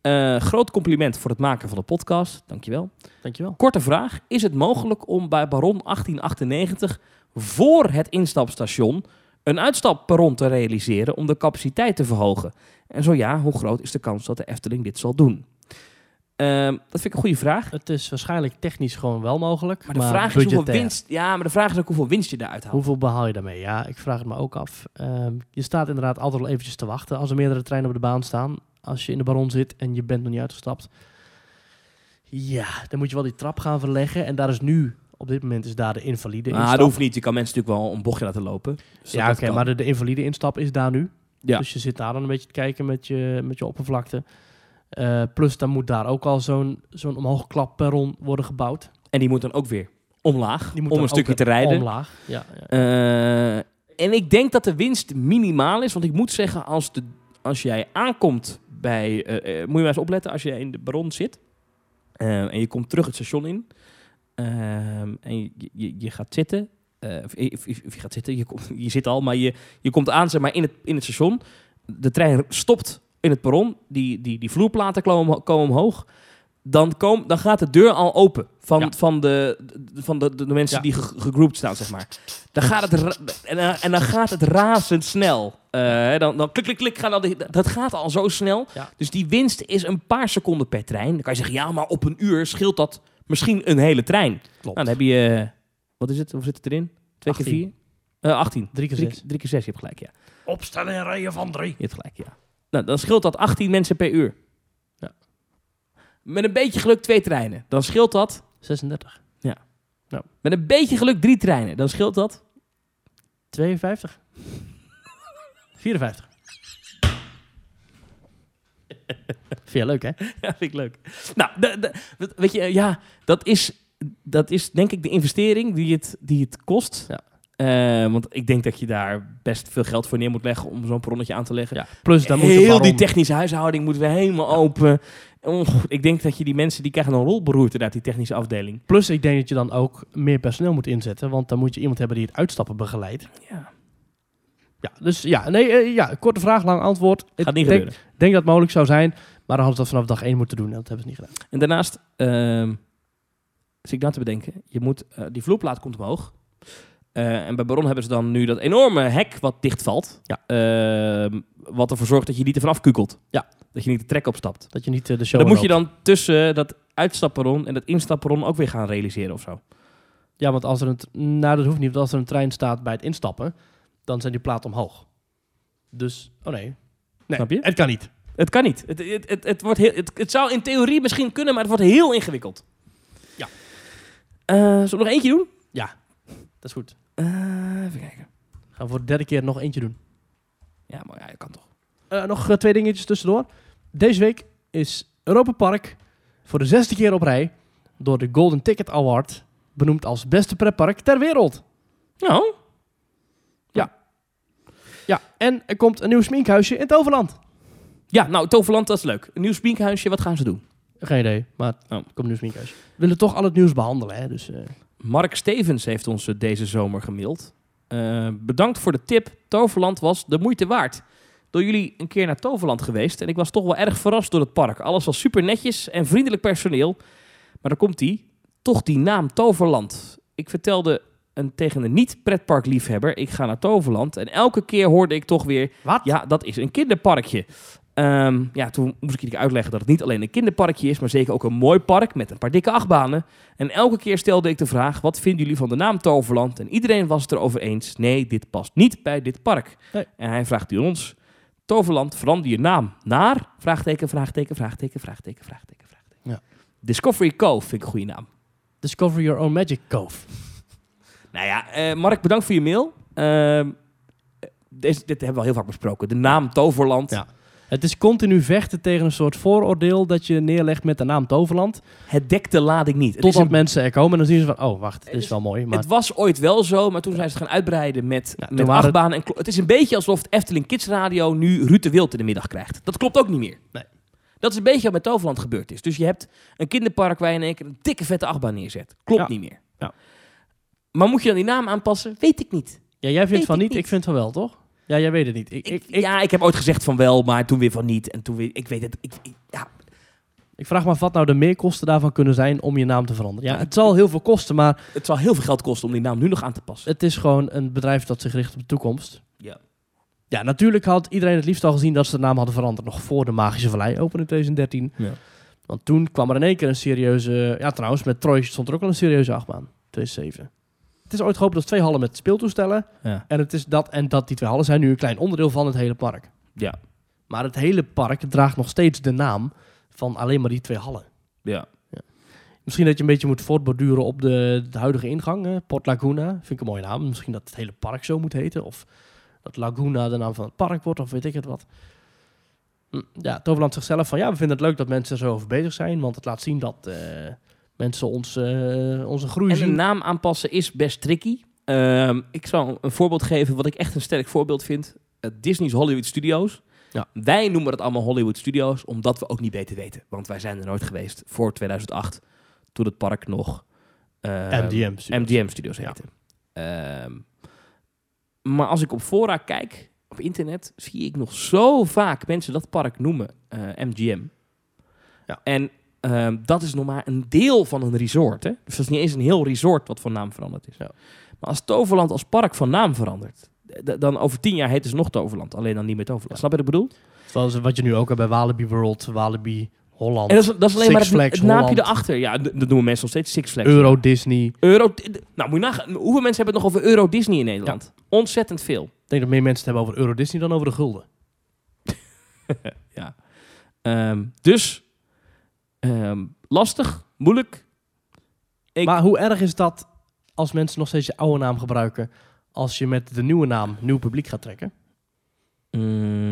eh, groot compliment voor het maken van de podcast. Dankjewel.
Dankjewel.
Korte vraag. Is het mogelijk om bij Baron 1898 voor het instapstation een uitstapperron te realiseren om de capaciteit te verhogen? En zo ja, hoe groot is de kans dat de Efteling dit zal doen? Ehm, dat vind ik een goede vraag.
Het is waarschijnlijk technisch gewoon wel mogelijk.
Maar de vraag is hoeveel
budgetair.
winst, ja, maar de vraag is ook hoeveel winst je daaruit haalt.
Hoeveel behaal je daarmee? Ja, ik vraag het me ook af. Ehm, je staat inderdaad altijd wel eventjes te wachten als er meerdere treinen op de baan staan. Als je in de baron zit en je bent nog niet uitgestapt. Ja, dan moet je wel die trap gaan verleggen. En daar is nu, op dit moment is daar de invalide
ah,
instap.
dat hoeft niet. Je kan mensen natuurlijk wel een bochtje laten lopen. Dus
ja,
dat-
oké,
dat kan.
maar de, de invalide instap is daar nu.
Ja.
Dus je zit daar dan een beetje te kijken met je, met je oppervlakte. Eh, plus, dan moet daar ook al zo'n zo'n omhoogklapperron worden gebouwd.
En die moet dan ook weer omlaag
Die moet
om
dan
een
ook
stukje te
weer
rijden.
Omlaag. Ja, ja.
Eh, en ik denk dat de winst minimaal is. Want ik moet zeggen, als, de, als jij aankomt bij... eh, eh, moet je maar eens opletten, als je in de baron zit... eh, en je komt terug het station in... ehm, en je, je, je gaat zitten... eh, of, of- of- of je gaat zitten, je, komt, je zit al, maar je, je komt aan zeg maar, in, het, in het station. De trein stopt in het perron. Die, die, die vloerplaten komen, komen omhoog. Dan, kom, dan gaat de deur al open van,
Ja.
van, de, de- van de, de mensen
Ja.
die ge- gegroept staan, zeg maar. Dan gaat het, ra- en, dan- en dan gaat het razendsnel. Eh, hè, dan, dan klik, klik, klik. Gaan al die, dat gaat al zo snel.
Ja.
Dus die winst is een paar seconden per trein. Dan kan je zeggen, ja, maar op een uur scheelt dat misschien een hele trein.
Klopt.
Nou, dan heb je... eh, wat is het? Hoe zit het erin? Twee
18.
keer vier? Eh 18.
Drie keer
Drie,
zes.
drie keer zes, je hebt gelijk, ja.
Opstellen in rijen van drie.
Je hebt gelijk, ja. Nou, dan scheelt dat 18 mensen per uur.
Ja.
Met een beetje geluk twee treinen. Dan scheelt dat...
36.
Met een beetje geluk drie treinen. Dan scheelt dat...
52. 54. Vind je leuk, hè?
Ja, vind ik leuk. Nou, de- de- weet je, eh, ja, dat is, dat is denk ik de investering die het, die het kost.
Ja.
Eh, want ik denk dat je daar best veel geld voor neer moet leggen om zo'n perronnetje aan te leggen. Dus
Ja, plus daar moet een
Heel
baron-
die technische huishouding moeten we helemaal open. Och, ik denk dat je die mensen, die krijgen een rolberoerte uit die technische afdeling.
Plus ik denk dat je dan ook meer personeel moet inzetten, want dan moet je iemand hebben die het uitstappen begeleidt.
Ja.
Ja, dus ja, nee, eh, ja, korte vraag, lang antwoord. Ik
Gaat niet
denk,
gebeuren.
denk dat het mogelijk zou zijn, maar dan hadden ze dat vanaf dag één moeten doen en dat hebben ze niet gedaan.
En daarnaast, ehm zit ik nou te bedenken, je moet, eh, die vloerplaat komt omhoog. Eh, en bij Baron hebben ze dan nu dat enorme hek wat dichtvalt.
Ja.
Ehm, wat ervoor zorgt dat je niet ervan afkukelt.
Ja.
Dat je niet de trek opstapt.
Dat je niet eh, de show
Dan moet je
aanloopt.
dan tussen dat uitstapperon en dat instapperon ook weer gaan realiseren of zo.
Ja, want als er een, t- nou dat hoeft niet, want als er een trein staat bij het instappen, dan zijn die platen omhoog. Dus, oh nee. nee
Snap je?
Het kan niet.
Het kan niet. Het, het, het, het, wordt heel, het, het zou in theorie misschien kunnen, maar het wordt heel ingewikkeld.
Ja.
Eh, zullen we nog eentje doen?
Dat is goed.
Eh, even kijken.
Gaan we voor de derde keer nog eentje doen.
Ja, maar ja, dat kan toch.
Eh, nog eh, twee dingetjes tussendoor. Deze week is Europa Park voor de zesde keer op rij door de Golden Ticket Award benoemd als beste pretpark ter wereld.
Nou,
Ja, en er komt een nieuw sminkhuisje in Toverland.
ja, nou, Toverland, dat is leuk. Een nieuw spinkhuisje, wat gaan ze doen?
Geen idee, maar
Oh.
er komt een nieuw sminkhuisje. We willen toch al het nieuws behandelen, hè? Dus, eh,
Mark Stevens heeft ons eh, deze zomer gemaild. Eh, bedankt voor de tip. Toverland was de moeite waard. Door jullie een keer naar Toverland geweest en ik was toch wel erg verrast door het park. Alles was super netjes en vriendelijk personeel. Maar dan komt die, toch die naam Toverland. Ik vertelde een, tegen een niet-pretparkliefhebber, ik ga naar Toverland. En elke keer hoorde ik toch weer,
Wat?
ja, dat is een kinderparkje. Ehm, ja, toen moest ik iedere uitleggen dat het niet alleen een kinderparkje is, maar zeker ook een mooi park met een paar dikke achtbanen. En elke keer stelde ik de vraag: wat vinden jullie van de naam Toverland? En iedereen was het erover eens: nee, dit past niet bij dit park.
Nee.
En hij vraagt nu aan ons: Toverland, verander je naam naar? Vraagteken, vraagteken, vraagteken, vraagteken, vraagteken, vraagteken.
Ja.
Discovery Cove vind ik een goede naam.
Discover Your Own Magic Cove.
Nou ja, eh, Mark, bedankt voor je mail. Ehm, deze, dit hebben we al heel vaak besproken. De naam Toverland.
Ja. Het is continu vechten tegen een soort vooroordeel dat je neerlegt met de naam Toverland.
Het dekt de lading niet. Het, is
Totdat
een-
mensen er komen en dan zien ze van, oh wacht, dit
Het
is wel mooi. Maar
het was ooit wel zo, maar toen zijn ze het gaan uitbreiden met,
Ja, toen
met
waren-
achtbanen. En klo- het is een beetje alsof de Efteling Kids Radio nu Ruud de Wild in de middag krijgt. Dat klopt ook niet meer.
Nee.
Dat is een beetje wat met Toverland gebeurd is. Dus je hebt een kinderpark waar je in één keer een dikke vette achtbaan neerzet. Klopt
Ja.
niet meer.
Ja.
Maar moet je dan die naam aanpassen? Weet ik niet.
ja, jij vindt
weet
van
ik
niet,
niet.
ik vind van wel, toch? Ja, jij weet het niet. Ik, ik,
Ik,
ik,
ja, ik heb ooit gezegd van wel, maar toen weer van niet. En toen weer, ik weet het. Ik, ik- ja,
ik vraag me af wat nou de meerkosten daarvan kunnen zijn om je naam te veranderen. Ja, het zal heel veel kosten, maar
het zal heel veel geld kosten om die naam nu nog aan te passen.
Het is gewoon een bedrijf dat zich richt op de toekomst.
Ja.
Ja, natuurlijk had iedereen het liefst al gezien dat ze de naam hadden veranderd. Nog voor de Magische Vallei open in 2013.
Ja.
Want toen kwam er in één keer een serieuze... Ja, trouwens, met Troy stond er ook al een serieuze achtbaan. 2007. Het is ooit gehoopt als twee hallen met speeltoestellen.
Ja.
En, het is dat, en dat die twee hallen zijn nu een klein onderdeel van het hele park.
Ja.
Maar het hele park draagt nog steeds de naam van alleen maar die twee hallen.
Ja.
Misschien dat je een beetje moet voortborduren op de, de huidige ingang. eh, Port Laguna, vind ik een mooie naam. Misschien dat het hele park zo moet heten. Of dat Laguna de naam van het park wordt, of weet ik het wat. Hm, Ja, Toverland zichzelf van... Ja, we vinden het leuk dat mensen er zo over bezig zijn. Want het laat zien dat eh, mensen ons, eh, onze groei
En een
zien.
naam aanpassen is best tricky. Ehm, ik zal een voorbeeld geven wat ik echt een sterk voorbeeld vind. Eh, Disney's Hollywood Studios.
Ja.
Wij noemen het allemaal Hollywood Studios, omdat we ook niet beter weten. Want wij zijn er nooit geweest voor 2008, toen het park nog ehm,
MDM. super.
MGM Studios heette. Ehm, maar als ik op fora kijk, op internet, zie ik nog zo vaak mensen dat park noemen eh, MGM.
Ja.
En ehm, dat is nog maar een deel van een resort. Hè? Dus dat is niet eens een heel resort wat van naam veranderd is.
Ja.
Maar als Toverland als park van naam verandert, d- dan over tien jaar heet het dus nog Toverland. Alleen dan niet meer Toverland. Snap je wat ik bedoel?
Zoals wat je nu ook hebt bij Walibi World, Walibi Holland,
En dat is, dat is alleen
Six
maar het,
Flags
het naapje
Holland.
erachter. Ja, d- dat noemen mensen nog steeds Six Flags.
Euro Disney. Ik
Euro. Nou, moet je nagaan. Hoeveel mensen hebben het nog over Euro Disney in Nederland? Ontzettend veel.
denk dat meer mensen het hebben over Euro Disney dan over de gulden.
Ja. Ehm, dus ehm, lastig, moeilijk. Ik-
Maar hoe erg is dat als mensen nog steeds je oude naam gebruiken... als je met de nieuwe naam nieuw publiek gaat trekken?
Ehm,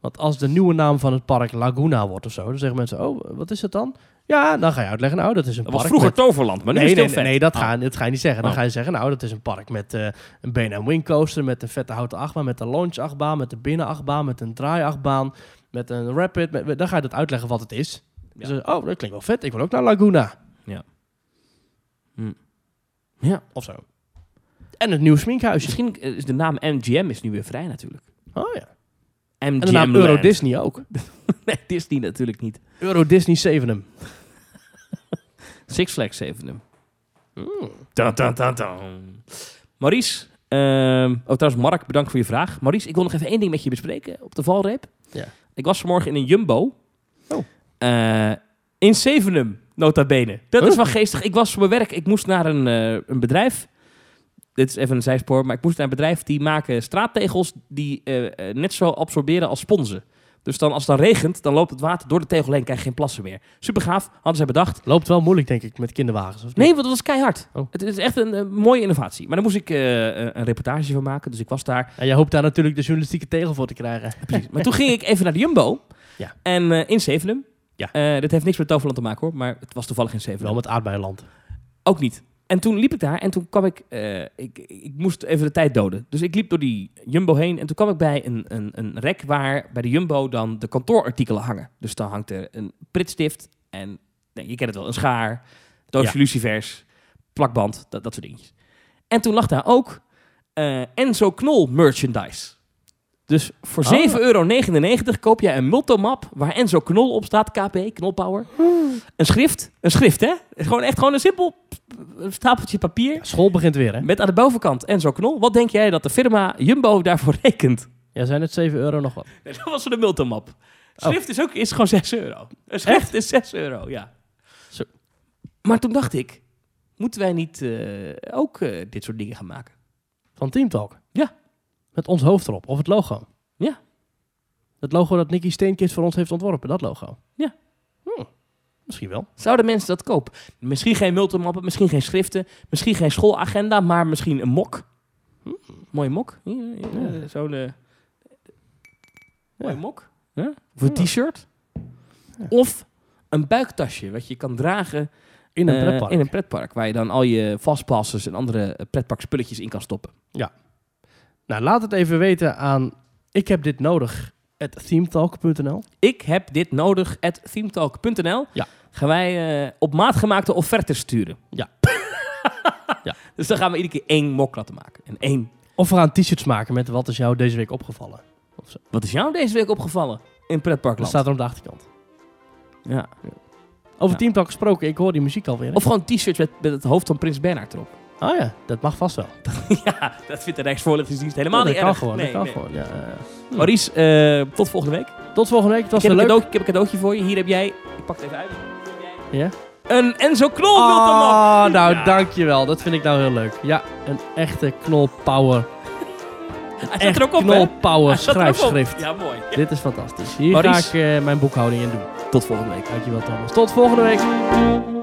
Want als de nieuwe naam van het park Laguna wordt of zo... dan zeggen mensen, oh, wat is het dan? Ja, Ja, dan ga je uitleggen, nou, dat is een
Dat was
park
vroeger
met-
Toverland, maar nu
nee,
is het
nee,
heel
nee,
vet.
nee, dat,
Oh.
ga, dat ga je niet zeggen. Dan
Oh.
ga je zeggen, nou, dat is een park met eh, een been- en coaster met een vette houten achtbaan, met een launch-achtbaan, met een binnen-achtbaan, met een draai-achtbaan, met een rapid. Met, met- dan ga je dat uitleggen wat het is. Dus, eh, oh, dat klinkt wel vet. Ik wil ook naar Laguna.
Ja. Hm.
Hm. Ja, of zo. En het nieuwe sminkhuisje.
Misschien eh, is de naam MGM is nu weer vrij natuurlijk.
Oh ja.
MGM
En de naam
Land.
Euro Disney ook.
Nee, Disney natuurlijk niet.
Euro Disney Sevenum.
Six Flags Sevenum. Hm.
Hmm.
Tan, tan, tan, tan. Maurice, ehm, oh trouwens Mark, bedankt voor je vraag. Maurice, ik wil nog even één ding met je bespreken op de valreep.
Ja.
Ik was vanmorgen in een Jumbo.
Oh.
Eh, in Zevenum, nota bene. Dat is
Huh?
wel geestig. Ik was voor mijn werk, ik moest naar een, eh, een bedrijf. Dit is even een zijspoor, maar ik moest naar een bedrijf die maken straattegels die eh, eh, net zo absorberen als sponsen. Dus dan, als het dan regent, dan loopt het water door de tegel heen, krijg je geen plassen meer. Super gaaf, hadden zij bedacht.
Loopt wel moeilijk, denk ik, met kinderwagens. Of niet?
Nee, want dat was keihard.
Oh.
Het is echt een, eh, mooie innovatie. Maar daar moest ik eh, eh, een reportage van maken. Dus ik was daar.
En jij hoopt daar natuurlijk de journalistieke tegel voor te krijgen.
Maar toen ging ik even naar de Jumbo.
Ja.
En eh, in Zevenum.
Ja.
Eh, dit heeft niks met Toverland te maken hoor. Maar het was toevallig in Zevenum.
Wel met aardbeienland.
Ook niet. En toen liep ik daar en toen kwam ik, eh, ik... Ik moest even de tijd doden. Dus ik liep door die Jumbo heen. En toen kwam ik bij een, een, een rek waar bij de Jumbo dan de kantoorartikelen hangen. Dus dan hangt er een pritstift en... Nee, je kent het wel, een schaar, doosje lucifers, plakband, dat, dat soort dingetjes. En toen lag daar ook eh, Enzo Knol merchandise. Dus voor
Ah.
7,99 euro koop jij een multomap waar Enzo Knol op staat, KP, Knolpower. Een schrift, een schrift hè? Gewoon echt gewoon een simpel stapeltje papier.
Ja, school begint weer, hè?
Met aan de bovenkant Enzo Knol. Wat denk jij dat de firma Jumbo daarvoor rekent?
Ja, zijn het 7 euro nog wat?
Nee, dat was voor de multimap. Schrift is, ook, is gewoon 6 euro. Een schrift is 6 euro, ja.
Zo.
Maar toen dacht ik, moeten wij niet eh, ook eh, dit soort dingen gaan maken?
Van Teamtalk?
Ja.
Met ons hoofd erop. Of het logo?
Ja.
Het logo dat Nicky Steenkist voor ons heeft ontworpen. Dat logo?
Ja.
Hm, Misschien wel.
Zouden mensen dat kopen? Misschien geen multimappen, misschien geen schriften, misschien geen schoolagenda, maar misschien een mok. Hm? Mooie mok. Hier, hier, eh, Zo'n eh, mooie mok. Huh? Of een
Ja.
t-shirt.
Ja.
Of een buiktasje, wat je kan dragen
In een
eh,
pretpark.
in een pretpark. Waar je dan al je fastpassers en andere eh, pretparkspulletjes in kan stoppen.
Nou, laat het even weten aan ik heb dit nodig. at themetalk.nl.
Ik heb dit nodig at themetalk.nl.
Ja.
Gaan wij eh, op maat gemaakte offertes sturen.
Ja. Ja.
Dus dan gaan we iedere keer één mok laten maken. En één.
Of we gaan t-shirts maken met wat is jou deze week opgevallen.
Wat is jou deze week opgevallen in
Dat
pretparkland?
staat er op de achterkant.
ja.
Over
Ja.
Teamtalk gesproken, ik hoor die muziek alweer. hè?
Of gewoon t-shirts met, met het hoofd van Prins Bernhard erop.
Ah ja, dat mag vast wel.
ja, dat vindt de Rijksvoorlichtingsdienst helemaal
Oh, dat
niet
kan
erg.
gewoon.
Nee,
dat kan
nee.
gewoon. Ja, ja, ja.
Maurice, eh, tot volgende week.
Tot volgende week. Het
Ik
was
heb,
weer
een
leuk.
cadeautje, ik heb een cadeautje voor je. Hier heb jij... Ik pak het even uit.
Ja?
Een Enzo Knol multimap.
Ah, nou
Ja.
dankjewel. Dat vind ik nou heel leuk. Ja, een echte knolpower.
Hij staat
Echt
er ook op, hè?
knolpower
Hij staat er ook op.
schrijfschrift.
Ja, mooi.
Dit is fantastisch. Hier
Maurice.
ga ik eh, mijn boekhouding in doen.
Tot volgende week.
Dankjewel Thomas. Tot volgende week.